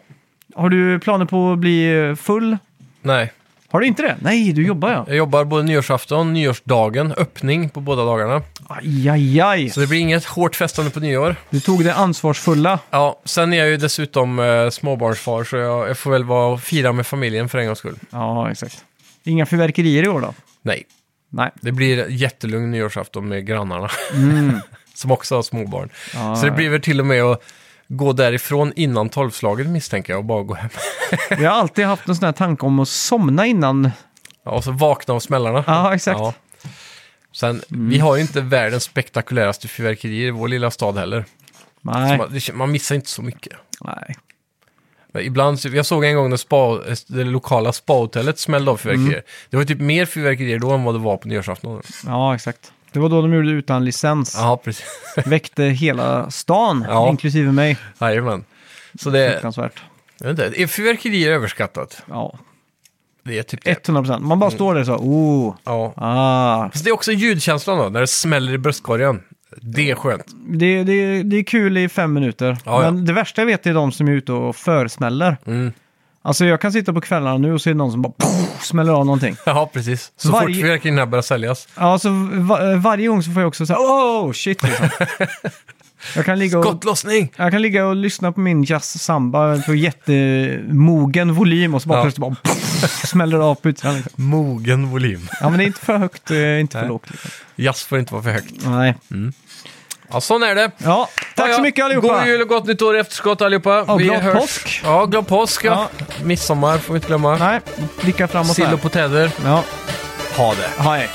[SPEAKER 2] Har du planer på att bli eh, full?
[SPEAKER 1] nej.
[SPEAKER 2] Har du inte det? Nej, du jobbar ja.
[SPEAKER 1] Jag jobbar både nyårsafton, nyårsdagen, öppning på båda dagarna.
[SPEAKER 2] Aj, aj, aj.
[SPEAKER 1] Så det blir inget hårt festande på nyår.
[SPEAKER 2] Du tog det ansvarsfulla.
[SPEAKER 1] Ja, sen är jag ju dessutom eh, småbarnsfar så jag, jag får väl vara och fira med familjen för en gångs skull.
[SPEAKER 2] Ja, exakt. Inga fyrverkerier i år då?
[SPEAKER 1] Nej,
[SPEAKER 2] Nej.
[SPEAKER 1] Det blir jättelugn nyårsafton med grannarna. <laughs> som också har småbarn.
[SPEAKER 2] Mm. Ja,
[SPEAKER 1] så det blir väl till och med att gå därifrån innan tolvslaget misstänker jag och bara gå hem. <laughs>
[SPEAKER 2] Vi har alltid haft en sån här tanke om att somna innan.
[SPEAKER 1] Ja, och så vakna av smällarna.
[SPEAKER 2] Ja, exakt. Mm.
[SPEAKER 1] Sen, vi har ju inte världens spektakuläraste fyrverkerier i vår lilla stad heller. Så
[SPEAKER 2] Nej.
[SPEAKER 1] man, det, man missar inte så mycket.
[SPEAKER 2] Nej.
[SPEAKER 1] Men ibland, så- jag såg en gång när spa, det lokala spahotellet smällde av fyrverkerier.
[SPEAKER 2] Mm.
[SPEAKER 1] Det var typ mer fyrverkerier då än vad det var på nyårsafton.
[SPEAKER 2] Ja, exakt. Det var då de gjorde det utan licens.
[SPEAKER 1] Ja, precis. <laughs>
[SPEAKER 2] Väckte hela stan,
[SPEAKER 1] Ja.
[SPEAKER 2] inklusive mig.
[SPEAKER 1] Jajamän. Så det,
[SPEAKER 2] Fruktansvärt.
[SPEAKER 1] jag vet inte, är fyrverkerier överskattat?
[SPEAKER 2] Ja,
[SPEAKER 1] Det är typ det.
[SPEAKER 2] 100 procent. Man bara står där så, oh,
[SPEAKER 1] Ja.
[SPEAKER 2] ah.
[SPEAKER 1] Fast det är också ljudkänslan då, när det smäller i bröstkorgen. Det är skönt.
[SPEAKER 2] Det, det, det är kul i fem minuter.
[SPEAKER 1] Ja, ja.
[SPEAKER 2] Men det värsta jag vet är de som är ute och försmäller.
[SPEAKER 1] Mm.
[SPEAKER 2] Alltså jag kan sitta på kvällarna nu och se någon som bara pff, smäller av någonting.
[SPEAKER 1] Ja, precis. Så
[SPEAKER 2] Varje-
[SPEAKER 1] fort fyrverkerierna börjar säljas.
[SPEAKER 2] Alltså va- varje gång så får jag också säga oh shit liksom. jag, kan ligga och,
[SPEAKER 1] Skottlossning!
[SPEAKER 2] jag kan ligga och lyssna på min jazz samba på jättemogen volym och så bara
[SPEAKER 1] Ja.
[SPEAKER 2] plötsligt bara pff, smäller det av på utsidan. Liksom.
[SPEAKER 1] Mogen volym.
[SPEAKER 2] Ja men det är inte för högt, eh, inte för
[SPEAKER 1] Nej.
[SPEAKER 2] lågt. Liksom.
[SPEAKER 1] Jazz får inte vara för högt.
[SPEAKER 2] Nej.
[SPEAKER 1] Ja, sån är det.
[SPEAKER 2] Ja, tack
[SPEAKER 1] Ja, ja.
[SPEAKER 2] så mycket allihopa!
[SPEAKER 1] God jul och gott nytt år i efterskott allihopa.
[SPEAKER 2] Ja, glad påsk.
[SPEAKER 1] Ja, glad påsk. Ja. Midsommar får vi inte glömma.
[SPEAKER 2] Nej, blicka framåt
[SPEAKER 1] Sill
[SPEAKER 2] här.
[SPEAKER 1] och potäder.
[SPEAKER 2] Ja,
[SPEAKER 1] Ha det.
[SPEAKER 2] hej.